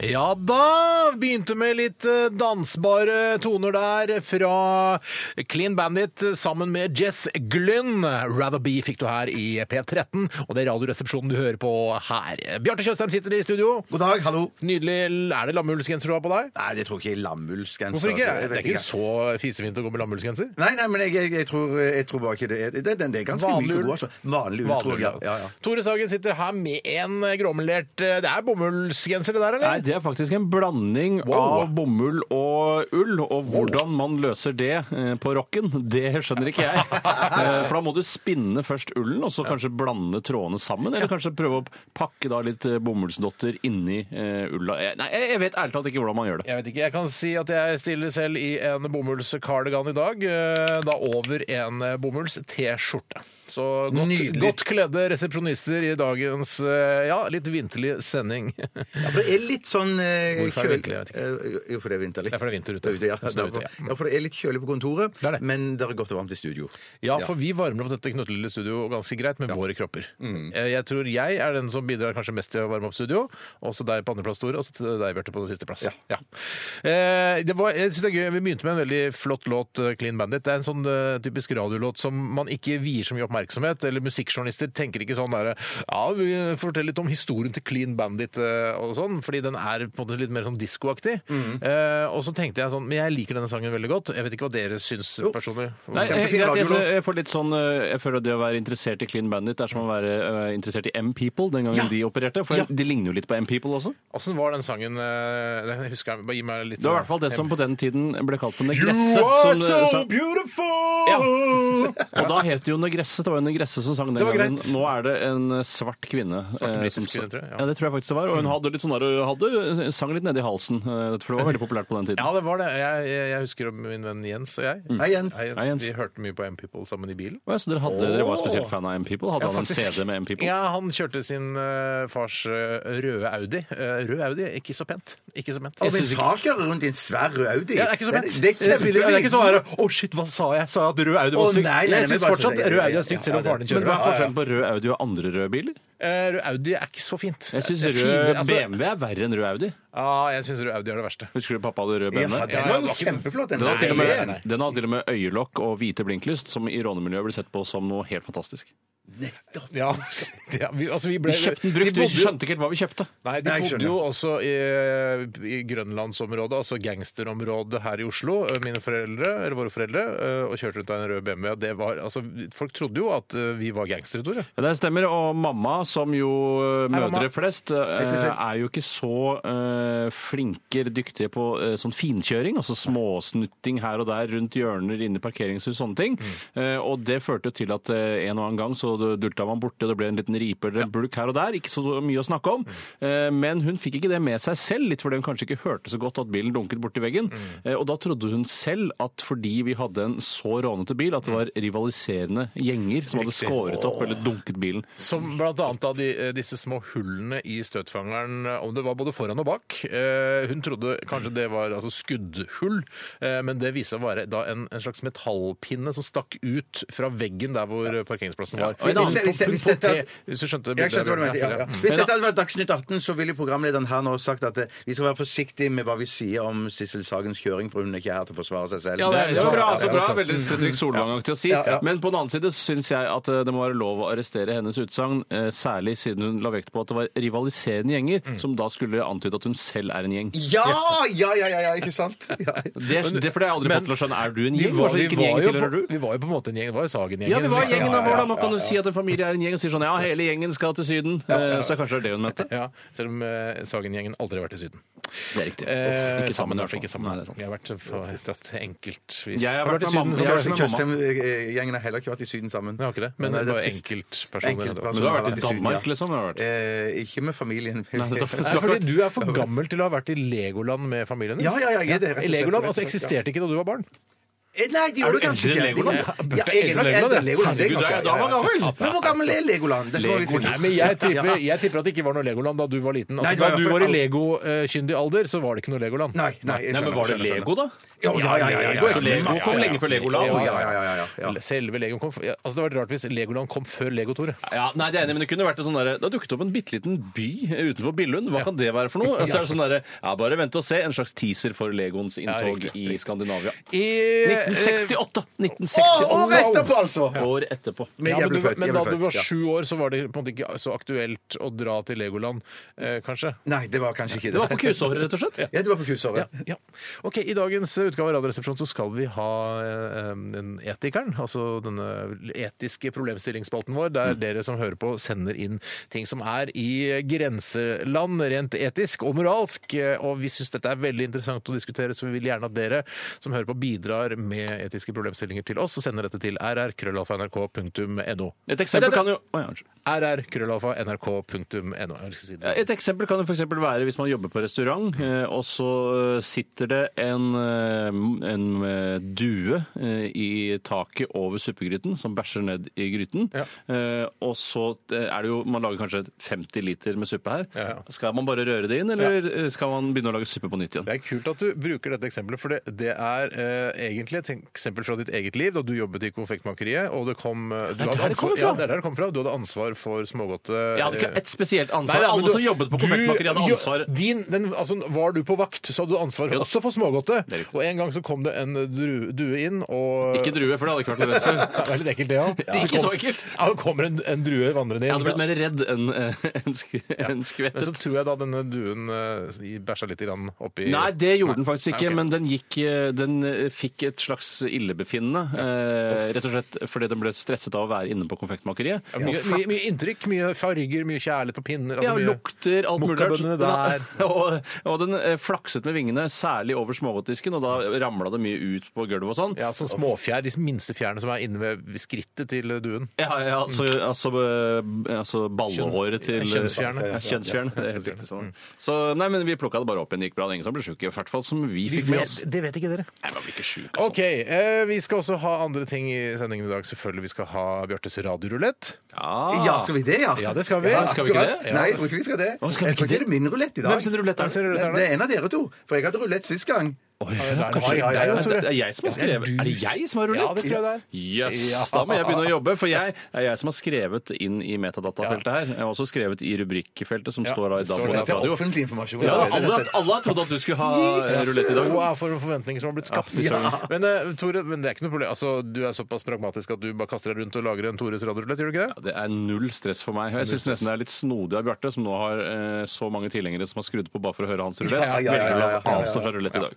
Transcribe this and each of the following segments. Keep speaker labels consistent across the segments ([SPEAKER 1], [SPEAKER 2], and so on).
[SPEAKER 1] Ja da! Begynte med litt eh, dansbare toner der fra Clean Bandit sammen med Jess Glynn. Rather Be fikk du her i P13, og det er Radioresepsjonen du hører på her. Bjarte Tjøstheim sitter i studio.
[SPEAKER 2] God dag, hallo.
[SPEAKER 1] Nydelig. Er det lammullsgenser du har på deg?
[SPEAKER 2] Nei, jeg tror ikke altså. lammullsgenser.
[SPEAKER 1] Hvorfor ikke?
[SPEAKER 2] Jeg
[SPEAKER 1] Det
[SPEAKER 2] vet
[SPEAKER 1] er ikke så fisefint å gå med lammullsgenser.
[SPEAKER 2] Nei, nei, men jeg, jeg, jeg, tror, jeg tror bare ikke det er Det, det er ganske
[SPEAKER 1] Vanlig
[SPEAKER 2] myk og
[SPEAKER 1] ull.
[SPEAKER 2] god, altså. Vanlig ull, tror jeg. Ja, ja, ja.
[SPEAKER 1] Tore Sagen sitter her med en gråmelert eh, Det er bomullsgenser, det der, eller?
[SPEAKER 3] Nei, det er faktisk en blanding
[SPEAKER 1] Wow.
[SPEAKER 3] av bomull og ull. Og hvordan man løser det eh, på rocken, det skjønner ikke jeg. Eh, For da må du spinne først ullen, og så kanskje blande trådene sammen. Eller kanskje prøve å pakke da litt eh, bomullsdotter inni eh, ulla. Jeg- Nei, jeg jeg vet ærlig talt ikke hvordan man gjør det.
[SPEAKER 1] Jeg vet ikke, jeg kan si at jeg stiller selv i en bomullskardigan i dag. eh, Da over en bomulls-T-skjorte. Så godt,
[SPEAKER 2] Nydelig.
[SPEAKER 1] godt kledde resepsjonister i dagens eh, ja, litt vinterlig sending. Det
[SPEAKER 2] For det er litt sånn eh,
[SPEAKER 1] Hvorfor er det vinterlig? Jeg vet
[SPEAKER 2] Eh, Jo, for det er vinterlig.
[SPEAKER 1] er fordi det er vinter
[SPEAKER 2] Det er ute,
[SPEAKER 1] ute.
[SPEAKER 2] ja.
[SPEAKER 1] Det er ute, ja.
[SPEAKER 2] ja, for det er litt kjølig på kontoret,
[SPEAKER 1] Det er det.
[SPEAKER 2] men det er godt og varmt i studio.
[SPEAKER 1] Ja, for vi varmer opp dette knøttlille studio ganske greit med våre kropper. Eh, Jeg tror jeg er den som bidrar kanskje mest til å varme opp studio. Også deg på andreplass, Tore, og så til deg, Bjarte, på siste plass. Ja. Eh, Det var, jeg synes det er gøy, Vi begynte med en veldig flott låt, eh, 'Clean Bandit'. Det er en sånn eh, typisk radiolåt som man ikke vier så mye oppmerksomhet. Eller musikkjournalister tenker ikke sånn derre Ja, vi forteller litt om historien til 'Clean Bandit' eh, og sånn, fordi den er på en måte litt mer sånn diskoaktig. Eh, og så tenkte jeg sånn Men jeg liker denne sangen veldig godt. Jeg vet ikke hva dere syns personlig.
[SPEAKER 3] Nei,
[SPEAKER 2] Kjempefin
[SPEAKER 3] jeg, greit, jeg,
[SPEAKER 2] radiolåt.
[SPEAKER 3] jeg får litt sånn eh, Jeg føler at det å være interessert i Clean Bandit er som å være eh, interessert i M-People den gangen de opererte. For de ligner jo litt på M-People også.
[SPEAKER 1] Åssen var den sangen eh, den husker jeg, Bare gi meg litt sånn-
[SPEAKER 3] Det var i hvert fall det som på den tiden ble kalt for Negresse.
[SPEAKER 1] You are
[SPEAKER 3] som, eh,
[SPEAKER 1] so
[SPEAKER 3] sa-
[SPEAKER 1] beautiful!
[SPEAKER 3] Ja. Og da het det jo Negresse. Det var jo Negresse som sang den
[SPEAKER 1] Det var
[SPEAKER 3] gangen.
[SPEAKER 1] greit.
[SPEAKER 3] Nå er det en eh, svart kvinne. eh,
[SPEAKER 1] britisk
[SPEAKER 3] som sa-
[SPEAKER 1] kvinne, tror jeg, ja. Mm.
[SPEAKER 3] Ja, det tror jeg faktisk det var. Og hun hadde litt sånn der, hun hadde, sang litt nedi halsen, eh, for det var veldig populært på den tiden.
[SPEAKER 1] Ja, det var det. Jeg, jeg, jeg husker min venn Jens og jeg.
[SPEAKER 2] Hei, Jens.
[SPEAKER 1] Hei, Jens.
[SPEAKER 3] Mm. Hei, Jens.
[SPEAKER 1] Vi hørte mye på M-People sammen i bilen.
[SPEAKER 3] Å, ja, Så dere, hadde, dere var spesielt fan av M-People? Hadde
[SPEAKER 1] Ja,
[SPEAKER 3] han en
[SPEAKER 1] faktisk.
[SPEAKER 3] CD med M-People?
[SPEAKER 1] Ja, han kjørte sin eh, fars eh, røde Audi. Eh, rød Audi, er ikke så pent. Ikke så pent.
[SPEAKER 2] Og min far kjører rundt i en svær rød Audi.
[SPEAKER 1] Ja, det er ikke så pent.
[SPEAKER 2] Det, det er
[SPEAKER 1] spiller- det er ikke
[SPEAKER 2] kjempefint.
[SPEAKER 1] sånn her Å, shit, hva sa jeg? Sa jeg at rød Audi var
[SPEAKER 2] Å,
[SPEAKER 1] stygg?
[SPEAKER 2] nei, nei,
[SPEAKER 1] jeg
[SPEAKER 2] nei,
[SPEAKER 1] syns
[SPEAKER 2] men bare så-
[SPEAKER 1] fortsatt
[SPEAKER 2] ja, ja,
[SPEAKER 1] rød Audi
[SPEAKER 2] ja,
[SPEAKER 1] er stygt,
[SPEAKER 2] ja,
[SPEAKER 1] selv om
[SPEAKER 2] ja,
[SPEAKER 1] faren din
[SPEAKER 3] Men
[SPEAKER 1] kjører
[SPEAKER 3] hva
[SPEAKER 1] det.
[SPEAKER 3] er forskjellen på rød Audi og andre røde biler?
[SPEAKER 1] Eh, Rød Audi er ikke så fint.
[SPEAKER 3] Jeg syns
[SPEAKER 1] Det er
[SPEAKER 3] rød
[SPEAKER 1] fine- altså-
[SPEAKER 3] BMW er verre enn rød Audi.
[SPEAKER 1] Ja, jeg syns rød Audi er det verste.
[SPEAKER 3] Husker du pappa hadde rød
[SPEAKER 2] Ja,
[SPEAKER 3] BMW?
[SPEAKER 2] den
[SPEAKER 1] Ja,
[SPEAKER 2] var jo kjempeflott, den.
[SPEAKER 3] Den har, til og
[SPEAKER 2] Nei,
[SPEAKER 3] med,
[SPEAKER 2] nei, nei.
[SPEAKER 3] den har til og med øyelokk og hvite blinklyst, som i rånemiljøet blir sett på som noe helt fantastisk.
[SPEAKER 1] Ja, ja vi, altså vi ble
[SPEAKER 3] Vi kjøpte den
[SPEAKER 1] de
[SPEAKER 3] brukt,
[SPEAKER 1] bodde
[SPEAKER 3] vi
[SPEAKER 1] jo-
[SPEAKER 3] skjønte ikke helt hva vi kjøpte.
[SPEAKER 1] Nei, de
[SPEAKER 2] Nei, jeg
[SPEAKER 1] bodde
[SPEAKER 2] skjønner.
[SPEAKER 1] jo også i, i grønlandsområdet, altså gangsterområdet her i Oslo, mine foreldre, eller våre foreldre, og kjørte rundt av en rød BMW. Det var, altså, folk trodde jo at vi var gangstere, Tore.
[SPEAKER 3] Ja, Det stemmer. Og mamma, som jo eh,
[SPEAKER 1] Hei,
[SPEAKER 3] mødre
[SPEAKER 1] mamma.
[SPEAKER 3] flest, eh, er jo ikke så eh, flinke eller dyktige på eh, sånn finkjøring. Altså småsnutting her og der rundt hjørner inne i parkeringshus, sånne ting. Eh, og det førte jo til at eh, en og annen gang så dulta man borti, det ble en liten ripe eller en bulk her og der. Ikke så mye å snakke om. Eh, men hun fikk ikke det med seg selv, litt fordi hun kanskje ikke hørte så godt at bilen dunket borti veggen. Eh, og da trodde hun selv at fordi vi hadde en så rånete bil, at det var rivaliserende gjenger som hadde skåret opp eller dunket bilen.
[SPEAKER 1] Som blant annet av de, disse små hullene i støtfangeren, om det var både foran og bak. Eh, Hun trodde kanskje det var altså, skuddhull, eh, men det viste seg å være da en, en slags metallpinne som stakk ut fra veggen der hvor parkeringsplassen var.
[SPEAKER 3] og en
[SPEAKER 2] annen- Hvis- hvis- hvis
[SPEAKER 1] Punkt
[SPEAKER 2] dette-
[SPEAKER 1] T, hvis du skjønte
[SPEAKER 2] Jeg skjønte hva du
[SPEAKER 1] bildet,
[SPEAKER 2] mente. Ja, ja.
[SPEAKER 1] Mm.
[SPEAKER 2] Hvis dette hadde vært Dagsnytt 18, så ville programlederen her nå sagt at eh, vi skal være forsiktige med hva vi sier om Sissel Sagens kjøring, for hun er ikke her til å forsvare seg selv.
[SPEAKER 3] Ja, det, det var bra. altså
[SPEAKER 2] Ja,
[SPEAKER 3] bra, Veldig Fredrik Solvang-aktig å si.
[SPEAKER 2] Ja, ja.
[SPEAKER 3] Men på den annen side syns jeg at eh, det må være lov å arrestere hennes utsagn, eh, særlig siden hun la vekt på at det var rivaliserende gjenger, som da skulle antyde at hun selv er en gjeng.
[SPEAKER 2] Ja, ja, ja, ja, ja, ikke sant? Ja.
[SPEAKER 3] Det, det for det har jeg aldri fått til å skjønne. Er du en
[SPEAKER 1] Vi
[SPEAKER 3] gjeng?
[SPEAKER 1] var,
[SPEAKER 3] Hva slags
[SPEAKER 1] vi,
[SPEAKER 3] gjeng
[SPEAKER 1] var jo
[SPEAKER 3] tilhører
[SPEAKER 1] på,
[SPEAKER 3] du?
[SPEAKER 1] vi var jo på en måte en gjeng. Det var jo Sagen-gjengen.
[SPEAKER 3] Ja, vi var gjengen, og
[SPEAKER 2] ja, ja,
[SPEAKER 3] hvordan kan du si at en familie er en gjeng, og sier sånn ja, hele gjengen skal til Syden. Eh, Så kanskje det er det hun mente.
[SPEAKER 1] Ja, selv om eh, Sagen-gjengen aldri har vært i Syden.
[SPEAKER 3] Det er riktig.
[SPEAKER 1] Eh,
[SPEAKER 3] Ikke sammen, i
[SPEAKER 1] i
[SPEAKER 3] hvert fall.
[SPEAKER 1] Ikke sammen.
[SPEAKER 3] Nei, det er sant.
[SPEAKER 1] Vi har vært på et enkeltvis.
[SPEAKER 3] Jeg har vært med mamma.
[SPEAKER 1] så
[SPEAKER 3] Jeg har vært
[SPEAKER 1] kanskje-
[SPEAKER 3] med mamma.
[SPEAKER 2] Tjøstheim-gjengen eh, har heller ikke vært i Syden sammen.
[SPEAKER 1] Nei, har ikke det. Men
[SPEAKER 2] Nei,
[SPEAKER 1] det var
[SPEAKER 2] er trist.
[SPEAKER 1] enkeltpersoner.
[SPEAKER 2] Enkeltpersoner.
[SPEAKER 3] Men du har vært
[SPEAKER 2] Syden,
[SPEAKER 3] i
[SPEAKER 2] ja.
[SPEAKER 3] Danmark, liksom? Har du vært.
[SPEAKER 2] Eh, ikke med familien.
[SPEAKER 3] nettopp.
[SPEAKER 1] Nei, fordi du er for gammel til å ha vært i Legoland med familien din.
[SPEAKER 2] Ja, ja, ja, jeg er det, rett og slett.
[SPEAKER 1] I Legoland altså, eksisterte ikke da du var barn.
[SPEAKER 2] Eh, Nei, de
[SPEAKER 3] Er
[SPEAKER 2] gjorde
[SPEAKER 3] du
[SPEAKER 2] kanskje
[SPEAKER 3] eldre
[SPEAKER 2] ikke
[SPEAKER 3] enn
[SPEAKER 2] det. De var-
[SPEAKER 3] Legoland?
[SPEAKER 1] Ja,
[SPEAKER 2] Ja, jeg er nok eldre enn Legoland. det er nok
[SPEAKER 3] Herregud, da er
[SPEAKER 2] jeg,
[SPEAKER 3] jeg- da
[SPEAKER 2] ja,
[SPEAKER 3] var
[SPEAKER 2] ja, ja.
[SPEAKER 3] gammel.
[SPEAKER 2] Men hvor gammel er Legoland? Dette må vi finne
[SPEAKER 1] Nei,
[SPEAKER 2] ut.
[SPEAKER 1] men jeg tipper,
[SPEAKER 2] Ja.
[SPEAKER 1] jeg tipper at det ikke var noe Legoland da du var liten. Altså,
[SPEAKER 2] Nei, det var i
[SPEAKER 1] da du
[SPEAKER 2] hvert
[SPEAKER 1] var i
[SPEAKER 2] fall-
[SPEAKER 1] legokyndig alder, så var det ikke noe Legoland.
[SPEAKER 2] Nei, nei, jeg
[SPEAKER 3] Nei, men
[SPEAKER 2] skjønner,
[SPEAKER 3] Var det
[SPEAKER 2] skjønner, skjønner.
[SPEAKER 3] Lego, da?
[SPEAKER 2] Ja, ja, ja. ja, ja,
[SPEAKER 1] Lego,
[SPEAKER 2] ja.
[SPEAKER 1] ikke sant?
[SPEAKER 3] Lego kom lenge før Legoland.
[SPEAKER 2] Ja, ja, ja, ja, ja, ja.
[SPEAKER 1] Selve Lego kom f- ja, Altså Det hadde vært rart hvis Legoland kom før Lego, Tore.
[SPEAKER 3] Ja, nei, det er enig, men det kunne vært en sånn derre Det har dukket opp en bitte liten by utenfor Billund. Hva kan det være for noe? Og så er det sånn derre Ja, bare vent og se. En slags teaser for Legoens inntog
[SPEAKER 1] riktig, Eh,
[SPEAKER 3] i Skandinavia.
[SPEAKER 1] I
[SPEAKER 3] 1968!
[SPEAKER 2] Å,
[SPEAKER 3] 1968.
[SPEAKER 2] Året etterpå, altså!
[SPEAKER 3] År etterpå.
[SPEAKER 2] Men
[SPEAKER 1] Ja,
[SPEAKER 2] jeg
[SPEAKER 1] men,
[SPEAKER 2] ble
[SPEAKER 1] du,
[SPEAKER 2] født.
[SPEAKER 1] men
[SPEAKER 2] jeg
[SPEAKER 1] da
[SPEAKER 2] ble
[SPEAKER 1] du
[SPEAKER 2] født,
[SPEAKER 1] var
[SPEAKER 2] ja.
[SPEAKER 1] sju år, så var det på en måte ikke så aktuelt å dra til Legoland, eh, kanskje?
[SPEAKER 2] Nei, det var kanskje ikke det.
[SPEAKER 3] Det var på kusåret, rett og slett.
[SPEAKER 2] Ja, det var på kusåret.
[SPEAKER 1] Ja. Ok, I dagens utgave av Radioresepsjonen så skal vi ha eh, den etikeren, altså denne etiske problemstillingsspalten vår, der dere som hører på sender inn ting som er i grenseland rent etisk og moralsk. eh, Og vi syns dette er veldig interessant å diskutere, så vi vil gjerne at dere som hører på bidrar med etiske problemstillinger til oss, og sender dette til rrkrøllalfa.nrk.no.
[SPEAKER 3] Et eksempel kan jo Oi, unnskyld.
[SPEAKER 1] rrkrøllalfa.nrk.no. Jeg skal si
[SPEAKER 3] Ja,
[SPEAKER 1] det.
[SPEAKER 3] Et eksempel kan jo for eksempel være hvis man jobber på restaurant, eh, og så eh, sitter det en, eh, en eh, due eh, i taket over suppegryten som bæsjer ned i gryten.
[SPEAKER 1] Ja.
[SPEAKER 3] Eh, Og så eh, er det jo Man lager kanskje 50 liter med suppe her.
[SPEAKER 1] Ja, ja.
[SPEAKER 3] Skal man bare røre det inn, eller eh, skal man begynne å lage suppe på nytt igjen?
[SPEAKER 1] Det er kult at du bruker dette eksempelet, for det, det er eh, egentlig et eksempel fra ditt eget liv da du jobbet i konfektmakeriet, og det kom eh, du
[SPEAKER 3] er
[SPEAKER 1] hadde
[SPEAKER 3] der det
[SPEAKER 1] ansvar-
[SPEAKER 3] kommer fra.
[SPEAKER 1] Ja, det er der det kommer fra. Du hadde ansvar for smågodte
[SPEAKER 3] Jeg hadde ikke
[SPEAKER 1] eh,
[SPEAKER 3] et spesielt
[SPEAKER 1] Nei,
[SPEAKER 3] ansvar.
[SPEAKER 1] nei, men
[SPEAKER 3] Alle
[SPEAKER 1] du-
[SPEAKER 3] som jobbet på
[SPEAKER 1] du-
[SPEAKER 3] konfektmakeriet, hadde
[SPEAKER 1] jo,
[SPEAKER 3] ansvar.
[SPEAKER 1] Din, den, altså, var du på vakt, så hadde du ansvar
[SPEAKER 3] Jo da.
[SPEAKER 1] også for smågodte.
[SPEAKER 3] Det er riktig.
[SPEAKER 1] Og en gang så kom det en dru- due inn, og
[SPEAKER 3] Ikke drue, for det hadde ikke vært noe redd for.
[SPEAKER 1] Det er litt ekkelt, det òg.
[SPEAKER 3] Det er ikke så ekkelt.
[SPEAKER 1] Ja, det kommer en, en drue vandrende inn.
[SPEAKER 3] Jeg hadde blitt mer redd enn eh, en sk- en
[SPEAKER 1] Men så
[SPEAKER 3] skvettet.
[SPEAKER 1] tror jeg da denne duen uh, bæsja litt grann oppi
[SPEAKER 3] Nei, det gjorde den faktisk
[SPEAKER 1] Nei,
[SPEAKER 3] ikke,
[SPEAKER 1] ok.
[SPEAKER 3] men den, gikk, eh, den eh, fikk et slags illebefinnende. eh, Rett og slett fordi den ble stresset av å være inne på konfektmakeriet.
[SPEAKER 1] Ja, Mye, mye, mye inntrykk, mye farger, mye kjærlighet på pinner. altså
[SPEAKER 3] Ja,
[SPEAKER 1] mye-
[SPEAKER 3] lukter, alt mulig. rart.
[SPEAKER 1] Mokkabønnene
[SPEAKER 3] Den- Og, og den eh, flakset med vingene, særlig over smågodtdisken, og da ramla det mye ut på gulvet og sånn.
[SPEAKER 1] Ja, sånn småfjær, de minste fjærene som er inne ved skrittet til duen.
[SPEAKER 3] Ja, ja, altså, altså, eh, altså ballehåret til
[SPEAKER 1] Ja, kjønnsfjerne. Mm.
[SPEAKER 3] Ja, kjønnsfjerne. Det er helt riktig. sånn. Så, nei, men vi plukka det bare opp igjen. Det gikk bra. det er Ingen som ble sjuke. I hvert fall som vi fikk med oss.
[SPEAKER 1] det vet ikke dere.
[SPEAKER 3] Nei, man blir ikke sjuk, altså.
[SPEAKER 1] Ok, eh, Vi skal også ha andre ting i sendingen i dag. Selvfølgelig, Vi skal ha Bjartes radiorulett.
[SPEAKER 3] sånn. Ja.
[SPEAKER 2] Ja, skal vi det, ja?
[SPEAKER 1] Ja, det skal vi.
[SPEAKER 2] Ja,
[SPEAKER 3] Skal vi ikke
[SPEAKER 2] akkurat.
[SPEAKER 3] det?
[SPEAKER 2] Nei, jeg tror ikke vi skal det.
[SPEAKER 3] skal vi
[SPEAKER 2] jeg tror
[SPEAKER 3] ikke
[SPEAKER 2] ikke det er min rulett i dag.
[SPEAKER 3] Hvem sin rulett er det?
[SPEAKER 1] Hvem sin rulett er det?
[SPEAKER 2] Det er en av dere to. For jeg hadde rulett sist gang.
[SPEAKER 3] Oi, ja,
[SPEAKER 1] det er det.
[SPEAKER 3] kanskje-
[SPEAKER 1] Ja,
[SPEAKER 3] det er
[SPEAKER 1] ja, ja.
[SPEAKER 3] jo- det er jeg som
[SPEAKER 1] Ja, det
[SPEAKER 3] har
[SPEAKER 1] er
[SPEAKER 3] skrevet
[SPEAKER 1] du
[SPEAKER 3] Er det jeg som har rullet?
[SPEAKER 1] Ja, det tror jeg det er.
[SPEAKER 3] Jøss,
[SPEAKER 1] Ja.
[SPEAKER 3] da må jeg begynne å jobbe, for jeg, det er jeg som har skrevet inn i metadatafeltet her. Jeg har også skrevet i rubrikkfeltet som
[SPEAKER 1] Ja,
[SPEAKER 3] står da i
[SPEAKER 1] det står
[SPEAKER 3] dag. på
[SPEAKER 1] det.
[SPEAKER 2] Dette er
[SPEAKER 3] radio.
[SPEAKER 2] offentlig informasjon.
[SPEAKER 3] Ja, alle, alle har trodd at du skulle ha eh, rulett i dag.
[SPEAKER 1] Wow, for noen forventninger som har blitt skapt.
[SPEAKER 3] Ja, fy søren.
[SPEAKER 1] Men eh, Tore, men det er ikke noe problem. Altså, Du er såpass pragmatisk at du bare kaster deg rundt og lager en Tores radiorulett, gjør du ikke det?
[SPEAKER 3] Ja, Det er null stress for meg. Jeg syns nesten det er litt snodig av Bjarte, som nå har eh, så mange tilhengere som har skrudd på bare for å høre hans rulett.
[SPEAKER 2] Ja, ja, ja, ja,
[SPEAKER 3] Velger
[SPEAKER 2] ja,
[SPEAKER 3] å
[SPEAKER 2] ja, ja.
[SPEAKER 3] avstå fra rulett i dag.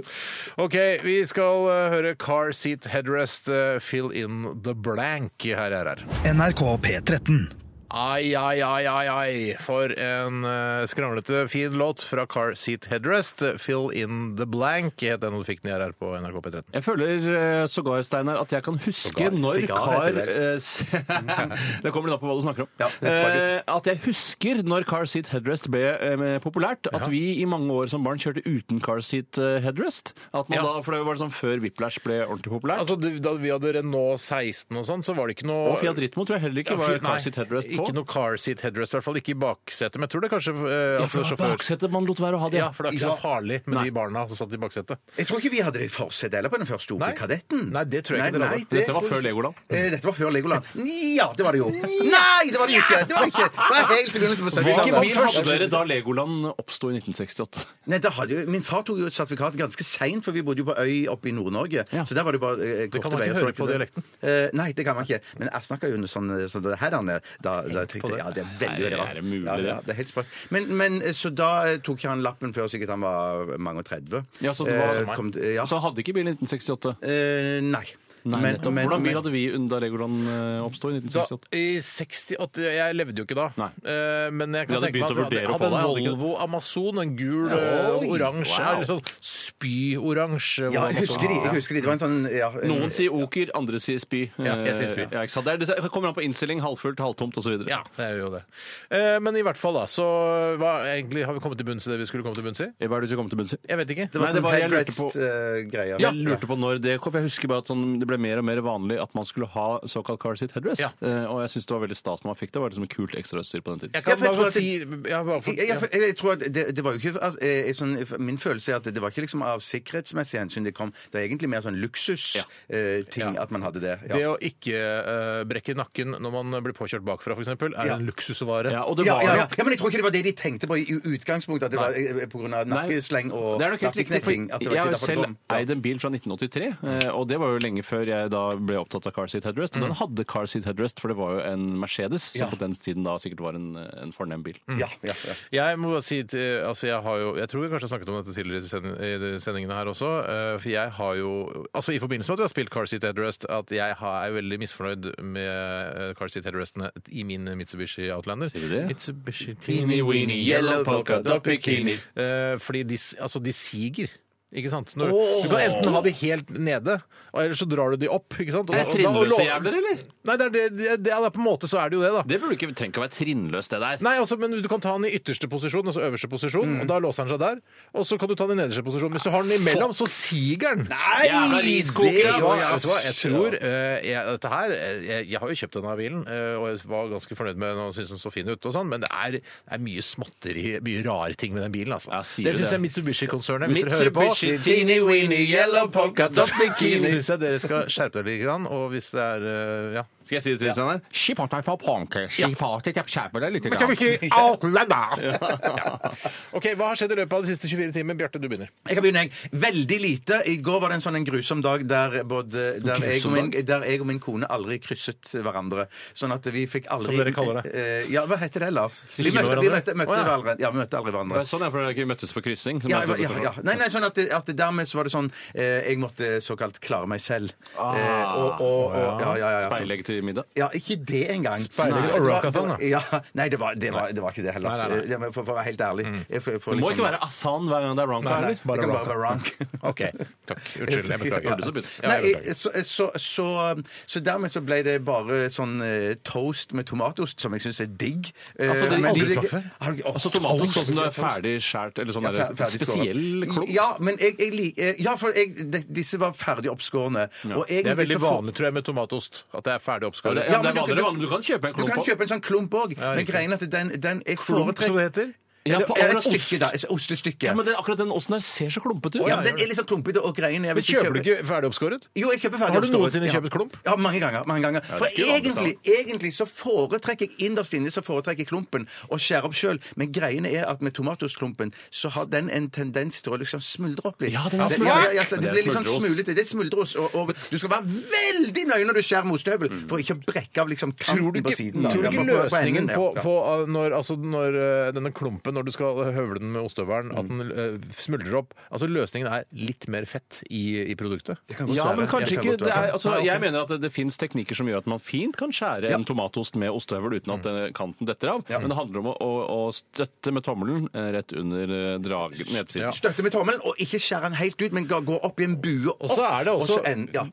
[SPEAKER 1] Ok, vi skal eh, høre Car Seat Headrest, eh, Fill In The Blank. Her er her.
[SPEAKER 4] NRK P13.
[SPEAKER 1] Ai, ai, ai, ai, ai. For en eh, skranglete, fin låt fra Car Seat Headrest. eh, Fill in the blank het den, og du fikk den her på NRK P13.
[SPEAKER 3] Jeg føler eh, sågar, Steinar, at jeg kan huske når
[SPEAKER 2] sigar
[SPEAKER 3] Car
[SPEAKER 2] heter det vel?
[SPEAKER 3] eh, s- Det kommer litt an på hva du snakker om.
[SPEAKER 2] Ja,
[SPEAKER 3] eh,
[SPEAKER 2] faktisk.
[SPEAKER 3] at jeg husker når Car Seat Headrest ble eh, populært. At vi i mange år som barn kjørte uten Car Seat eh, Headrest. At man
[SPEAKER 1] Ja.
[SPEAKER 3] da, for det var sånn Før Whiplash ble ordentlig populært.
[SPEAKER 1] Altså, det- Da vi hadde Renault 16 og sånn, så var det ikke noe
[SPEAKER 3] og Fiat Ritmo tror jeg heller ikke
[SPEAKER 1] Ja,
[SPEAKER 3] var
[SPEAKER 1] Fiat- nei,
[SPEAKER 3] Car Seat Headrest på.
[SPEAKER 1] Ikke noe car seat headrest, i hvert fall ikke i baksetet. Men jeg tror det kanskje eh,
[SPEAKER 3] ja, for
[SPEAKER 1] altså,
[SPEAKER 3] det var
[SPEAKER 1] sjåfør...
[SPEAKER 3] baksetet man lot være å ha det.
[SPEAKER 1] Ja, for det er ikke så farlig med
[SPEAKER 3] Nei.
[SPEAKER 1] de barna som satt i baksetet.
[SPEAKER 2] Jeg tror ikke vi hadde det i forsett heller på den første
[SPEAKER 1] Nei.
[SPEAKER 2] OK-kadetten.
[SPEAKER 1] Nei, det tror jeg ikke dere hadde.
[SPEAKER 3] Dette var før Legoland.
[SPEAKER 2] Dette var før Legoland. Ja, det var det jo. Nei, det var det jo ikke! Det var det ikke. Det var helt i begynnelsen på
[SPEAKER 3] Hvilken bil hadde
[SPEAKER 2] 70-tallet.
[SPEAKER 3] dere da Legoland oppsto i 1968?
[SPEAKER 2] Nei, da hadde jo- Min far tok jo et sertifikat ganske seint, for vi bodde jo på øy oppe i Nord-Norge.
[SPEAKER 3] Ja.
[SPEAKER 2] Så der var det bare eh, korte
[SPEAKER 1] kan man ikke
[SPEAKER 2] veier, så
[SPEAKER 1] høre
[SPEAKER 2] det var
[SPEAKER 1] på
[SPEAKER 2] det. Eh, nei, det kan man ikke. Men jeg snakker jo under sånn, sånn det her, Anne. Da, da tenkte jeg, ja, det er veldig, veldig
[SPEAKER 3] Er
[SPEAKER 2] rart.
[SPEAKER 3] det mulig,
[SPEAKER 2] ja,
[SPEAKER 3] det?
[SPEAKER 2] ja, det er helt sprøtt. Men, men eh, så da eh, tok ikke han lappen før sikkert han var eh, mange og 30.
[SPEAKER 3] Ja, så det var
[SPEAKER 2] Eh,
[SPEAKER 3] sommeren.
[SPEAKER 2] kom, eh, ja.
[SPEAKER 3] Så hadde ikke bilen 1968.
[SPEAKER 2] Eh, nei.
[SPEAKER 3] Nei,
[SPEAKER 2] Men-
[SPEAKER 3] nettopp.
[SPEAKER 2] men-
[SPEAKER 3] Hvordan bil
[SPEAKER 2] men-
[SPEAKER 3] hadde vi da Legoland eh, oppsto i
[SPEAKER 1] Da,
[SPEAKER 3] 1968?
[SPEAKER 1] I 68 Jeg levde jo ikke da.
[SPEAKER 3] Nei.
[SPEAKER 1] Eh, men jeg
[SPEAKER 3] Vi
[SPEAKER 1] kan tenke
[SPEAKER 3] hadde
[SPEAKER 1] meg
[SPEAKER 3] begynt
[SPEAKER 1] at
[SPEAKER 3] å
[SPEAKER 1] du hadde,
[SPEAKER 3] vurdere å
[SPEAKER 1] hadde
[SPEAKER 3] få deg, hadde
[SPEAKER 1] en
[SPEAKER 3] vi ikke
[SPEAKER 1] Volvo Amazon, en gul, eh,
[SPEAKER 2] Oi,
[SPEAKER 1] oransje
[SPEAKER 3] wow.
[SPEAKER 1] eller sånn spyoransje
[SPEAKER 2] Ja,
[SPEAKER 1] Volvo
[SPEAKER 2] jeg
[SPEAKER 1] Amazon.
[SPEAKER 2] husker de. jeg husker de. Det var en sånn ja, en-
[SPEAKER 3] Noen sier oker, andre sier spy.
[SPEAKER 1] Ja, jeg sier spy.
[SPEAKER 3] Eh, Ja, ikke sant? Det, er, det kommer an på innstilling, halvfullt, halvtomt osv.
[SPEAKER 1] Ja, det er jo det. Eh, men i hvert fall, da. Så hva, egentlig har vi kommet til bunns i det vi skulle komme til bunns i?
[SPEAKER 3] Eh, Hva er det du skal komme til bunns i?
[SPEAKER 1] Jeg vet ikke.
[SPEAKER 2] Det var
[SPEAKER 3] Nei,
[SPEAKER 2] sånn
[SPEAKER 3] det var- jeg lurte på-
[SPEAKER 2] headrest-greier.
[SPEAKER 3] Jeg lurte på når det kom, for jeg husker bare at sånn, det ble mer og mer vanlig at man skulle ha såkalt car seat headrest.
[SPEAKER 1] Ja.
[SPEAKER 3] Eh, og jeg syns det var veldig stas når man fikk det. Det var liksom et kult ekstrautstyr på den tiden.
[SPEAKER 1] Jeg kan
[SPEAKER 2] Ja, for jeg tror
[SPEAKER 1] bare
[SPEAKER 2] at
[SPEAKER 1] si ja, bare for,
[SPEAKER 2] Jeg,
[SPEAKER 1] ja.
[SPEAKER 2] jeg, jeg tror at det, det var jo ikke altså, eh, sånn, Min følelse er at det var ikke liksom av sikkerhetsmessig hensyn det kom. Det var egentlig mer sånn luksusting ting
[SPEAKER 1] Ja.
[SPEAKER 2] at man hadde det. Ja.
[SPEAKER 1] Det å ikke eh, brekke nakken når man blir påkjørt bakfra, f.eks., er
[SPEAKER 2] Ja.
[SPEAKER 1] en luksusvare.
[SPEAKER 3] Ja, og det
[SPEAKER 2] ja,
[SPEAKER 3] var
[SPEAKER 2] ja, ja.
[SPEAKER 3] jo
[SPEAKER 2] ja, men jeg tror ikke det var det de tenkte på i i utgangspunktet, at det var eh, på grunn av
[SPEAKER 3] Nei.
[SPEAKER 2] nakkesleng og
[SPEAKER 3] Det er nok helt riktig, for
[SPEAKER 2] nakkeknekking. at det var ikke
[SPEAKER 3] jeg har
[SPEAKER 2] derfor
[SPEAKER 3] jo
[SPEAKER 2] det
[SPEAKER 3] selv
[SPEAKER 2] kom. Ja.
[SPEAKER 3] eid en bil fra 1983, eh, og det var jo lenge før jeg da ble opptatt av car seat headrest. Og den hadde car seat headrest, for det var jo en Mercedes, som
[SPEAKER 2] Mm. Ja.
[SPEAKER 3] på den tiden da sikkert var en, en fornem bil.
[SPEAKER 2] Ja, ja, ja.
[SPEAKER 1] Jeg må bare si, til- altså jeg har jo, jeg tror vi kanskje har snakket om dette tidligere i send- i de sendingene her også, eh, for jeg har jo, altså i forbindelse med at vi har spilt Car Seat Headrest, at jeg har, er veldig misfornøyd med eh, Car Seat Headrestene i min Mitsubishi Outlander.
[SPEAKER 3] Sier du det?
[SPEAKER 1] Mitsubishi
[SPEAKER 2] Teeny weeny yellow polka dot bikini.
[SPEAKER 1] Eh, fordi de, s- altså de siger. Ikke sant? Når, Du kan enten ha de helt nede, og ellers så drar du de opp. Ikke sant? Og,
[SPEAKER 3] Er det
[SPEAKER 1] da- og
[SPEAKER 3] trinnløse
[SPEAKER 1] lå-
[SPEAKER 3] jævler, eller?
[SPEAKER 1] Nei, det er, det, det, det, ja, på en måte så er det jo det, da.
[SPEAKER 3] Det burde ikke trenger ikke å være trinnløst, det der.
[SPEAKER 1] Nei, altså, men Du kan ta den i ytterste posisjon, altså øverste posisjon, og da låser den seg der. Og så kan du ta den i nederste posisjon. Hvis du har den imellom, så siger den! Nei,
[SPEAKER 3] Jævla riskoker,
[SPEAKER 1] det
[SPEAKER 3] ass!
[SPEAKER 1] var- Vet du hva, jeg tror eh, jeg, Dette her eh, jeg, jeg har jo kjøpt denne bilen, eh, og jeg var ganske fornøyd med den og syntes den så fin ut, og sånn, men det er, det er mye småtteri, mye rare ting med den bilen, altså.
[SPEAKER 3] Ja, sier
[SPEAKER 1] det
[SPEAKER 3] du
[SPEAKER 1] syns
[SPEAKER 3] det?
[SPEAKER 1] jeg Mitsubishi-konsernet, hvis dere hører på
[SPEAKER 3] Mitsubishi
[SPEAKER 2] Teeny-weeny yellow polka dot
[SPEAKER 1] så
[SPEAKER 2] bikini.
[SPEAKER 1] syns jeg dere skal skjerpe dere litt, grann, og hvis det er eh, ja.
[SPEAKER 3] Skal jeg si det til Kristian her?
[SPEAKER 1] OK, hva har skjedd i løpet av de siste 24 timer? Bjarte, du begynner.
[SPEAKER 2] Jeg kan begynne, jeg. Veldig lite. I går var det en sånn en grusom dag der, både, der, jeg, og min, der jeg og min kone aldri krysset hverandre. Sånn at vi fikk aldri
[SPEAKER 1] Som dere kaller det.
[SPEAKER 2] Eh, Ja, hva heter det, Lars? Vi
[SPEAKER 1] Krysse
[SPEAKER 2] møtte, vi møtte,
[SPEAKER 1] hverandre? Å,
[SPEAKER 2] møtte,
[SPEAKER 1] ja.
[SPEAKER 2] hverandre- ja, vi møtte aldri hverandre.
[SPEAKER 3] Det er Sånn er det, for dere ikke møttes for kryssing. som
[SPEAKER 2] Ja, ja,
[SPEAKER 3] jeg trodde
[SPEAKER 2] ja,
[SPEAKER 3] det var.
[SPEAKER 2] ja. Nei, nei, sånn at, det- at det dermed så var det sånn eh, Jeg måtte såkalt klare meg selv. Eh, og, og, og, ja, ja, ja, ja. Så-
[SPEAKER 3] Speilegg til middag.
[SPEAKER 2] ja, ikke det engang.
[SPEAKER 1] Speilegg
[SPEAKER 2] Nei,
[SPEAKER 1] og
[SPEAKER 2] det var-
[SPEAKER 1] Rakatan, da.
[SPEAKER 2] det var- Ja, nei, det var, det, var, det var ikke det heller.
[SPEAKER 1] Nei, nei, nei.
[SPEAKER 2] Eh, For, for å være helt ærlig. Jeg får- jeg får
[SPEAKER 3] Det må
[SPEAKER 2] liksom-
[SPEAKER 3] ikke være afan hver gang det er wrong
[SPEAKER 1] Nei, nei.
[SPEAKER 3] heller.
[SPEAKER 2] Det kan
[SPEAKER 1] Bare
[SPEAKER 2] bare være rank.
[SPEAKER 1] OK. Takk. Unnskyld, jeg
[SPEAKER 2] Ja.
[SPEAKER 1] beklager. Ja, jeg
[SPEAKER 2] Nei, eh,
[SPEAKER 1] beklager.
[SPEAKER 2] så, så, så, så dermed så ble det bare sånn eh, toast med tomatost, som jeg syns er digg. Eh,
[SPEAKER 3] Altså, det har
[SPEAKER 2] men
[SPEAKER 3] aldri
[SPEAKER 2] de-
[SPEAKER 1] smakt før?
[SPEAKER 2] Har du ikke- Åh,
[SPEAKER 3] Altså tomater
[SPEAKER 2] toast.
[SPEAKER 3] sånn som det er ferdig skjært, eller sånn
[SPEAKER 2] Ja,
[SPEAKER 3] der,
[SPEAKER 2] fer- ferdig
[SPEAKER 3] spesiell
[SPEAKER 2] skåret.
[SPEAKER 3] klump.
[SPEAKER 2] Ja, men jeg, jeg liker Ja, for jeg, de, disse var ferdig oppskårne. Og jeg
[SPEAKER 1] Det er
[SPEAKER 2] vil så
[SPEAKER 1] veldig
[SPEAKER 2] få-
[SPEAKER 1] vanlig, tror jeg, med tomatost. At det er ferdig
[SPEAKER 3] Ja, det,
[SPEAKER 1] oppskåret.
[SPEAKER 3] ja,
[SPEAKER 2] Ja,
[SPEAKER 3] det
[SPEAKER 2] men du kan-
[SPEAKER 3] er vanlig, vanlig. Du kan kjøpe en
[SPEAKER 2] Du
[SPEAKER 3] klump
[SPEAKER 2] kan
[SPEAKER 3] på.
[SPEAKER 2] kjøpe en sånn klump òg, men
[SPEAKER 1] riktig.
[SPEAKER 2] greien er at den, den jeg
[SPEAKER 1] Klump, som
[SPEAKER 2] foretrekker
[SPEAKER 1] det heter.
[SPEAKER 3] Ja,
[SPEAKER 2] Eller-
[SPEAKER 3] på
[SPEAKER 2] eller
[SPEAKER 3] akkurat
[SPEAKER 2] et stykke, da. Et ostestykke.
[SPEAKER 3] Ja, men det, akkurat den osten her ser så klumpete ut.
[SPEAKER 2] Ja, men den er litt sånn klumpete, og greien er
[SPEAKER 1] Men kjøper du ikke ferdig oppskåret?
[SPEAKER 2] Jo, jeg kjøper ferdig
[SPEAKER 1] Har du
[SPEAKER 2] oppskåret,
[SPEAKER 1] noensinne
[SPEAKER 2] ja.
[SPEAKER 1] kjøpt klump?
[SPEAKER 2] Ja, mange ganger. mange ganger. For
[SPEAKER 3] ikke vanlig,
[SPEAKER 2] egentlig, egentlig så foretrekker jeg innerst inne så foretrekker jeg klumpen å skjære opp sjøl, men greiene er at med tomatostklumpen så har den en tendens til å liksom smuldre opp litt.
[SPEAKER 3] Ja, den er
[SPEAKER 2] Det- ja,
[SPEAKER 3] smultret.
[SPEAKER 2] ja, ja, så det
[SPEAKER 3] Men det er
[SPEAKER 2] blir litt sånn
[SPEAKER 3] smultrost.
[SPEAKER 2] smulete. Det er smuldreost. Og, og du skal være veldig nøye når du skjærer med ostehøvel,
[SPEAKER 3] Mm.
[SPEAKER 2] for ikke å brekke av liksom
[SPEAKER 1] Tror du
[SPEAKER 2] kanten på
[SPEAKER 1] ikke,
[SPEAKER 2] siden. da.
[SPEAKER 1] tror du
[SPEAKER 2] Ja,
[SPEAKER 1] ikke
[SPEAKER 2] på- på
[SPEAKER 1] løsningen
[SPEAKER 2] enden, ja.
[SPEAKER 1] på,
[SPEAKER 2] Ja.
[SPEAKER 1] på uh, når, altså når uh, denne klumpen, når du skal høvle den med ostehøvelen, at den uh, smuldrer opp Altså løsningen er litt mer fett i, i produktet?
[SPEAKER 3] Ja, men kanskje
[SPEAKER 2] Jeg kan
[SPEAKER 3] ikke
[SPEAKER 2] godt
[SPEAKER 3] det
[SPEAKER 2] være.
[SPEAKER 3] er, altså,
[SPEAKER 1] Nei, ok.
[SPEAKER 3] Jeg mener at det, det fins teknikker som gjør at man fint kan skjære
[SPEAKER 2] Ja.
[SPEAKER 3] en tomatost med ostehøvel uten at eh, kanten detter av, men det handler om å, å, å støtte med tommelen eh, rett under eh, drag, nedsiden.
[SPEAKER 1] Ja.
[SPEAKER 2] Støtte med tommelen, og ikke skjære den helt ut, men gå gå opp i en bue opp.
[SPEAKER 1] Og så er det også
[SPEAKER 2] og så en- ja.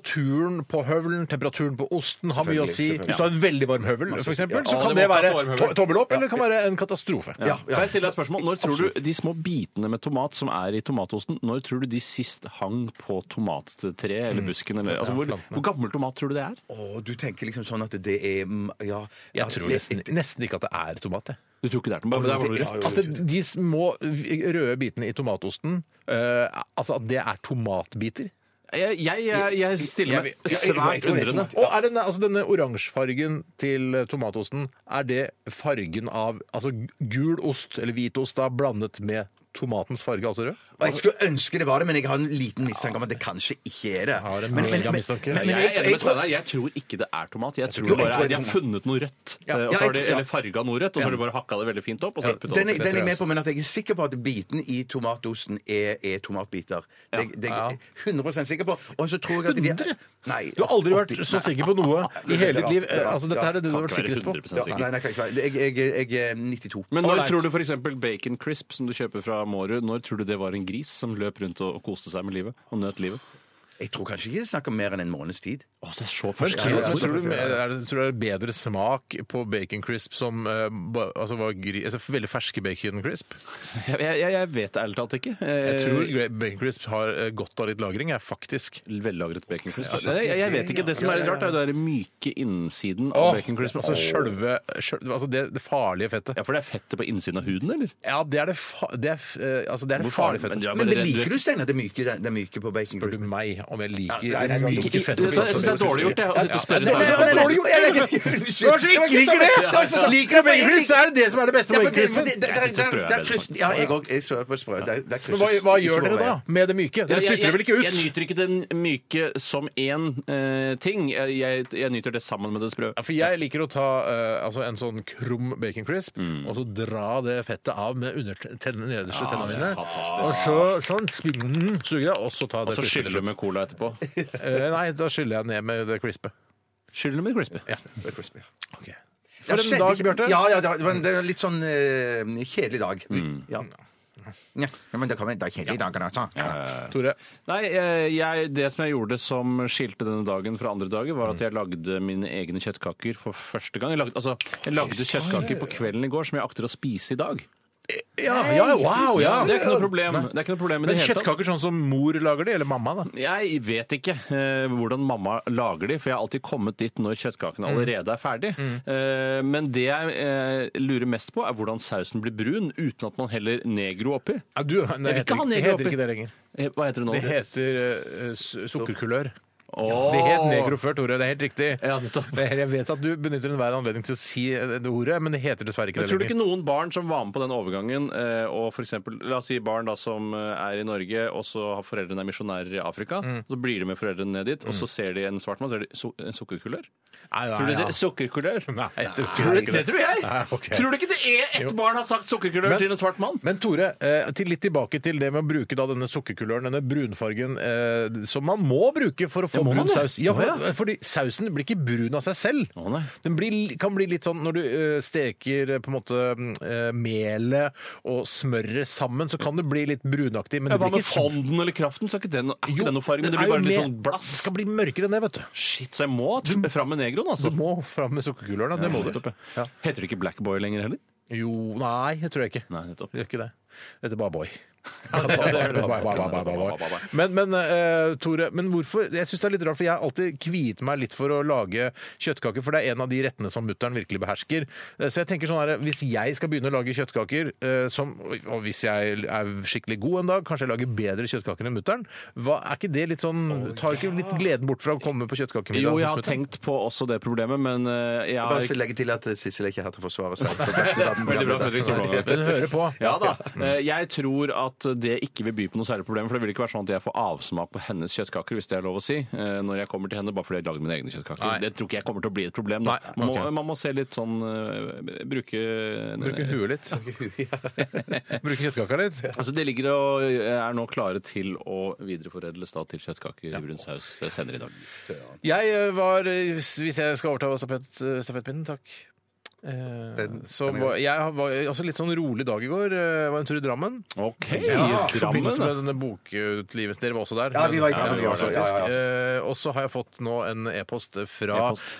[SPEAKER 1] temperaturen på høvelen, temperaturen på osten har mye å
[SPEAKER 2] Selvfølgelig,
[SPEAKER 1] si.
[SPEAKER 2] selvfølgelig.
[SPEAKER 1] Hvis du har en veldig varm høvel, for eksempel,
[SPEAKER 2] ja.
[SPEAKER 1] så
[SPEAKER 3] Ja,
[SPEAKER 1] kan
[SPEAKER 3] det
[SPEAKER 1] det
[SPEAKER 3] må
[SPEAKER 1] være
[SPEAKER 3] tas varm høvel.
[SPEAKER 1] to- tommel opp, eller det kan være en katastrofe.
[SPEAKER 2] Ja, ja.
[SPEAKER 3] Kan jeg stille deg et spørsmål? Når tror du de små bitene med tomat som er i tomatosten, når tror du de sist hang på tomattreet eller busken? Eller, altså, hvor, hvor gammel tomat tror du det er?
[SPEAKER 2] Å, du tenker liksom sånn at det er mm, Ja.
[SPEAKER 1] Jeg
[SPEAKER 2] at
[SPEAKER 1] tror
[SPEAKER 2] det-
[SPEAKER 1] nesten, nesten ikke at det er tomat. Jeg.
[SPEAKER 3] Du tror ikke det er tomat? men der var du
[SPEAKER 2] Ja,
[SPEAKER 3] rett.
[SPEAKER 2] jo,
[SPEAKER 1] At det, de små røde bitene i tomatosten eh, Altså at det er tomatbiter.
[SPEAKER 3] Jeg, jeg, jeg, jeg stiller
[SPEAKER 1] Jeg-
[SPEAKER 3] meg
[SPEAKER 2] jeg- jeg- jeg
[SPEAKER 3] svært
[SPEAKER 2] tror det er
[SPEAKER 3] undrende.
[SPEAKER 2] tomat.
[SPEAKER 1] Og er denne, altså denne oransjefargen til tomatosten, er det fargen av altså gul ost eller hvitost da blandet med tomatens farge, altså rød?
[SPEAKER 2] Og jeg skulle ønske det var det, men jeg har en liten mistanke om at det kanskje ikke er det.
[SPEAKER 1] har en
[SPEAKER 2] Men- men-
[SPEAKER 1] mega
[SPEAKER 2] men-
[SPEAKER 1] mistanke.
[SPEAKER 2] men-
[SPEAKER 1] Nei,
[SPEAKER 2] men
[SPEAKER 3] jeg,
[SPEAKER 2] jeg-
[SPEAKER 3] er enig med
[SPEAKER 2] jeg tror-
[SPEAKER 3] Steinar. jeg tror ikke det er tomat. Jeg tror
[SPEAKER 2] Jo, jeg tror
[SPEAKER 3] det bare er, De
[SPEAKER 2] det
[SPEAKER 3] har
[SPEAKER 2] er
[SPEAKER 3] funnet noe rødt,
[SPEAKER 2] Ja. Ja,
[SPEAKER 3] eh, og så har de,
[SPEAKER 2] jeg- ja.
[SPEAKER 3] eller farga noe rødt, og så har de bare hakka det veldig fint opp. og så klippet det
[SPEAKER 2] Den er,
[SPEAKER 3] opp.
[SPEAKER 2] den er jeg med
[SPEAKER 1] også.
[SPEAKER 2] på, men at jeg er sikker på at bitene i tomatosten er, er tomatbiter. Det, det er jeg 100 sikker på. Og så tror jeg at de
[SPEAKER 1] 100?
[SPEAKER 2] Nei,
[SPEAKER 1] Du har aldri vært
[SPEAKER 2] 80.
[SPEAKER 1] så sikker på noe i hele ditt liv. Eh, Altså, dette her er det du har vært
[SPEAKER 3] Kan ikke
[SPEAKER 1] sikrest på.
[SPEAKER 3] være 100%
[SPEAKER 2] Nei, nei,
[SPEAKER 3] sikker.
[SPEAKER 2] nei, kan ikke være. jeg, jeg, jeg er 92.
[SPEAKER 3] Men
[SPEAKER 1] All
[SPEAKER 3] når
[SPEAKER 1] right.
[SPEAKER 3] tror du f.eks. bacon crisp, som du kjøper fra Mårud, når tror du det var en gris som løp rundt og, og koste seg med livet? Og nøt livet?
[SPEAKER 2] Jeg tror kanskje ikke det snakker om mer enn en måneds tid.
[SPEAKER 3] Å, det er så
[SPEAKER 1] Men
[SPEAKER 3] først.
[SPEAKER 1] tror,
[SPEAKER 2] ja,
[SPEAKER 1] men tror, du,
[SPEAKER 2] ja, ja.
[SPEAKER 1] er det, tror du det er bedre smak på bacon crisp som eh, ba, altså var gri, altså veldig ferske bacon crisp?
[SPEAKER 3] Jeg, jeg, jeg vet det ærlig talt ikke.
[SPEAKER 1] Jeg
[SPEAKER 3] Eh,
[SPEAKER 1] tror gra- bacon crisp har eh, godt av litt lagring, jeg, faktisk.
[SPEAKER 3] Vellagret bacon crisp. jeg, jeg, jeg vet ikke. Det som er litt rart, er jo det der myke innsiden
[SPEAKER 1] Åh,
[SPEAKER 3] av bacon crisp.
[SPEAKER 1] altså sjølve sjøl- Altså det, det farlige fettet.
[SPEAKER 3] Ja, For det er fettet på innsiden av huden, eller?
[SPEAKER 1] Ja, det er det, fa det, er, f- eh, altså det, er det farlige
[SPEAKER 3] Men
[SPEAKER 1] fettet.
[SPEAKER 3] du er
[SPEAKER 2] Men
[SPEAKER 3] bare redd-
[SPEAKER 2] liker du, Steinar, det myke, det myke på bacon
[SPEAKER 1] Spør
[SPEAKER 2] crisp?
[SPEAKER 1] du meg om jeg liker
[SPEAKER 2] Ja, nei, nei,
[SPEAKER 1] det
[SPEAKER 2] nei,
[SPEAKER 1] myke
[SPEAKER 2] ikke-
[SPEAKER 1] fettet
[SPEAKER 3] Jeg
[SPEAKER 1] på
[SPEAKER 3] synes det er dårlig gjort, jeg. å sitte og spørre
[SPEAKER 1] Nei, nei, nei,
[SPEAKER 3] Steinar.
[SPEAKER 1] nei,
[SPEAKER 2] Unnskyld!
[SPEAKER 1] Liker du bacon crisp, så er det det som er det beste
[SPEAKER 2] Ja,
[SPEAKER 1] med bacon
[SPEAKER 2] for det,
[SPEAKER 1] crisp.
[SPEAKER 2] for det, der, der, der, der, kryss- ja, jeg òg. Jeg svører på sprø. Der, der
[SPEAKER 1] Men
[SPEAKER 2] krysses
[SPEAKER 1] hva, hva
[SPEAKER 2] ikke
[SPEAKER 1] gjør
[SPEAKER 2] våre
[SPEAKER 1] dere da
[SPEAKER 2] veier.
[SPEAKER 1] med det myke? Dere
[SPEAKER 3] Jeg-
[SPEAKER 1] spytter det vel ikke
[SPEAKER 3] Jeg, jeg
[SPEAKER 1] ut?
[SPEAKER 3] nyter ikke den myke som én eh, ting. Jeg, jeg, jeg nyter det sammen med det sprø.
[SPEAKER 1] Ja, for jeg liker å ta eh, altså en sånn krum bacon crisp,
[SPEAKER 3] Mm.
[SPEAKER 1] og så dra det fettet av med undertennene, nederste tennene mine.
[SPEAKER 3] fantastisk.
[SPEAKER 1] Og så sånn, mm, suger jeg, og så tar
[SPEAKER 3] Og
[SPEAKER 1] det
[SPEAKER 3] så
[SPEAKER 1] crispet
[SPEAKER 3] skyller
[SPEAKER 1] til
[SPEAKER 3] du med
[SPEAKER 1] slutt.
[SPEAKER 3] cola etterpå.
[SPEAKER 1] Eh, Nei, da skyller jeg ned med det crispet.
[SPEAKER 3] Skyller du med crispy?
[SPEAKER 1] For
[SPEAKER 2] Ja,
[SPEAKER 1] en
[SPEAKER 2] skjedde
[SPEAKER 1] dag,
[SPEAKER 2] ikke-
[SPEAKER 1] Bjarte.
[SPEAKER 2] Ja, ja, det var, det var en- det var en litt sånn eh, kjedelig dag. Ja. ja. Men det kan være en dag kjedelig dag, altså.
[SPEAKER 1] Tore.
[SPEAKER 3] Nei, eh, jeg, det som jeg gjorde som skilte denne dagen fra andre dager,
[SPEAKER 1] Mm.
[SPEAKER 3] var at jeg lagde mine egne kjøttkaker for første gang. Jeg lagde, altså, jeg lagde kjøttkaker på kvelden i går som jeg akter å spise i dag.
[SPEAKER 1] Ja, ja, wow, ja.
[SPEAKER 3] Det er ikke noe problem. Det er ikke noe problem i
[SPEAKER 1] Men
[SPEAKER 3] det hele tatt.
[SPEAKER 1] kjøttkaker sånn som mor lager de, eller mamma, da?
[SPEAKER 3] Jeg vet ikke eh, hvordan mamma lager de, for jeg har alltid kommet dit når
[SPEAKER 1] Mm.
[SPEAKER 3] kjøttkakene allerede er ferdig. Eh, men det jeg eh, lurer mest på, er hvordan sausen blir brun uten at man heller negro oppi.
[SPEAKER 1] Ja, du, nei,
[SPEAKER 3] vil
[SPEAKER 1] heter,
[SPEAKER 3] ikke ha
[SPEAKER 1] det
[SPEAKER 3] negro
[SPEAKER 1] heter
[SPEAKER 3] oppi.
[SPEAKER 1] ikke det lenger.
[SPEAKER 3] Eh, Hva heter det nå?
[SPEAKER 1] Det heter eh, su- sukkerkulør.
[SPEAKER 3] Åh!
[SPEAKER 1] Det het negro før, Tore. Det er helt riktig.
[SPEAKER 3] Ja, nettopp.
[SPEAKER 1] Det er- Jeg vet at du benytter enhver anledning til å si det ordet, men det heter dessverre ikke
[SPEAKER 3] Men
[SPEAKER 1] det
[SPEAKER 3] tror du
[SPEAKER 1] lenger.
[SPEAKER 3] ikke noen barn som var med på den overgangen, eh, og for eksempel, la oss si barn da som eh, er i Norge, og så har foreldrene er misjonærer i Afrika,
[SPEAKER 1] Mm.
[SPEAKER 3] så blir de med foreldrene ned dit, og så ser de en svart mann, så er det su en sukkerkulør.
[SPEAKER 1] Nei, nei,
[SPEAKER 3] Tror du det
[SPEAKER 1] Mm. ja.
[SPEAKER 3] er sukkerkulør?
[SPEAKER 1] Nei, jeg
[SPEAKER 3] Tror
[SPEAKER 1] tror
[SPEAKER 3] du,
[SPEAKER 1] ikke
[SPEAKER 3] det tror jeg!
[SPEAKER 1] Nei, ok.
[SPEAKER 3] Tror du ikke det er ett barn har sagt sukkerkulør
[SPEAKER 1] Men-
[SPEAKER 3] til en svart mann?
[SPEAKER 1] Men Tore, eh, til litt tilbake til det med å bruke da denne sukkerkuløren, denne brunfargen, eh, som man må bruke for å få
[SPEAKER 3] må
[SPEAKER 1] brun
[SPEAKER 3] man det?
[SPEAKER 1] saus. Ja,
[SPEAKER 3] Å,
[SPEAKER 1] for,
[SPEAKER 3] ja.
[SPEAKER 1] Fordi sausen blir ikke brun av seg selv.
[SPEAKER 3] Å, nei.
[SPEAKER 1] Den blir, kan bli litt sånn når du eh, steker eh, på en måte eh, melet og smøret sammen, så kan det bli litt brunaktig. Men
[SPEAKER 3] Ja,
[SPEAKER 1] det
[SPEAKER 3] hva
[SPEAKER 1] blir
[SPEAKER 3] med
[SPEAKER 1] ikke sånn.
[SPEAKER 3] fonden eller kraften? Så er ikke den, er
[SPEAKER 1] Jo,
[SPEAKER 3] ikke den noe farge, men
[SPEAKER 1] den
[SPEAKER 3] det blir
[SPEAKER 1] er jo
[SPEAKER 3] bare litt
[SPEAKER 1] mer-
[SPEAKER 3] sånn blass.
[SPEAKER 1] skal bli mørkere enn det, vet du.
[SPEAKER 3] Shit, så jeg må t- fram med negroen,
[SPEAKER 1] Du
[SPEAKER 3] altså.
[SPEAKER 1] må fram med sukkerkuløren, da. Det må du.
[SPEAKER 3] Nettopp,
[SPEAKER 1] Ja.
[SPEAKER 3] ja. Heter det ikke Blackboy lenger heller?
[SPEAKER 1] Jo, nei, det tror jeg ikke.
[SPEAKER 3] Nei, nettopp.
[SPEAKER 1] Det gjør ikke det. Dette er bare boy.
[SPEAKER 3] Nei,
[SPEAKER 1] Men, men eh, Tore, men hvorfor Jeg syns det er litt rart, for jeg har alltid kviet meg litt for å lage kjøttkaker, for det er en av de rettene som mutter'n virkelig behersker. Eh, Så jeg tenker sånn her, hvis jeg skal begynne å lage kjøttkaker, eh, som, og hvis jeg er skikkelig god en dag, kanskje jeg lager bedre kjøttkaker enn mutter'n, er ikke det litt sånn Tar ikke litt gleden bort fra å komme på kjøttkakemiddag?
[SPEAKER 3] Jo, jeg
[SPEAKER 1] hos
[SPEAKER 3] har
[SPEAKER 1] mutter'n?
[SPEAKER 3] tenkt på også det problemet, men eh, jeg
[SPEAKER 2] Bare
[SPEAKER 3] har
[SPEAKER 2] så
[SPEAKER 3] ikke
[SPEAKER 2] legge til at eh, Sissel er ikke her til altså. å forsvare seg. så det er-
[SPEAKER 3] Veldig bra, Fredrik Solvang.
[SPEAKER 1] Men hører på.
[SPEAKER 3] Ja da. Eh, Jeg tror at det ikke vil by på noe særlig problem, for det vil ikke være sånn at jeg får avsmak på hennes kjøttkaker, hvis det er lov å si, eh, når jeg kommer til henne, bare fordi jeg lagde mine egne kjøttkaker.
[SPEAKER 1] Nei.
[SPEAKER 3] Det tror ikke jeg kommer til å bli et problem. Da.
[SPEAKER 1] Nei,
[SPEAKER 3] Man, må,
[SPEAKER 1] ok.
[SPEAKER 3] man må se litt sånn eh, Bruke
[SPEAKER 1] Bruke huet litt. Bruke kjøttkaka litt.
[SPEAKER 3] Altså Det ligger og eh, er nå klare til å videreforedles da til kjøttkaker i brun saus eh, senere i dag.
[SPEAKER 1] Jeg eh, var, eh, hvis jeg skal overta stafett, eh, stafettpinnen, takk Eh, så var, jeg var også litt sånn rolig dag i går. Eh, var en tur i Drammen.
[SPEAKER 3] OK!
[SPEAKER 1] Ja, I forbindelse
[SPEAKER 3] Drammen,
[SPEAKER 1] med denne bokutlivelsen. Dere var også der.
[SPEAKER 2] Ja, vi var i
[SPEAKER 1] Men-
[SPEAKER 2] Drammen,
[SPEAKER 1] vi var
[SPEAKER 2] vi også,
[SPEAKER 1] der,
[SPEAKER 2] ja, ja,
[SPEAKER 1] faktisk. Eh, og så har jeg fått nå en e-post fra
[SPEAKER 3] E-post.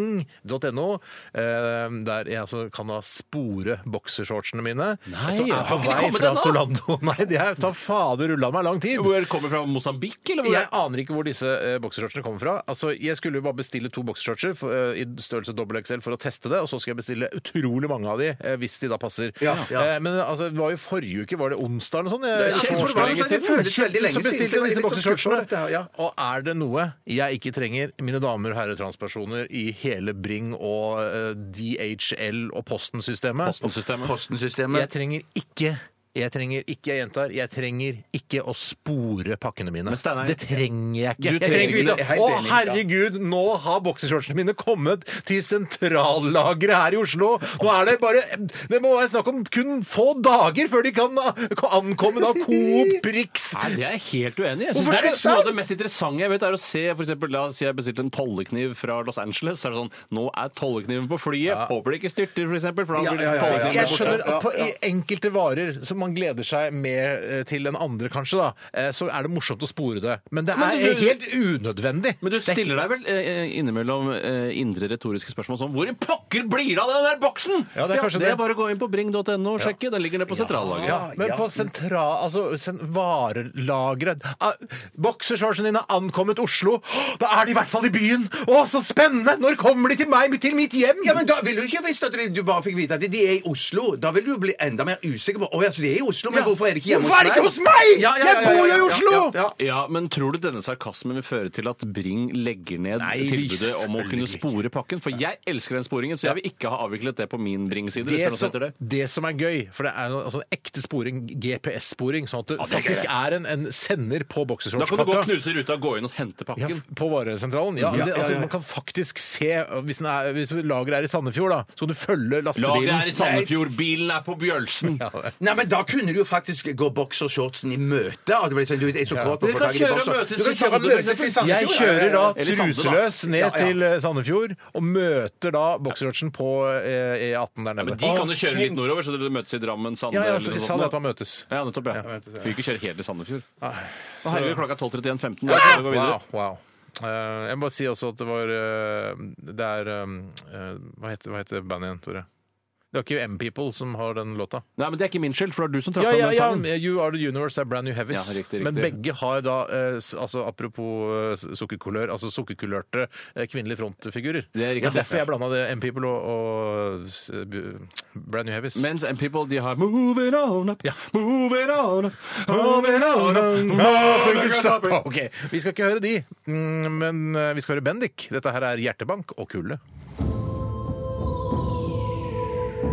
[SPEAKER 1] bring.no, eh, der jeg altså kan da spore boksershortsene mine.
[SPEAKER 3] Nei,
[SPEAKER 1] som er
[SPEAKER 3] har
[SPEAKER 1] på
[SPEAKER 3] ikke
[SPEAKER 1] vei
[SPEAKER 3] kommet
[SPEAKER 1] fra
[SPEAKER 3] ennå?
[SPEAKER 1] Solando. Nei, de er, ta fader rulla meg lang tid!
[SPEAKER 3] Hvor er det kommer fra Mosambik, eller hvor?
[SPEAKER 1] Jeg aner ikke hvor disse eh, boksershortsene kommer fra. Altså, Jeg skulle jo bare bestille to boksershortser for, eh, i størrelse dobbel XL for å teste det, og så skal jeg bestille utrolig mange av de eh, hvis de da passer.
[SPEAKER 2] Ja, ja.
[SPEAKER 1] Eh, men altså, det var jo forrige uke, var det onsdag eller sånn? Jeg,
[SPEAKER 2] jeg tror det var noe sånt, det føles veldig lenge
[SPEAKER 1] Så
[SPEAKER 2] siden, så
[SPEAKER 1] bestilte
[SPEAKER 2] jeg var
[SPEAKER 1] jeg disse
[SPEAKER 2] litt sånn skuffet over dette
[SPEAKER 1] boksershortsene.
[SPEAKER 2] her, ja.
[SPEAKER 1] Og er det noe jeg ikke trenger, mine damer og herrer transpersoner, i hele Bring og eh, DHL og Posten-systemet
[SPEAKER 3] Postensystemet.
[SPEAKER 2] Postensystemet.
[SPEAKER 1] Jeg trenger ikke Jeg trenger ikke, jeg gjentar, jeg trenger ikke å spore pakkene mine.
[SPEAKER 3] Men Steinar-
[SPEAKER 1] det trenger jeg ikke.
[SPEAKER 3] Du
[SPEAKER 1] jeg
[SPEAKER 3] trenger
[SPEAKER 1] trenger
[SPEAKER 2] det, jeg er
[SPEAKER 1] ikke.
[SPEAKER 2] helt
[SPEAKER 1] Å,
[SPEAKER 2] enig, ja.
[SPEAKER 1] herregud, nå har boksershortsene mine kommet til sentrallageret her i Oslo. Nå er det bare Det må være snakk om kun få dager før de kan ankomme da Coop Prix.
[SPEAKER 3] Nei, det er jeg helt uenig i. Jeg
[SPEAKER 1] Hvorfor
[SPEAKER 3] synes det
[SPEAKER 1] er
[SPEAKER 3] er
[SPEAKER 1] det
[SPEAKER 3] Noe av
[SPEAKER 1] sant?
[SPEAKER 3] det mest interessante jeg vet, er å se for eksempel, La oss si jeg bestilte en tollekniv fra Los Angeles. Så er det sånn Nå er tollekniven på flyet. Håper det ikke styrter, for eksempel. For da
[SPEAKER 2] Ja,
[SPEAKER 3] blir
[SPEAKER 2] ja, ja, ja,
[SPEAKER 3] tollekniven
[SPEAKER 2] ja.
[SPEAKER 1] Jeg skjønner
[SPEAKER 2] Ja,
[SPEAKER 1] at på i enkelte varer som man gleder seg mer eh, til enn andre, kanskje, da, eh, så er det morsomt å spore det. Men det
[SPEAKER 3] Men
[SPEAKER 1] er
[SPEAKER 3] du-
[SPEAKER 1] eh, helt unødvendig.
[SPEAKER 3] Men du stiller deg vel eh, innimellom eh, indre retoriske spørsmål som Hvor i pokker blir det av den der boksen?!
[SPEAKER 1] Ja, det er kanskje
[SPEAKER 3] det
[SPEAKER 1] det.
[SPEAKER 3] er bare å gå inn på bring.no og sjekke. Den ligger nede på sentrallageret.
[SPEAKER 1] Ja, men på sentral... Altså sen, varelageret ah, Boksershortsene dine har ankommet Oslo! Åh, Da er de i hvert fall i byen! Å, så spennende! Når kommer de til meg, til mitt hjem?
[SPEAKER 2] Ja, men Da ville du ikke visst at du- du bare fikk vite at de er i Oslo. Da ville du bli enda mer usikker på Å ja, så de er i Oslo, men
[SPEAKER 1] Ja.
[SPEAKER 2] hvorfor er de ikke hjemme
[SPEAKER 1] Hvorfor er de ikke hos meg?
[SPEAKER 2] Ja, ja, ja,
[SPEAKER 1] Jeg bor jo
[SPEAKER 2] ja, ja,
[SPEAKER 1] i Oslo!
[SPEAKER 2] ja, ja, ja.
[SPEAKER 3] Ja, men tror du denne sarkasmen vil føre til at Bring legger ned
[SPEAKER 1] Nei, det
[SPEAKER 3] tilbudet om å kunne
[SPEAKER 1] selvfølgelig
[SPEAKER 3] spore pakken? For jeg elsker den sporingen, så jeg vil ikke ha avviklet det på min Bring-side. hvis
[SPEAKER 1] det
[SPEAKER 3] det er noe som
[SPEAKER 1] som,
[SPEAKER 3] heter det.
[SPEAKER 1] det som er gøy, for det er jo altså, en ekte sporing, GPS-sporing, sånn at det,
[SPEAKER 3] det er
[SPEAKER 1] faktisk
[SPEAKER 3] gøy.
[SPEAKER 1] er en, en sender på
[SPEAKER 3] Da kan du gå og
[SPEAKER 1] boksershortspakka.
[SPEAKER 3] knuse ruta, gå inn og hente
[SPEAKER 1] Ja,
[SPEAKER 3] pakken.
[SPEAKER 1] på varesentralen? Ja,
[SPEAKER 2] Ja,
[SPEAKER 1] det,
[SPEAKER 2] ja,
[SPEAKER 1] altså,
[SPEAKER 2] ja.
[SPEAKER 1] Man kan faktisk se Hvis, den er- hvis lageret er i Sandefjord, da, så kan du følge lastebilen.
[SPEAKER 3] Laget er i Sandefjord, bilen er på Bjølsen.
[SPEAKER 2] Nei, men Da kunne du jo faktisk gå boksershortsen i møte. Og det ble sånn, du er så kåt på å
[SPEAKER 3] Dere
[SPEAKER 2] få
[SPEAKER 3] kan
[SPEAKER 2] tak i
[SPEAKER 3] kjøre
[SPEAKER 2] bokser.
[SPEAKER 3] og møtes
[SPEAKER 2] Du kan
[SPEAKER 3] i
[SPEAKER 2] kjøre og
[SPEAKER 3] Sandefjord,
[SPEAKER 2] møtes i
[SPEAKER 3] for
[SPEAKER 2] Sandefjord,
[SPEAKER 1] Jeg
[SPEAKER 2] ja, ja,
[SPEAKER 1] kjører da
[SPEAKER 2] ja.
[SPEAKER 3] Eller Sande, da.
[SPEAKER 1] truseløs ned
[SPEAKER 2] Ja, ja.
[SPEAKER 1] til eh, Sandefjord og møter da boksershortsen på eh, E18 der nede.
[SPEAKER 3] De kan jo
[SPEAKER 1] Åh,
[SPEAKER 3] kjøre litt nordover, så dere møtes i Drammen, Sande
[SPEAKER 1] ja, ja,
[SPEAKER 3] eller
[SPEAKER 1] så
[SPEAKER 3] noe
[SPEAKER 1] de sa
[SPEAKER 3] sånt.
[SPEAKER 1] det at man møtes.
[SPEAKER 3] Ja, nettopp, ja. Vi vil ikke kjøre helt til Sandefjord. Nei. Herregud, klokka er 12.31.15. Vi kan gå videre.
[SPEAKER 1] Wow, wow. Eh, jeg må bare si også at det var eh, Det er eh, eh, hva, heter, hva heter bandet igjen, Tore? Det var ikke M-People som har den låta.
[SPEAKER 3] Nei, men det er ikke min skyld, for det er du som trakk
[SPEAKER 1] Ja,
[SPEAKER 3] fram
[SPEAKER 1] ja,
[SPEAKER 3] den
[SPEAKER 1] ja,
[SPEAKER 3] sangen.
[SPEAKER 1] You Are The Universe er Brand New Heavies.
[SPEAKER 3] Ja, riktig, riktig.
[SPEAKER 1] Men begge har da, eh, s- altså apropos eh, s- sukkerkulør, altså sukkerkulørte eh, kvinnelige frontfigurer.
[SPEAKER 3] Det er
[SPEAKER 1] er
[SPEAKER 3] riktig.
[SPEAKER 1] derfor jeg blanda det M-People og, og s- bu- Brand New Heavies.
[SPEAKER 3] Mens and people de har Move it on up,
[SPEAKER 1] Ja.
[SPEAKER 3] move it on up, move it on up move it on up.
[SPEAKER 1] Ok, Vi skal ikke høre de, mm, men eh, vi skal høre Bendik. Dette her er Hjertebank og Kulde.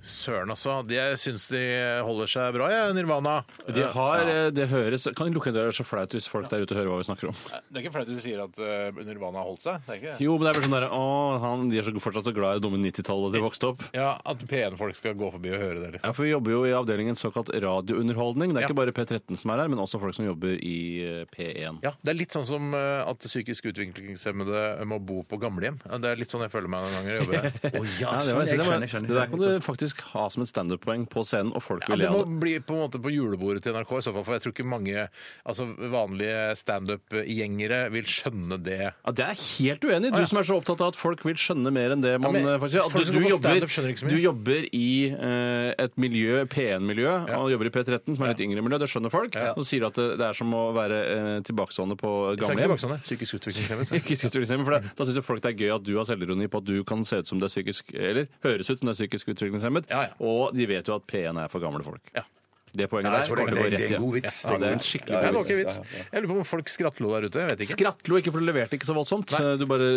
[SPEAKER 1] Søren, altså. De, jeg syns de holder seg bra, jeg, Nirvana.
[SPEAKER 3] De har, eh, det høres Kan du lukke en dør, det er så flaut hvis folk der ute hører hva vi snakker om.
[SPEAKER 1] Det er ikke flaut at du sier at eh, Nirvana har holdt seg? Det er ikke det?
[SPEAKER 3] Jo, men det er vel sånn der, å, han, De er så fortsatt så glad i det dumme 90-tallet de vokste opp.
[SPEAKER 1] Ja, At P1-folk skal gå forbi og høre det, liksom.
[SPEAKER 3] Ja, for Vi jobber jo i avdelingen såkalt radiounderholdning. Det er
[SPEAKER 1] Ja.
[SPEAKER 3] ikke bare P13 som er her, men også folk som jobber i eh, P1.
[SPEAKER 1] Ja, Det er litt sånn som eh, at psykisk utviklingshemmede må bo på gamlehjem. Ja, Det er litt sånn jeg føler meg noen ganger jeg jobber her.
[SPEAKER 2] Å, ja,
[SPEAKER 3] Ja, det,
[SPEAKER 2] sånn,
[SPEAKER 3] var,
[SPEAKER 2] jeg
[SPEAKER 3] det, var,
[SPEAKER 2] skjønner,
[SPEAKER 3] det
[SPEAKER 2] skjønner.
[SPEAKER 3] der kan du faktisk ha som et standup-poeng på scenen, og folk
[SPEAKER 1] Ja,
[SPEAKER 3] vil
[SPEAKER 1] det
[SPEAKER 3] le
[SPEAKER 1] må
[SPEAKER 3] av det.
[SPEAKER 1] bli på en måte på julebordet til NRK, i så fall, for jeg tror ikke mange altså, vanlige standup-gjengere vil skjønne det. Altså,
[SPEAKER 3] Ja, det er jeg helt uenig. i. Du
[SPEAKER 1] ja.
[SPEAKER 3] som er så opptatt av at folk vil skjønne mer enn det man
[SPEAKER 1] men
[SPEAKER 3] eh, faktisk gjør.
[SPEAKER 1] folk
[SPEAKER 3] At
[SPEAKER 1] som
[SPEAKER 3] Du,
[SPEAKER 1] går
[SPEAKER 3] du,
[SPEAKER 1] på
[SPEAKER 3] jobber,
[SPEAKER 1] stand-up skjønner ikke så mye.
[SPEAKER 3] du jobber i eh, et miljø, P1-miljø, og jobber i P13, som er litt yngre miljø. Det skjønner folk. Og sier at det, det er som å være eh, tilbakestående på
[SPEAKER 1] Så er det
[SPEAKER 3] gamlehjem.
[SPEAKER 1] ikke tilbake sånn, det. Psykisk utviklingshemmet. så.
[SPEAKER 3] Ikke utviklingshemmet, for det, Da syns folk det er gøy at du har selvironi på at du kan se ut som du er psykisk Eller høres ut som du er psykisk utviklingshemmet.
[SPEAKER 1] Ja, ja.
[SPEAKER 3] Og de vet jo at P1 er for gamle folk.
[SPEAKER 1] Ja.
[SPEAKER 3] Det poenget
[SPEAKER 2] jeg
[SPEAKER 3] der
[SPEAKER 2] tror det-
[SPEAKER 3] kommer til å
[SPEAKER 2] det-
[SPEAKER 3] gå
[SPEAKER 2] det
[SPEAKER 3] rett
[SPEAKER 2] er en
[SPEAKER 3] i.
[SPEAKER 2] god vits.
[SPEAKER 3] Ja, det er en skikkelig
[SPEAKER 1] Det er
[SPEAKER 3] god
[SPEAKER 1] en
[SPEAKER 3] vits.
[SPEAKER 1] ok vits. Jeg lurer på om folk skrattlo der ute. jeg vet ikke.
[SPEAKER 3] Skrattlo ikke, for du leverte ikke så voldsomt. Du bare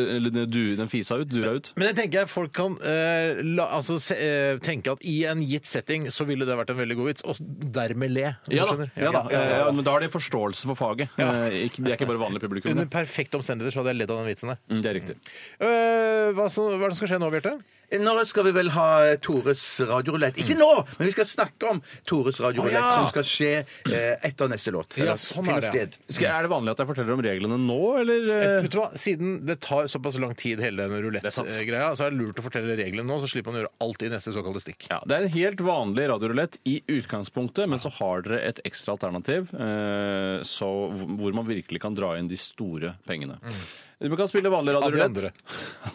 [SPEAKER 3] du, den fisa ut, dura ut.
[SPEAKER 1] Men jeg tenker at folk kan eh, la, altså, se, eh, tenke at i en gitt setting så ville det vært en veldig god vits, og dermed le. om du
[SPEAKER 3] Ja da,
[SPEAKER 1] skjønner?
[SPEAKER 3] ja, da. Eh, Men da har de forståelse for faget. Eh, ikke- De er ikke bare vanlige publikum.
[SPEAKER 1] Under
[SPEAKER 3] det.
[SPEAKER 1] perfekte omstendigheter så hadde jeg ledd av den vitsen der.
[SPEAKER 3] Mm, Det er riktig.
[SPEAKER 1] Eh, hva, som, hva er det som skal skje nå, Bjarte?
[SPEAKER 2] Eh, Nå skal vi vel ha Tores radiorulett. Ikke nå, men vi skal snakke om Tores radiorulett,
[SPEAKER 1] Å, ja.
[SPEAKER 2] som skal skje eh, etter neste låt.
[SPEAKER 1] Ja,
[SPEAKER 2] Eller
[SPEAKER 1] sånn
[SPEAKER 2] finner
[SPEAKER 1] er det,
[SPEAKER 2] sted.
[SPEAKER 3] Skal, er det vanlig at jeg forteller om reglene nå, eller? eh?
[SPEAKER 1] Vet du hva, Siden det tar såpass lang tid, hele den
[SPEAKER 3] sant.
[SPEAKER 1] rulett-greia, så er det lurt å fortelle reglene nå, så slipper man å gjøre alt i neste såkalte stikk.
[SPEAKER 3] Ja, Det er en helt vanlig radiorulett i utgangspunktet, men så har dere et ekstra alternativ eh, så, hvor man virkelig kan dra inn de store pengene. Du kan spille vanlig
[SPEAKER 1] Av de
[SPEAKER 3] radiorulett.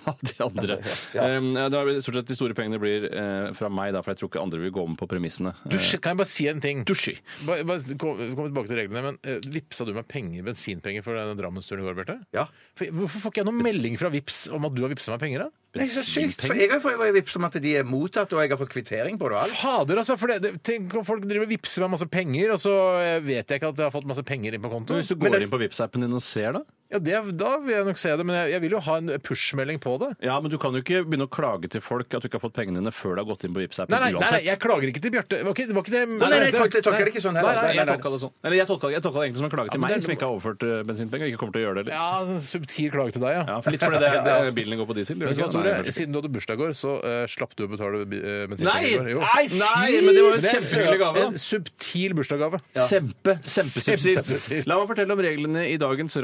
[SPEAKER 3] Av de andre. Um, ja, det er stort sett de store pengene blir eh, fra meg, da, for jeg tror ikke andre vil gå med på premissene.
[SPEAKER 1] Du, shit, kan jeg bare si en ting?
[SPEAKER 3] Dusji.
[SPEAKER 1] Bare, bare kom, kom tilbake til reglene, men eh, Vipsa du meg penger, bensinpenger for denne Drammensturen i går, Bjarte?
[SPEAKER 2] Ja.
[SPEAKER 1] For- Hvorfor får ikke jeg noen melding fra Vips om at du har vipsa meg penger? da?
[SPEAKER 2] Det er så sykt, for jeg har fått vips om at de er mottatt, og jeg har fått kvittering på det og alt.
[SPEAKER 1] Fader, altså! For det, det, tenk om folk driver og vippser meg masse penger, og så eh, vet jeg ikke at jeg har fått masse penger inn på konto.
[SPEAKER 3] Hvis du
[SPEAKER 1] Men
[SPEAKER 3] går
[SPEAKER 1] det-
[SPEAKER 3] inn på Vipps-appen din og ser, da?
[SPEAKER 1] Ja, det, Da vil jeg nok se det, men jeg, jeg vil jo ha en push-melding på det.
[SPEAKER 3] Ja, men du kan jo ikke begynne å klage til folk at du ikke har fått pengene dine før du har gått inn på Vipps-appen
[SPEAKER 1] Nei, nei, nei, nei, jeg klager ikke til Bjarte. Det var ikke det, var ikke det
[SPEAKER 2] Nei, nei, nei, jeg tolker- jeg tolker det ikke sånn heller.
[SPEAKER 1] Nei, nei,
[SPEAKER 2] Nei,
[SPEAKER 3] Jeg
[SPEAKER 2] nei,
[SPEAKER 3] tolka det sånn. Eller jeg tolka, jeg tolka det egentlig som en klage til
[SPEAKER 1] men
[SPEAKER 3] meg,
[SPEAKER 1] det er-
[SPEAKER 3] som ikke har overført eh, bensinpenger. og Ikke kommer til å gjøre det heller.
[SPEAKER 1] Ja, en subtil klage til deg, ja.
[SPEAKER 3] Ja, for litt fordi det, det, er- bilen din går på diesel. gjør
[SPEAKER 1] Vet du
[SPEAKER 3] det
[SPEAKER 1] hva,
[SPEAKER 3] ikke?
[SPEAKER 1] Tore?
[SPEAKER 3] Nei, kanskje ikke.
[SPEAKER 1] Siden du hadde bursdag i går, så eh, slapp du å betale bi- eh, bensinpenger
[SPEAKER 3] Nei!
[SPEAKER 1] i går. Jo.
[SPEAKER 3] Nei, fy! Men det var jo en
[SPEAKER 1] Det er
[SPEAKER 3] kjempehyggelig gave. da.
[SPEAKER 1] En subtil bursdagsgave.
[SPEAKER 3] Sempe. Sempesubsid.
[SPEAKER 1] Sempesubsid.
[SPEAKER 3] La meg fortelle om reglene i dagens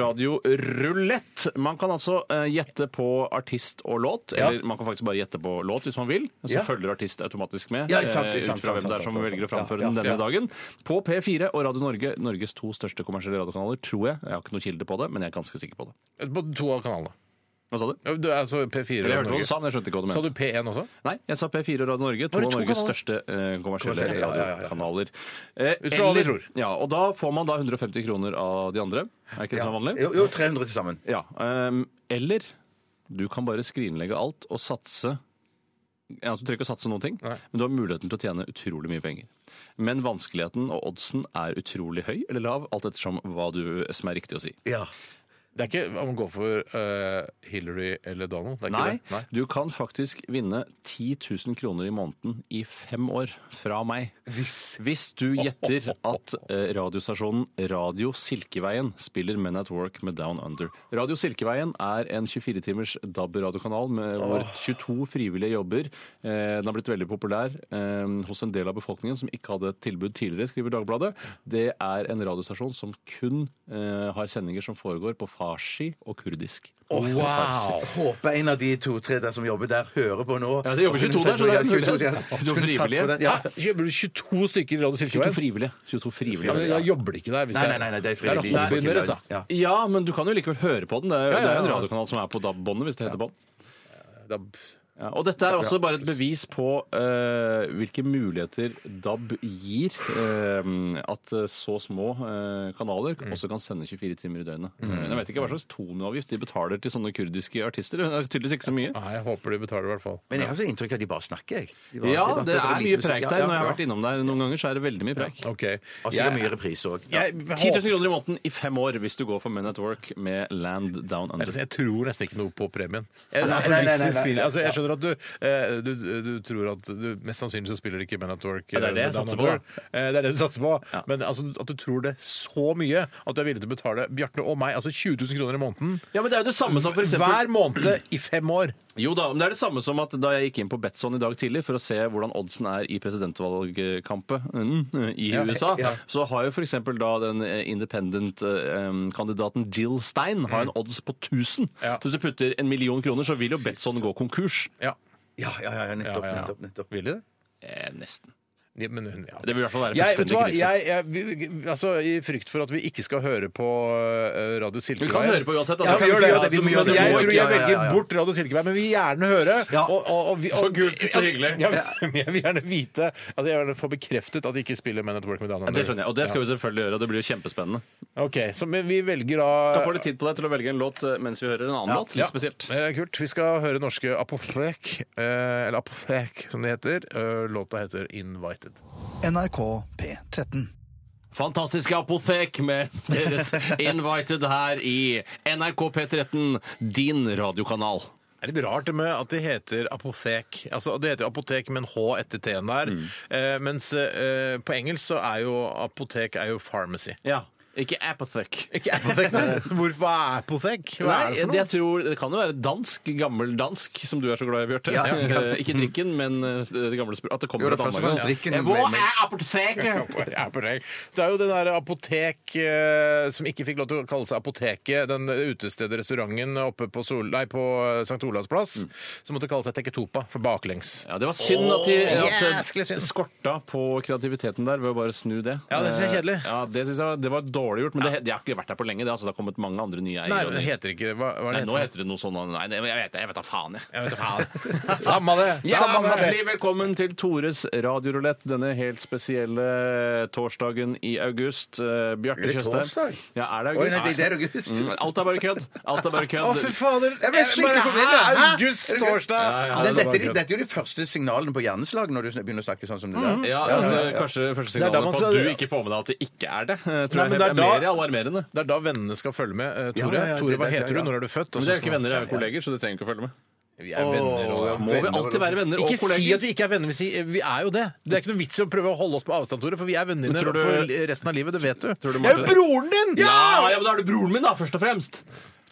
[SPEAKER 3] radiorulett. Man kan altså eh, gjette på artist og låt, eller man kan faktisk bare gjette på låt hvis man vil. Så
[SPEAKER 2] Ja.
[SPEAKER 3] følger artist automatisk med,
[SPEAKER 2] Ja, sant,
[SPEAKER 3] eh,
[SPEAKER 2] sant,
[SPEAKER 3] ut fra
[SPEAKER 2] sant,
[SPEAKER 3] hvem det er
[SPEAKER 2] sant,
[SPEAKER 3] som
[SPEAKER 2] sant,
[SPEAKER 3] velger å
[SPEAKER 2] sant,
[SPEAKER 3] framføre
[SPEAKER 2] ja,
[SPEAKER 3] den
[SPEAKER 2] ja.
[SPEAKER 3] denne dagen. På P4 og Radio Norge, Norges to største kommersielle radiokanaler, tror jeg. Jeg har ikke noe kilde på det, men jeg er ganske sikker på det.
[SPEAKER 1] På to av kanalene.
[SPEAKER 3] Hva sa du?
[SPEAKER 1] Ja, Du er altså P4
[SPEAKER 3] Jeg
[SPEAKER 1] og
[SPEAKER 3] hørte hva du
[SPEAKER 1] Norge.
[SPEAKER 3] sa, men jeg skjønte ikke hva du
[SPEAKER 1] Sa
[SPEAKER 3] mente.
[SPEAKER 1] du P1 også?
[SPEAKER 3] Nei, jeg sa P4 og Radio Norge. To
[SPEAKER 1] det
[SPEAKER 3] av
[SPEAKER 1] to
[SPEAKER 3] Norges
[SPEAKER 1] kanaler?
[SPEAKER 3] største eh, kommersielle
[SPEAKER 1] Kommersielle, ja,
[SPEAKER 3] radiokanaler. Eh,
[SPEAKER 1] Ut fra hva vi
[SPEAKER 3] eller-
[SPEAKER 1] tror.
[SPEAKER 3] Ja, og da får man da 150 kroner av de andre. Er ikke det som er vanlig?
[SPEAKER 2] Jo, jo, 300 til sammen.
[SPEAKER 3] Ja, ehm, Eller du kan bare skrinlegge alt og satse. Ja, altså, du trenger ikke å satse noen ting,
[SPEAKER 1] Nei.
[SPEAKER 3] men du har muligheten til å tjene utrolig mye penger. Men vanskeligheten og oddsen er utrolig høy eller lav, alt ettersom hva du, som er riktig å si.
[SPEAKER 2] Ja.
[SPEAKER 1] Det er ikke om å gå for eh, Hillary eller Donald. Det er ikke
[SPEAKER 3] Nei,
[SPEAKER 1] det. Nei.
[SPEAKER 3] du kan faktisk vinne 10 000 kroner i måneden i fem år fra meg. Hvis, du gjetter at eh, radiostasjonen Radio Silkeveien spiller Men at Work med Down Under. Radio Silkeveien er en 24-timers DAB-radiokanal med hvor 22 frivillige jobber. Eh, den har blitt veldig populær eh, hos en del av befolkningen som ikke hadde et tilbud tidligere, skriver Dagbladet. Det er en radiostasjon som kun eh, har sendinger som foregår på farsi og kurdisk.
[SPEAKER 1] Wow!
[SPEAKER 2] Håper en av de to-tre der som jobber der, hører på nå.
[SPEAKER 3] Ja, det jobber 22 der, så det er en
[SPEAKER 2] Ja, 22, ja.
[SPEAKER 3] mulighet.
[SPEAKER 2] Skulle
[SPEAKER 3] Noen
[SPEAKER 2] satse på
[SPEAKER 3] frivillige.
[SPEAKER 2] den, Ja.
[SPEAKER 1] Hæ? Kjøper du 22 stykker i Radio
[SPEAKER 3] 22
[SPEAKER 1] Silkeveien?
[SPEAKER 3] frivillige. 22 frivillige.
[SPEAKER 1] Ja, men da jobber de ikke der. Hvis
[SPEAKER 2] Nei,
[SPEAKER 1] det
[SPEAKER 2] nei, nei, nei, det er frivillig.
[SPEAKER 1] Det er hobbyen deres, da.
[SPEAKER 2] Ja.
[SPEAKER 3] Ja, men du kan jo likevel høre på den. Det er jo,
[SPEAKER 1] Ja, ja,
[SPEAKER 3] Det er jo en
[SPEAKER 1] ja.
[SPEAKER 3] radiokanal som er på DAB-båndet, hvis det heter bånd.
[SPEAKER 1] Da-
[SPEAKER 3] Ja, og dette er også bare et bevis på eh, hvilke muligheter DAB gir. eh, at eh, så små eh, kanaler også kan sende 24 timer i døgnet. Jeg vet ikke hva slags toneavgift de betaler til sånne kurdiske artister. Det er tydeligvis ikke så mye.
[SPEAKER 1] Nei, jeg håper de betaler, i hvert fall.
[SPEAKER 2] Men jeg har så inntrykk av at de bare snakker, jeg. De bare- de
[SPEAKER 3] Ja,
[SPEAKER 2] bare-
[SPEAKER 3] det er mye preik der.
[SPEAKER 2] Ja, ja,
[SPEAKER 3] Når jeg har
[SPEAKER 2] ja.
[SPEAKER 3] vært innom der noen ganger, så er det veldig mye preik.
[SPEAKER 1] OK.
[SPEAKER 2] Og så er det mye reprise òg. Ja.
[SPEAKER 1] jeg,
[SPEAKER 3] 10 000
[SPEAKER 1] håper,
[SPEAKER 3] kroner i måneden i fem år hvis du går for Men at Work med Land Down Under.
[SPEAKER 1] altså, jeg tror nesten ikke noe på premien. Jeg,
[SPEAKER 2] nei,
[SPEAKER 1] altså,
[SPEAKER 2] nei,
[SPEAKER 1] hvis de
[SPEAKER 2] nei, nei,
[SPEAKER 1] spiller,
[SPEAKER 2] nei.
[SPEAKER 1] altså, jeg skjønner at du, eh, du, du tror at du, Mest sannsynlig så spiller de ikke Man at Work.
[SPEAKER 3] det er
[SPEAKER 1] eh,
[SPEAKER 3] det jeg
[SPEAKER 1] Down
[SPEAKER 3] satser
[SPEAKER 1] Under.
[SPEAKER 3] på,
[SPEAKER 1] Eh, Det er det du satser på.
[SPEAKER 3] Ja.
[SPEAKER 1] Men altså, at du tror det så mye at du er villig til å betale Bjarte og meg altså 20 000 kroner i måneden
[SPEAKER 3] Ja, men det er jo det samme som for
[SPEAKER 1] hver måned i fem år.
[SPEAKER 3] Jo da, men det er det samme som at da jeg gikk inn på Betson i dag tidlig for å se hvordan oddsen er i presidentvalgkampet mm, i
[SPEAKER 1] Ja,
[SPEAKER 3] USA,
[SPEAKER 1] ja.
[SPEAKER 3] så har jo for eksempel da den eh, independent-kandidaten Jill Stein har en odds på 1000.
[SPEAKER 1] Mm. Ja.
[SPEAKER 3] Så hvis du putter en million kroner, så vil jo Betson gå konkurs.
[SPEAKER 1] Ja.
[SPEAKER 2] Ja, ja, ja, ja, nettopp,
[SPEAKER 1] Ja, ja, ja.
[SPEAKER 2] nettopp, nettopp.
[SPEAKER 1] Vil de det?
[SPEAKER 3] Eh, nesten.
[SPEAKER 1] Ja, men hun, ja.
[SPEAKER 3] Det vil i hvert fall være
[SPEAKER 1] Jeg, vet du
[SPEAKER 3] fullstendig
[SPEAKER 1] hva,
[SPEAKER 3] krise.
[SPEAKER 1] jeg, jeg, vi- altså, I frykt for at vi ikke skal høre på eh, Radio
[SPEAKER 3] Vi
[SPEAKER 1] Silkeveien
[SPEAKER 3] kan høre på uansett. da.
[SPEAKER 1] Ja,
[SPEAKER 3] Du
[SPEAKER 1] vi
[SPEAKER 3] kan
[SPEAKER 1] gjør det.
[SPEAKER 3] si
[SPEAKER 2] Ja, vi må
[SPEAKER 3] men
[SPEAKER 2] gjøre det.
[SPEAKER 3] må
[SPEAKER 1] Jeg
[SPEAKER 2] må
[SPEAKER 3] ikke-
[SPEAKER 1] tror
[SPEAKER 2] Ja,
[SPEAKER 1] jeg
[SPEAKER 2] ja, ja,
[SPEAKER 1] velger
[SPEAKER 2] ja.
[SPEAKER 1] bort Radio Silkeberg, men vil gjerne høre.
[SPEAKER 2] Ja.
[SPEAKER 1] Og, og, og, vi- og,
[SPEAKER 3] Så kult, så hyggelig.
[SPEAKER 1] Ja, men jeg vil gjerne vite altså Jeg vil gjerne få bekreftet at de ikke spiller Men at Work With Down Under.
[SPEAKER 3] Det skjønner jeg, og det skal vi selvfølgelig gjøre. og Det blir jo kjempespennende.
[SPEAKER 1] Ok, så men vi velger
[SPEAKER 3] Du kan få
[SPEAKER 1] da
[SPEAKER 3] litt tid på deg til å velge en låt eh, mens vi hører en annen låt. Litt spesielt.
[SPEAKER 1] Eh, Ja, eh, kult. Vi skal høre norske Apotek, eh, eller Apotek som det heter. Eh, Låta heter Invited.
[SPEAKER 4] NRK P13.
[SPEAKER 3] Fantastiske apotek med deres Invited her i NRK P13, din radiokanal.
[SPEAKER 1] Det er litt rart det med at det heter apotek. Altså, Det heter jo apotek med en H etter T-en der. Eh, mens eh, på engelsk så er jo apotek er jo pharmacy.
[SPEAKER 3] Ja, ikke apothek.
[SPEAKER 1] Ikke apotek, nei. Hvorfor er apotek? Hva er det
[SPEAKER 3] Nei,
[SPEAKER 1] for
[SPEAKER 3] det,
[SPEAKER 1] noe?
[SPEAKER 3] jeg tror, det kan jo være dansk, gammel dansk, som du er så glad i, Bjarte.
[SPEAKER 1] Ja.
[SPEAKER 3] Eh, Ikke drikken, men eh, det gamle språket. At det
[SPEAKER 2] Jo,
[SPEAKER 3] kommer
[SPEAKER 2] det
[SPEAKER 3] fra
[SPEAKER 2] er først og
[SPEAKER 3] Danmark.
[SPEAKER 2] fremst drikken.
[SPEAKER 3] Ja.
[SPEAKER 2] men-
[SPEAKER 3] Hva
[SPEAKER 2] men-
[SPEAKER 3] er apotek?
[SPEAKER 1] Apotek. Så det er jo den der apotek eh, som ikke fikk lov til å kalle seg Apoteket, den utestedet, restauranten oppe på, Sol, nei, på eh, St. Olavs plass, som måtte kalle seg Teketopa, for baklengs.
[SPEAKER 3] Ja, det var synd at de at
[SPEAKER 1] jæsklig
[SPEAKER 3] det
[SPEAKER 1] synd.
[SPEAKER 3] skorta på kreativiteten der ved å bare snu det. Eh,
[SPEAKER 1] Ja, det synes jeg er kjedelig.
[SPEAKER 3] Ja, det synes jeg var- det var dårlig gjort, men det, he- det har ikke vært der på lenge. Det, altså, det har kommet mange andre nye
[SPEAKER 1] Nei,
[SPEAKER 3] eiere.
[SPEAKER 1] men det heter ikke det. Hva, hva er
[SPEAKER 3] Nei,
[SPEAKER 1] det
[SPEAKER 3] nå heter det noe sånn Nei, det- jeg vet da jeg vet da faen, jeg.
[SPEAKER 1] Jeg vet da faen. Samme det.
[SPEAKER 3] Ja,
[SPEAKER 1] Samme det.
[SPEAKER 3] hjertelig velkommen til Tores radiorulett denne helt spesielle eh, torsdagen i august. Eh, Bjarte
[SPEAKER 2] Er det
[SPEAKER 3] Tjøstheim.
[SPEAKER 2] torsdag?
[SPEAKER 3] Ja, er det
[SPEAKER 2] Oi, nei,
[SPEAKER 3] august?
[SPEAKER 2] det- det er august.
[SPEAKER 3] Mm, alt er bare kødd. Alt er bare kødd.
[SPEAKER 1] Å, fy fader!
[SPEAKER 2] Jeg ble skikkelig
[SPEAKER 1] bare-
[SPEAKER 2] forvirret. Hæ?
[SPEAKER 1] August torsdag!
[SPEAKER 3] Ja, ja,
[SPEAKER 2] Men
[SPEAKER 3] det
[SPEAKER 2] dette,
[SPEAKER 3] var
[SPEAKER 2] er de-
[SPEAKER 3] kødd.
[SPEAKER 2] dette er jo de første signalene på hjerneslag når du sn- begynner å snakke sånn som det der.
[SPEAKER 3] Ja, altså, kanskje første signalet
[SPEAKER 1] da man
[SPEAKER 3] på
[SPEAKER 1] skal-
[SPEAKER 3] at du ikke får med deg at det ikke er det. eh, Tror
[SPEAKER 1] Nei, men
[SPEAKER 3] jeg
[SPEAKER 1] det
[SPEAKER 3] det
[SPEAKER 1] er da-
[SPEAKER 3] er mer alarmerende.
[SPEAKER 1] Det er da vennene skal følge med. eh, Tore,
[SPEAKER 2] Ja, ja, ja,
[SPEAKER 1] Tore,
[SPEAKER 2] det-
[SPEAKER 1] hva
[SPEAKER 2] det-
[SPEAKER 1] heter
[SPEAKER 2] ja, ja.
[SPEAKER 1] du? Når er du født? Og
[SPEAKER 3] Men
[SPEAKER 1] så
[SPEAKER 3] dere er jo
[SPEAKER 1] skal
[SPEAKER 3] ikke
[SPEAKER 1] man-
[SPEAKER 3] venner, dere er jo kolleger, så dere trenger ikke å følge med.
[SPEAKER 1] Vi er venner og
[SPEAKER 2] Åh,
[SPEAKER 3] Må vi
[SPEAKER 2] venner
[SPEAKER 3] alltid
[SPEAKER 2] og-
[SPEAKER 3] være venner og
[SPEAKER 1] Ikke si
[SPEAKER 3] kolleger?
[SPEAKER 1] at vi ikke er venner. Vi, sier, eh, vi er jo det. Det er ikke noe vits i å prøve å holde oss på avstand, Tore, for vi er venner
[SPEAKER 3] Men tror du-
[SPEAKER 1] for resten av livet. Det vet du.
[SPEAKER 3] du
[SPEAKER 1] jeg er jo
[SPEAKER 3] Marte-
[SPEAKER 1] broren din!
[SPEAKER 3] Ja, ja, men da er du broren min, da, først og fremst!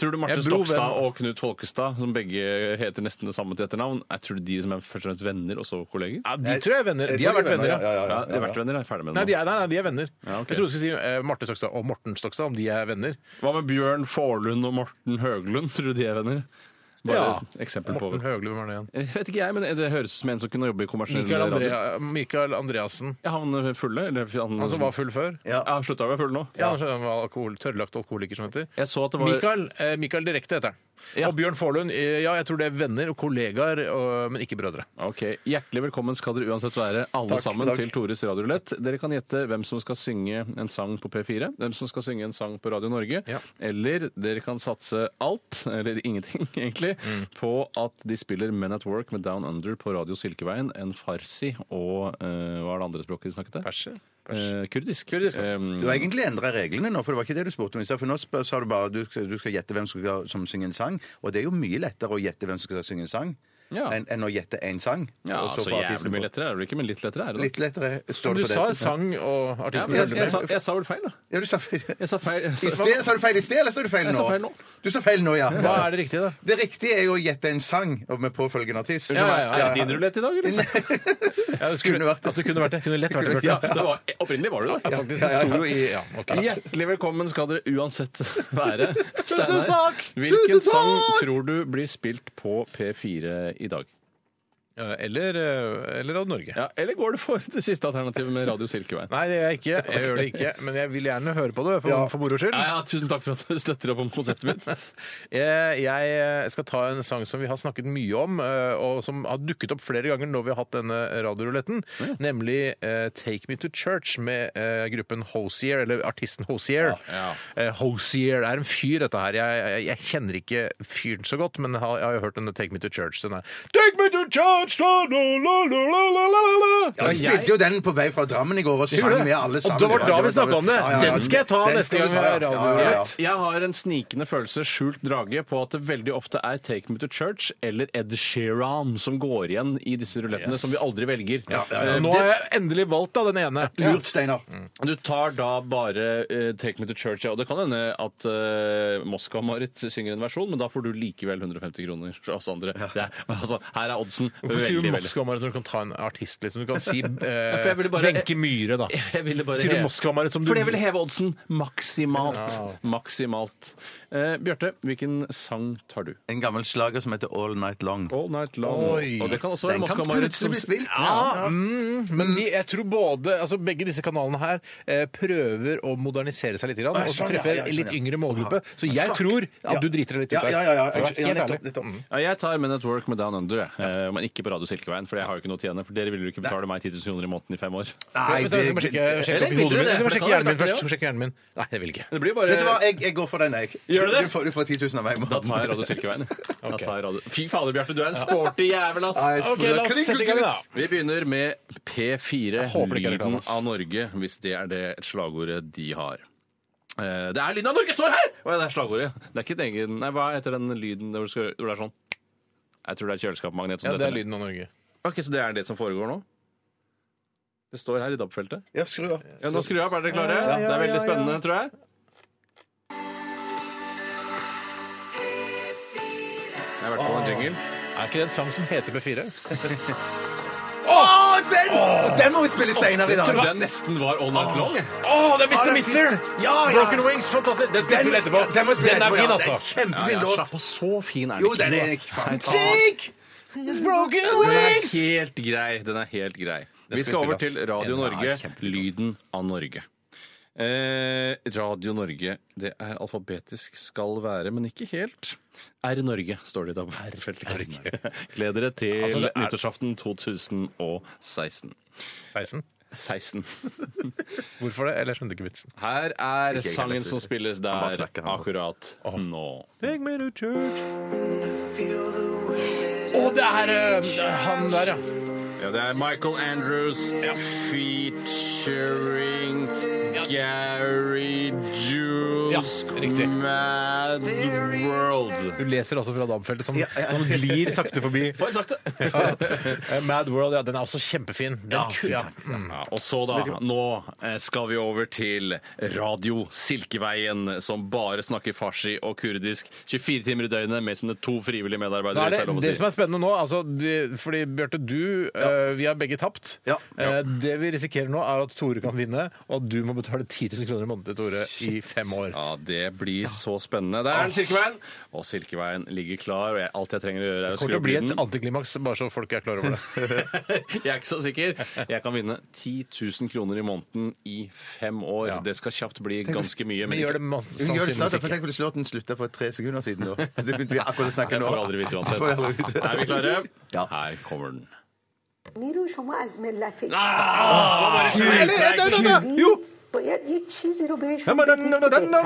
[SPEAKER 3] Tror du Marte
[SPEAKER 1] Jeg er bror,
[SPEAKER 3] Stokstad
[SPEAKER 1] venn.
[SPEAKER 3] og Knut Folkestad, som begge heter nesten det samme til etternavn, jeg tror du de som er først og fremst venner, og så kolleger?
[SPEAKER 1] Ja, de tror jeg er venner.
[SPEAKER 2] Jeg
[SPEAKER 1] De har
[SPEAKER 2] tror
[SPEAKER 1] vært venner, ja.
[SPEAKER 2] ja.
[SPEAKER 3] Ja, de har vært venner, jeg er ferdig med
[SPEAKER 1] Nei,
[SPEAKER 3] det
[SPEAKER 1] de
[SPEAKER 3] nå.
[SPEAKER 1] er, nei, nei, de er venner.
[SPEAKER 3] Ja, ok.
[SPEAKER 1] Jeg trodde du skulle si eh, Marte Stokstad og Morten Stokstad, om de er venner.
[SPEAKER 3] Hva med Bjørn Forlund og Morten Høglund, tror du de er venner? Bare
[SPEAKER 1] Ja.
[SPEAKER 3] et eksempel på
[SPEAKER 1] Morten Høgli, hvem er det igjen?
[SPEAKER 3] Jeg vet ikke jeg, men det høres ut som en som kunne jobbe i kommersiell
[SPEAKER 1] Mikael,
[SPEAKER 3] radio.
[SPEAKER 1] Andrea, Mikael Andreassen.
[SPEAKER 3] Ja, han fulle? Eller han,
[SPEAKER 1] Han som var full før.
[SPEAKER 3] Ja, han slutta å være full nå.
[SPEAKER 1] Ja, han var alkohol, tørrlagt alkoholiker, som heter.
[SPEAKER 3] Jeg så at det var
[SPEAKER 1] Mikael, eh, Mikael Direkte heter han.
[SPEAKER 3] Ja.
[SPEAKER 1] Og Bjørn Forlund. eh, Ja, jeg tror det er venner og kollegaer, og, men ikke brødre.
[SPEAKER 3] Ok, Hjertelig velkommen skal dere uansett være, alle sammen, til Tores radiorulett. Dere kan gjette hvem som skal synge en sang på P4, hvem som skal synge en sang på Radio Norge,
[SPEAKER 1] Ja.
[SPEAKER 3] eller dere kan satse alt, eller ingenting egentlig, på at de spiller Men at Work med Down Under på Radio Silkeveien, en farsi og eh, Hva er det andre språket de snakket til?
[SPEAKER 1] Perser?
[SPEAKER 3] Eh, kurdisk.
[SPEAKER 2] Du
[SPEAKER 3] Eh,
[SPEAKER 2] har egentlig endra reglene nå, for det var ikke det du spurte om i stad. For nå spør, sa du bare du, skal- du skal gjette hvem som, skal, som synger en sang, og det er jo mye lettere å gjette hvem som skal synge en sang,
[SPEAKER 3] Ja.
[SPEAKER 2] enn, enn å gjette én sang.
[SPEAKER 3] ja,
[SPEAKER 2] og
[SPEAKER 3] så
[SPEAKER 2] få
[SPEAKER 3] jævlig
[SPEAKER 2] artisten
[SPEAKER 3] mye
[SPEAKER 2] på.
[SPEAKER 3] lettere er det ikke, men litt lettere er det. nok.
[SPEAKER 2] Litt lettere står
[SPEAKER 1] Du
[SPEAKER 2] det
[SPEAKER 1] sa
[SPEAKER 2] for det.
[SPEAKER 1] sang og
[SPEAKER 3] Ja,
[SPEAKER 1] artisten.
[SPEAKER 3] men jeg, jeg, sa,
[SPEAKER 1] følger med.
[SPEAKER 3] jeg sa vel feil, da.
[SPEAKER 2] Ja, du sa feil.
[SPEAKER 3] Jeg sa feil.
[SPEAKER 2] I sted, sa du feil i sted, eller sa du feil nå?
[SPEAKER 3] Jeg sa feil nå.
[SPEAKER 2] Du sa feil nå, ja.
[SPEAKER 1] Hva er det riktige, da?
[SPEAKER 2] Det riktige er jo å gjette en sang og med påfølgende artist.
[SPEAKER 1] Ja, ja, ja.
[SPEAKER 3] Er det din rulett i dag, eller?
[SPEAKER 1] Ja, det skulle,
[SPEAKER 2] Kunne vært det.
[SPEAKER 1] Altså, det kunne vært det. Kunne lett vært det.
[SPEAKER 3] Ja,
[SPEAKER 1] Bjarte.
[SPEAKER 3] det var, opprinnelig var det det.
[SPEAKER 1] Faktisk, det sto jo i Ja, OK.
[SPEAKER 3] Hjertelig velkommen skal dere uansett være.
[SPEAKER 1] Tusen takk!
[SPEAKER 3] Hvilken
[SPEAKER 1] Tusen
[SPEAKER 3] sang
[SPEAKER 1] takk!
[SPEAKER 3] tror du blir spilt på P4 i dag?
[SPEAKER 1] Eh, Eller, eh, eller Radio Norge.
[SPEAKER 3] Ja, eller går det for det siste alternativet med Radio Silkeveien?
[SPEAKER 1] Nei, det gjør jeg ikke. Jeg gjør det ikke. Men jeg vil gjerne høre på det, for, for moro skyld.
[SPEAKER 3] Ja, ja, tusen takk for at du støtter opp om konseptet mitt.
[SPEAKER 1] Eh, Jeg skal ta en sang som vi har snakket mye om, eh, og som har dukket opp flere ganger når vi har hatt denne radioruletten, nemlig eh, Take Me To Church med eh, gruppen Hosier, eller artisten Hosier.
[SPEAKER 3] Ja,
[SPEAKER 1] Eh, Hosier er en fyr, dette her. Jeg, jeg, jeg kjenner ikke fyren så godt, men jeg har, jeg har jo hørt denne Take Me To Church. Den er Take me to church! La, la, la, la, la, la, la, la.
[SPEAKER 2] Ja, vi spilte jo den på vei fra Drammen i går og sang med alle sammen.
[SPEAKER 1] Og det var da vi snakket om det.
[SPEAKER 2] Ja, ja, ja.
[SPEAKER 1] Den skal jeg ta
[SPEAKER 2] Den
[SPEAKER 1] neste
[SPEAKER 2] skal
[SPEAKER 1] gang
[SPEAKER 2] du
[SPEAKER 1] vi
[SPEAKER 2] ta,
[SPEAKER 1] har
[SPEAKER 2] ja.
[SPEAKER 1] radio.
[SPEAKER 2] Ja, ja, ja.
[SPEAKER 3] Greit. Jeg har en snikende følelse, skjult drage, på at det veldig ofte er Take Me To Church eller Ed Sheeran som går igjen i disse rulettene, som vi aldri velger.
[SPEAKER 1] Eh, Nå har jeg endelig valgt da, den ene.
[SPEAKER 2] Lurt, Steinar.
[SPEAKER 3] Du tar da bare eh, Take Me To Church, ja. Og det kan hende at eh, Moskva-Marit synger en versjon, men da får du likevel 150 kroner fra oss andre. Det er, altså, her er oddsen.
[SPEAKER 1] Hvorfor sier du
[SPEAKER 3] veldig, veldig.
[SPEAKER 1] Moskva-Marit når du kan ta en artist? liksom? Du kan si eh,
[SPEAKER 3] for jeg ville bare-
[SPEAKER 1] Wenche Myhre, da.
[SPEAKER 3] Jeg ville bare
[SPEAKER 1] Sier du
[SPEAKER 3] heve-
[SPEAKER 1] Moskva-Marit som du
[SPEAKER 3] Fordi jeg vil heve oddsen maksimalt. Maksimalt. Eh, Bjarte, hvilken sang tar du?
[SPEAKER 2] En gammel slager som heter All Night Long.
[SPEAKER 3] All Night Long.
[SPEAKER 1] Oi.
[SPEAKER 3] Og det kan også være
[SPEAKER 2] Den kan
[SPEAKER 3] Moskva-Marit
[SPEAKER 2] plutselig
[SPEAKER 3] som
[SPEAKER 2] bli spilt.
[SPEAKER 1] Ja, mm, men de, jeg tror både, altså begge disse kanalene her eh, prøver å modernisere seg litt. Grann,
[SPEAKER 2] Ah,
[SPEAKER 1] og så
[SPEAKER 2] sånn, ja,
[SPEAKER 1] treffer
[SPEAKER 2] ja,
[SPEAKER 1] en litt
[SPEAKER 2] sånn, ja.
[SPEAKER 1] yngre målgruppe. Så jeg
[SPEAKER 2] Fuck.
[SPEAKER 1] tror
[SPEAKER 2] Ja.
[SPEAKER 1] at du driter deg litt ut
[SPEAKER 2] Ja,
[SPEAKER 1] der.
[SPEAKER 2] ja, ja, ja.
[SPEAKER 1] For å være
[SPEAKER 2] Ja,
[SPEAKER 1] helt
[SPEAKER 2] nettopp,
[SPEAKER 1] ærlig. Mm.
[SPEAKER 2] nettopp.
[SPEAKER 3] Ja, jeg tar Men at Work med Down Under, jeg. Eh, men ikke på Radio Silkeveien, for jeg har jo ikke noe å tjene. For dere ville jo ikke betale meg 10 000 kroner i måneden i fem år.
[SPEAKER 2] Nei,
[SPEAKER 1] Vent da, jeg skal bare sjekke, sjekke,
[SPEAKER 3] Eller
[SPEAKER 1] opp i
[SPEAKER 3] vil
[SPEAKER 1] hodet
[SPEAKER 3] dere
[SPEAKER 1] mitt.
[SPEAKER 3] det?
[SPEAKER 1] Jeg skal bare
[SPEAKER 3] For det
[SPEAKER 1] sjekke
[SPEAKER 3] kan
[SPEAKER 1] hjernen min
[SPEAKER 3] være
[SPEAKER 1] først.
[SPEAKER 3] takk,
[SPEAKER 1] Sjekke hjernen min. Nei, det vil jeg ikke.
[SPEAKER 3] Det blir bare
[SPEAKER 2] Vet du hva, jeg, jeg går for den, jeg.
[SPEAKER 3] Gjør du det?
[SPEAKER 2] Du får, du får 10 000 av meg.
[SPEAKER 3] Da tar jeg Radio Silkeveien. Da tar jeg radio... Fy fader, Bjarte, du er en sporty jævel, ass!
[SPEAKER 2] Nei,
[SPEAKER 1] Ok, la oss sette i gang, da.
[SPEAKER 3] Vi begynner med P4,
[SPEAKER 1] håper det ikke er
[SPEAKER 3] lyden
[SPEAKER 1] reklame, ass.
[SPEAKER 3] av Norge, hvis det er det slagordet de har. Eh, Det er lyden av Norge står her! Å ja, det er slagordet. Det er ikke et egen Nei, hva heter den lyden hvor det, skal, hvor det er sånn Jeg tror det er kjøleskapmagnet som
[SPEAKER 1] Ja, det
[SPEAKER 3] detter
[SPEAKER 1] er
[SPEAKER 3] ned.
[SPEAKER 1] lyden av Norge.
[SPEAKER 3] Ok, Så det er det som foregår nå? Det står her i DAB-feltet.
[SPEAKER 2] Ja, skru opp.
[SPEAKER 3] Ja, nå skrur jeg opp. Er dere klare?
[SPEAKER 1] Ja, ja,
[SPEAKER 3] det er veldig
[SPEAKER 1] ja, ja.
[SPEAKER 3] spennende, tror jeg. Det er i hvert fall en jingle.
[SPEAKER 1] Er ikke det en sang som heter P4?
[SPEAKER 2] Å, den, den må vi spille senere i
[SPEAKER 3] Jeg trodde
[SPEAKER 2] dag.
[SPEAKER 3] jeg nesten var all night long. jeg.
[SPEAKER 1] Å, det er Mr. Mister!
[SPEAKER 2] Ja, ja.
[SPEAKER 1] Broken Wings, fantastisk. Den skal jeg
[SPEAKER 2] Den,
[SPEAKER 1] spille etterpå.
[SPEAKER 2] den må vi spille
[SPEAKER 1] Den er
[SPEAKER 2] etterpå,
[SPEAKER 1] fin, altså.
[SPEAKER 2] ja. Det er en kjempefin låt.
[SPEAKER 3] Slapp av, så fin er den
[SPEAKER 2] Jo,
[SPEAKER 3] ikke.
[SPEAKER 2] den er fantastisk.
[SPEAKER 3] Den er helt grei. Den er helt grei. Vi
[SPEAKER 1] skal vi
[SPEAKER 3] skal over
[SPEAKER 1] spille, ass.
[SPEAKER 3] til Radio
[SPEAKER 2] Ja,
[SPEAKER 3] Norge,
[SPEAKER 2] kjempebra.
[SPEAKER 3] lyden av Norge. Eh, Radio Norge. Det er alfabetisk skal være, men ikke helt. R Norge står det i tabellfeltet. Gled dere til
[SPEAKER 1] Altså, det er-
[SPEAKER 3] nyttårsaften 2016.
[SPEAKER 1] 16.
[SPEAKER 3] 16.
[SPEAKER 1] Hvorfor det? Eller jeg skjønte ikke vitsen.
[SPEAKER 3] Her er
[SPEAKER 2] jeg
[SPEAKER 3] sangen
[SPEAKER 2] heller.
[SPEAKER 3] som spilles
[SPEAKER 2] Han bare
[SPEAKER 3] der
[SPEAKER 2] snakker, han.
[SPEAKER 3] akkurat nå.
[SPEAKER 1] Take me to church. Å, det er eh, han der, ja.
[SPEAKER 3] Ja, det er Michael Andrews featuring Gary Jules
[SPEAKER 1] Ja, riktig.
[SPEAKER 3] Mad World.
[SPEAKER 1] Du leser altså fra DAB-feltet som, som glir sakte forbi.
[SPEAKER 3] For sakte!
[SPEAKER 1] Eh, Mad World, ja, den er også kjempefin. Den
[SPEAKER 3] Ja,
[SPEAKER 1] ku-
[SPEAKER 3] fint.
[SPEAKER 1] ja.
[SPEAKER 3] Ja, og så da, nå eh, skal vi over til Radio Silkeveien, som bare snakker farsi og kurdisk 24 timer i døgnet med sine to frivillige
[SPEAKER 1] Da
[SPEAKER 3] medarbeidere.
[SPEAKER 1] er det,
[SPEAKER 3] hvis det er lov å
[SPEAKER 1] det
[SPEAKER 3] si.
[SPEAKER 1] som er spennende nå, altså, du, fordi Bjarte, du eh, Vi har begge tapt.
[SPEAKER 2] Ja.
[SPEAKER 1] Eh, det vi risikerer nå, er at Tore kan vinne, og at du må betale 10 000 kroner i måneden til Tore i fem år.
[SPEAKER 3] Ja, det blir så spennende. Der er den, Silkeveien! Og Silkeveien ligger klar, og jeg, alt jeg trenger å gjøre, er å
[SPEAKER 1] Det kommer
[SPEAKER 3] skru
[SPEAKER 1] til å
[SPEAKER 3] opp
[SPEAKER 1] bli et
[SPEAKER 3] lyden.
[SPEAKER 1] antiklimaks, bare så folk er klar over det.
[SPEAKER 3] Jeg er ikke så sikker. Jeg kan vinne 10 000 kroner i måneden i fem år.
[SPEAKER 1] Ja.
[SPEAKER 3] Det skal kjapt bli ganske mye.
[SPEAKER 1] Vi gjør det man-
[SPEAKER 2] Hun gjør det snart,
[SPEAKER 1] sannsynligvis
[SPEAKER 2] for
[SPEAKER 1] ikke.
[SPEAKER 2] Tenk hvis låten slutta for tre sekunder siden nå. Det begynte vi akkurat å snakke
[SPEAKER 3] Jeg
[SPEAKER 2] nå.
[SPEAKER 3] får aldri vite uansett.
[SPEAKER 2] Får jeg aldri vite.
[SPEAKER 3] Er vi klare?
[SPEAKER 2] Ja.
[SPEAKER 3] Her kommer den.
[SPEAKER 5] میرون شما از ملت
[SPEAKER 1] Jo!
[SPEAKER 5] باید یک چیزی رو بهشون بدید که بهتر.
[SPEAKER 1] Nei,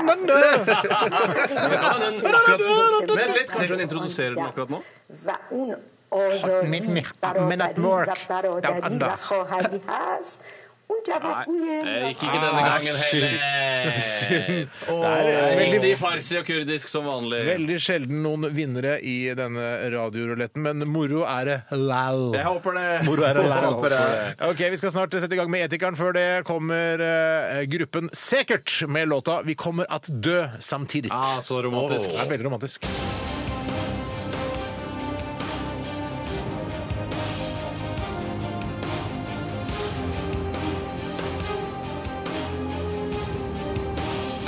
[SPEAKER 3] Vent litt, kanskje hun introduserer den akkurat nå?
[SPEAKER 5] و اون آزادی برابری و برادری و خواهری هست اون جوابگوی
[SPEAKER 3] Eh, Ikke, ikke denne gangen heller. Veldig farsi og kurdisk som vanlig.
[SPEAKER 1] Veldig sjelden noen vinnere i denne radioruletten, men moro er det lal.
[SPEAKER 3] Jeg håper det.
[SPEAKER 1] Moro er det lal. Ok, Vi skal snart sette i gang med Etikeren. Før det kommer eh, gruppen Sekert med låta 'Vi kommer at dø samtidig'.
[SPEAKER 3] Ah, så romantisk.
[SPEAKER 1] Det er veldig romantisk.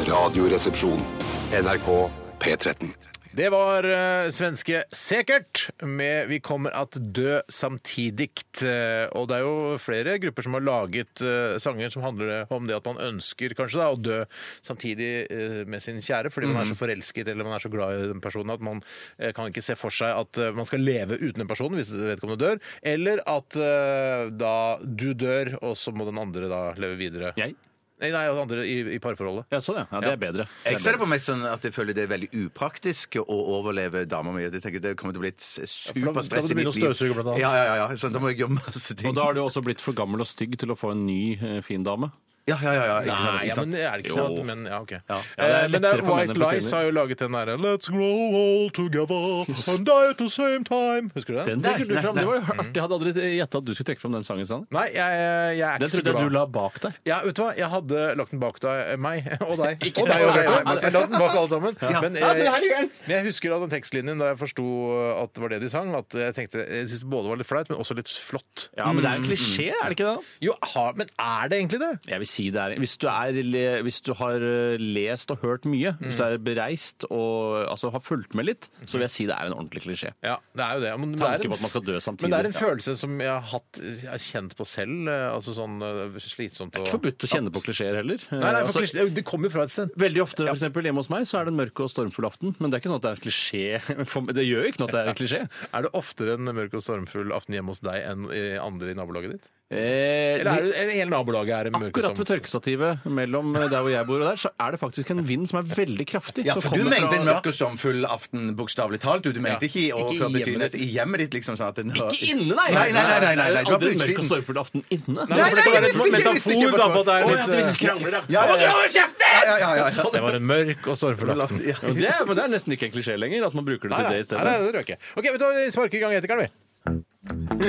[SPEAKER 6] Radioresepsjon. NRK P13.
[SPEAKER 1] Det var eh, svenske Sekert med 'Vi kommer at dø samtidigt'. Eh, og det er jo flere grupper som har laget eh, sanger som handler om det at man ønsker kanskje da, å dø samtidig eh, med sin kjære, fordi man er så forelsket eller man er så glad i den personen at man eh, kan ikke se for seg at eh, man skal leve uten den personen hvis vedkommende dør, eller at eh, da du dør, og så må den andre da leve videre.
[SPEAKER 3] Jeg?
[SPEAKER 1] Nei, nei, den andre i, i parforholdet.
[SPEAKER 3] Ja, sånn, ja. ja. Det er bedre.
[SPEAKER 2] Jeg ser det på meg sånn at jeg føler det er veldig upraktisk å overleve dama mi. Jeg tenker Det kommer til å bli et
[SPEAKER 1] for da skal
[SPEAKER 2] superstress
[SPEAKER 1] du
[SPEAKER 2] i mitt
[SPEAKER 1] begynne å
[SPEAKER 2] liv.
[SPEAKER 1] støvsuge, blant annet.
[SPEAKER 2] Ja, ja, ja, ja. Sånn, da må jeg gjøre masse ting.
[SPEAKER 3] Og da er du også blitt for gammel og stygg til å få en ny eh, fin dame.
[SPEAKER 2] Ja, ja, ja, ja. Ikke sant,
[SPEAKER 1] Nei,
[SPEAKER 2] ikke
[SPEAKER 1] ja,
[SPEAKER 2] sant.
[SPEAKER 1] men det er det ikke
[SPEAKER 3] Jo.
[SPEAKER 1] sånn. at- Men ja, ok.
[SPEAKER 3] Ja, det er
[SPEAKER 1] Eh, men det er
[SPEAKER 3] lettere for menn
[SPEAKER 1] White
[SPEAKER 3] enn for
[SPEAKER 1] Lies
[SPEAKER 3] kvinner.
[SPEAKER 1] har jo laget den derre Let's grow all together and die at the same time. Husker du den?
[SPEAKER 3] Den trekker du fram. Det var jo artig. Jeg hadde aldri gjetta at du skulle trekke fram den sangen. Sanne.
[SPEAKER 1] Nei, jeg, jeg er ikke
[SPEAKER 3] Den
[SPEAKER 1] så
[SPEAKER 3] trodde jeg du
[SPEAKER 1] glad.
[SPEAKER 3] la bak deg.
[SPEAKER 1] Ja, vet du hva? Jeg hadde lagt den bak deg, eh, meg og deg.
[SPEAKER 3] Ikke
[SPEAKER 1] og deg og
[SPEAKER 3] meg.
[SPEAKER 1] deg. og meg. Jeg la den bak alle sammen. Men, eh,
[SPEAKER 3] Ja, se, her ligger den.
[SPEAKER 1] men jeg husker av den tekstlinjen da jeg forsto at det var det de sang, at jeg tenkte Jeg syntes både var litt flaut, men også litt flott. Mm,
[SPEAKER 3] Ja, men det er en klisjé, er det ikke det?
[SPEAKER 1] Jo, ha, men er det egentlig det?
[SPEAKER 3] Jeg vil si det er Hvis du, er, le- hvis du har eh, lest og hørt mye, hvis du er bereist og altså, har fulgt med litt, så vil jeg si det er en ordentlig klisjé.
[SPEAKER 1] Ja, det er jo det. Men det
[SPEAKER 3] Tanke
[SPEAKER 1] er en-
[SPEAKER 3] på at man skal dø samtidig.
[SPEAKER 1] Men det er en
[SPEAKER 3] Ja.
[SPEAKER 1] følelse som jeg har hatt, jeg har kjent på selv. eh, Altså sånn eh, slitsomt og
[SPEAKER 3] Ikke forbudt å kjenne på klisjeer heller.
[SPEAKER 1] Nei,
[SPEAKER 3] Eh,
[SPEAKER 1] nei, for
[SPEAKER 3] altså,
[SPEAKER 1] klisjé, det kommer jo fra et sted.
[SPEAKER 3] Veldig ofte for eksempel, hjemme hos meg så er det en mørk og stormfull aften, men det er ikke sånn at det er en klisjé. For meg- Det gjør jo ikke noe at det er en klisjé.
[SPEAKER 1] Er det oftere en mørk og stormfull aften hjemme hos deg enn i andre i nabolaget ditt?
[SPEAKER 3] Eh,
[SPEAKER 1] Eller er det, eller hele nabolaget er mørk og
[SPEAKER 3] Akkurat ved
[SPEAKER 1] stormfull?
[SPEAKER 3] tørkestativet mellom eh, der hvor jeg bor og der, så er det faktisk en vind som er veldig kraftig.
[SPEAKER 2] Ja,
[SPEAKER 3] som
[SPEAKER 2] for du
[SPEAKER 3] kommer
[SPEAKER 2] mente
[SPEAKER 3] fra-
[SPEAKER 2] en mørk og sommerfull aften, bokstavelig talt. Du, du mente ikke
[SPEAKER 1] Ikke i
[SPEAKER 2] i overført
[SPEAKER 1] hjemmet
[SPEAKER 2] betydning
[SPEAKER 1] ditt.
[SPEAKER 2] i hjemmet ditt, liksom. Sånn at den,
[SPEAKER 3] Ikke inne, nei!
[SPEAKER 2] Nei, nei, nei, nei, nei, nei, du var på
[SPEAKER 3] Det er Aldri en mørk og
[SPEAKER 2] utsiden.
[SPEAKER 3] stormfull aften inne.
[SPEAKER 1] Nei, for det kan
[SPEAKER 2] Nei,
[SPEAKER 1] være et
[SPEAKER 2] jeg visste ikke, jeg visste ikke
[SPEAKER 1] metafor da på at det er
[SPEAKER 3] Å, ja,
[SPEAKER 1] litt eh,
[SPEAKER 3] at vi krangler, da.
[SPEAKER 2] Ja, ja, ja. Sånn,
[SPEAKER 3] Å, du holder kjeft, deg!
[SPEAKER 2] Ja, ja, ja, ja.
[SPEAKER 1] Det var en mørk og stormfull aften.
[SPEAKER 2] Ja.
[SPEAKER 3] Men det, er- men det er nesten ikke en klisjé lenger, at man bruker det
[SPEAKER 1] Nei,
[SPEAKER 3] til
[SPEAKER 1] nei,
[SPEAKER 3] det i
[SPEAKER 1] nei,
[SPEAKER 3] stedet.
[SPEAKER 1] det røk jeg. OK, vet du hva, vi sparker i gang etikeren, vi.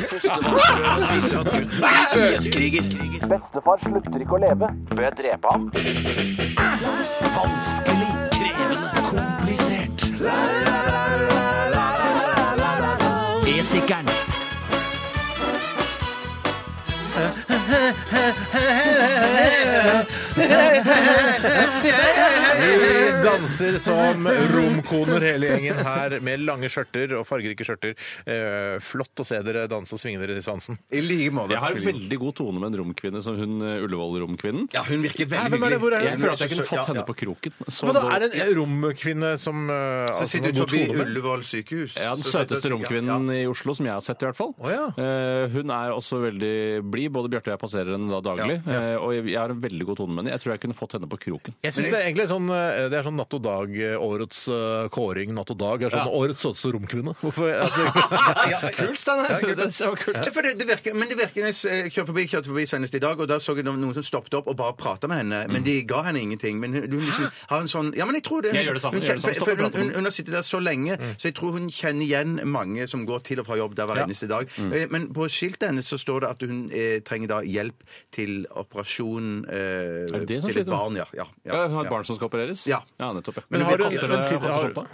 [SPEAKER 1] Vi danser som romkoner hele gjengen her, med lange skjørter og fargerike skjørter. Eh, Flott å se dere danse og svinge dere i svansen.
[SPEAKER 2] I like måte.
[SPEAKER 3] Jeg har veldig god tone med en romkvinne som hun eh, Ullevål-romkvinnen.
[SPEAKER 2] Ja, hun virker veldig
[SPEAKER 1] Nei,
[SPEAKER 2] hyggelig.
[SPEAKER 1] hvem er det? Hvor er det?
[SPEAKER 3] Jeg føler at jeg
[SPEAKER 2] Ja,
[SPEAKER 3] kunne fått
[SPEAKER 2] ja,
[SPEAKER 3] henne
[SPEAKER 2] ja.
[SPEAKER 3] på kroken. Så
[SPEAKER 1] Men da
[SPEAKER 3] dårlig-
[SPEAKER 1] er det en romkvinne som eh,
[SPEAKER 2] Så
[SPEAKER 1] altså,
[SPEAKER 2] sitter
[SPEAKER 1] har
[SPEAKER 2] hun
[SPEAKER 1] godt
[SPEAKER 2] forbi
[SPEAKER 1] hode med.
[SPEAKER 2] Ullevål sykehus.
[SPEAKER 3] Ja, den
[SPEAKER 2] Så sitter-
[SPEAKER 3] søteste romkvinnen i Oslo som jeg har sett, i hvert fall.
[SPEAKER 1] Å, ja.
[SPEAKER 3] Eh, hun er også veldig blid. Både Bjarte og jeg passerer henne da daglig. eh, og jeg jeg har en veldig god tone med henne. Jeg tror jeg kunne fått henne på kroken.
[SPEAKER 1] Jeg synes Det er egentlig sånn, eh, det er sånn natt og dag, eh, årets eh, kåring natt og dag. er sånn Årets søteste romkvinne. Hvorfor? Altså,
[SPEAKER 3] Kult, Steinar! det var kult.
[SPEAKER 2] Ja, for det, det virker, men det virker når jeg eh, kjørte forbi, kjørte forbi senest i dag, og da så jeg noen som stoppet opp og bare prata med henne.
[SPEAKER 3] Mm.
[SPEAKER 2] Men de ga henne ingenting. Men hun, hun liksom har en sånn Ja, men jeg tror det.
[SPEAKER 3] Jeg gjør det samme,
[SPEAKER 2] Hun,
[SPEAKER 3] jeg gjør det samme.
[SPEAKER 2] for- for
[SPEAKER 3] Stopper og
[SPEAKER 2] hun,
[SPEAKER 3] prater
[SPEAKER 2] hun,
[SPEAKER 3] med
[SPEAKER 2] hun har sittet der så lenge,
[SPEAKER 3] Mm.
[SPEAKER 2] så jeg tror hun kjenner igjen mange som går til og fra jobb der hver eneste dag.
[SPEAKER 3] Mm.
[SPEAKER 2] Eh, Men på skiltet hennes så står det at hun eh, trenger da hjelp til operasjon eh,
[SPEAKER 3] det det som
[SPEAKER 2] til et
[SPEAKER 3] sliter?
[SPEAKER 2] barn. Ja, ja, ja,
[SPEAKER 3] Ja, Eh, hun har et barn som skal opereres?
[SPEAKER 2] Ja.
[SPEAKER 3] nettopp. Ja.
[SPEAKER 1] Men har du-
[SPEAKER 3] koster
[SPEAKER 1] men
[SPEAKER 3] det
[SPEAKER 1] sitter-
[SPEAKER 3] å
[SPEAKER 1] har-
[SPEAKER 3] stoppe?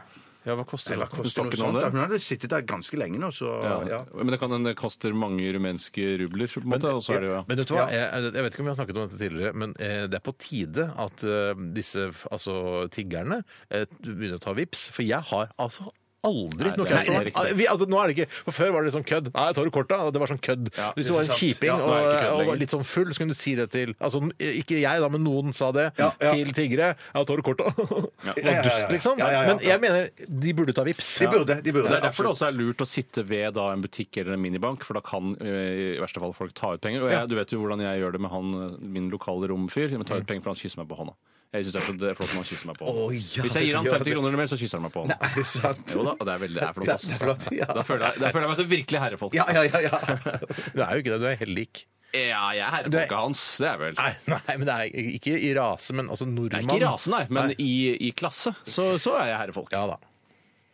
[SPEAKER 1] ja, hva koster det?
[SPEAKER 2] Hva koster
[SPEAKER 3] snakker
[SPEAKER 2] noe
[SPEAKER 3] nå om
[SPEAKER 2] sånt?
[SPEAKER 3] det?
[SPEAKER 2] da? Hun hadde sittet der ganske lenge nå, så
[SPEAKER 3] Ja.
[SPEAKER 2] ja.
[SPEAKER 3] Men det kan hende det koster mange rumenske rubler. På en måte, og så er det jo, ja.
[SPEAKER 1] Men vet du hva? Jeg, jeg vet ikke om vi har snakket om dette tidligere, men eh, det er på tide at eh, disse f- altså, tiggerne eh, begynner å ta vips, for jeg har altså Aldri
[SPEAKER 3] Nei,
[SPEAKER 1] noe
[SPEAKER 3] det er-
[SPEAKER 1] cash på
[SPEAKER 3] det er
[SPEAKER 1] meg.
[SPEAKER 3] riktig.
[SPEAKER 1] Ah, vi- Altså, nå er det ikke, for Før var det sånn kødd. Nei, tar du korta? Det var sånn kødd. Hvis du var en
[SPEAKER 2] sant.
[SPEAKER 1] kjiping
[SPEAKER 2] Ja,
[SPEAKER 3] nå er det ikke kødd
[SPEAKER 1] og, og var
[SPEAKER 3] lenger.
[SPEAKER 1] litt sånn full, så kunne du si det til altså, Ikke jeg, da, men noen sa det
[SPEAKER 2] ja.
[SPEAKER 1] til tiggere. Ja, tar du korta? Det
[SPEAKER 2] Ja, ja,
[SPEAKER 1] var
[SPEAKER 2] ja.
[SPEAKER 1] dust, liksom.
[SPEAKER 2] Ja, ja, ja.
[SPEAKER 1] Men jeg mener de burde ta vips.
[SPEAKER 2] De burde. De burde
[SPEAKER 3] Det er derfor det
[SPEAKER 2] absolutt.
[SPEAKER 3] også er lurt å sitte ved da, en butikk eller en minibank, for da kan eh, i verste fall folk ta ut penger. Og jeg, du vet jo hvordan jeg gjør det med han, eh, min lokale romfyr. Jeg tar ut penger for han kysser meg på hånda. Jeg synes det er så- det er flott når han kysser meg på
[SPEAKER 2] Å,
[SPEAKER 3] hånda.
[SPEAKER 2] ja,
[SPEAKER 3] Hvis jeg gir han
[SPEAKER 2] gjør
[SPEAKER 3] 50
[SPEAKER 2] det.
[SPEAKER 3] kroner eller mer, så kysser han meg på hånda.
[SPEAKER 2] Er det sant?
[SPEAKER 3] Jo da, og det er veldig det er flott. ass.
[SPEAKER 2] Det er flott, ja.
[SPEAKER 3] Da føler jeg, da føler jeg meg så virkelig herrefolk.
[SPEAKER 2] Ja, ja, ja, ja.
[SPEAKER 1] Du er jo ikke det. Du er helt lik.
[SPEAKER 3] Ja, jeg er
[SPEAKER 1] Det-
[SPEAKER 3] herrefolket hans, det er vel.
[SPEAKER 1] Nei, nei, men det er ikke i rase, men altså
[SPEAKER 3] Det
[SPEAKER 1] nordmann.
[SPEAKER 3] er ikke i rasen, nei, men i, i klasse så, så er jeg herrefolk.
[SPEAKER 1] Ja da.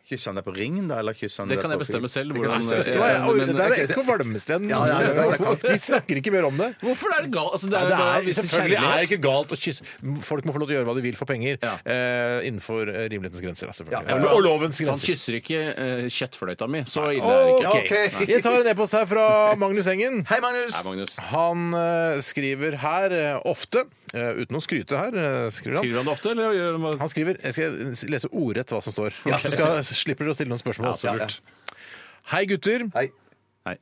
[SPEAKER 2] Kysser han deg på ringen, da? Eller kysser han
[SPEAKER 3] Det
[SPEAKER 2] deg
[SPEAKER 3] kan jeg
[SPEAKER 2] på
[SPEAKER 3] bestemme
[SPEAKER 2] fingeren?
[SPEAKER 3] selv.
[SPEAKER 2] Det kan
[SPEAKER 3] Hvordan,
[SPEAKER 2] jeg bestemme.
[SPEAKER 1] Oi,
[SPEAKER 3] eh,
[SPEAKER 1] oi,
[SPEAKER 3] men-
[SPEAKER 1] det er Erik på Valmsten.
[SPEAKER 2] Ja, ja, ja, det er klart.
[SPEAKER 1] De snakker ikke mer om det.
[SPEAKER 3] Hvorfor er det galt? Altså, det
[SPEAKER 1] Ja,
[SPEAKER 3] er,
[SPEAKER 1] det er,
[SPEAKER 3] hvis det
[SPEAKER 1] selvfølgelig er det
[SPEAKER 3] kjærlighet-
[SPEAKER 1] ikke galt å kysse Folk må få lov til å gjøre hva de vil for penger
[SPEAKER 3] Ja.
[SPEAKER 1] eh, innenfor eh, rimelighetens grenser. da, selvfølgelig.
[SPEAKER 2] Ja, ja,
[SPEAKER 3] ja.
[SPEAKER 1] Og lovens
[SPEAKER 3] Han
[SPEAKER 1] grenser.
[SPEAKER 3] kysser ikke eh, kjøttfløyta mi, så ille er Sånn det
[SPEAKER 1] Ok.
[SPEAKER 3] ikke.
[SPEAKER 2] Ok.
[SPEAKER 1] Jeg tar en e-post her fra Magnus Engen.
[SPEAKER 2] Hei, Magnus!
[SPEAKER 3] Nei, Magnus.
[SPEAKER 1] Han eh, skriver her eh, ofte, eh, uten å skryte her, eh, skriver han
[SPEAKER 3] Skriver han det ofte, eller gjør han bare
[SPEAKER 1] Han skriver Jeg skal lese ordrett hva som står. Så skal, slipper dere å stille noen spørsmål.
[SPEAKER 3] så lurt.
[SPEAKER 1] Hei, gutter.
[SPEAKER 2] Hei.
[SPEAKER 3] Nei.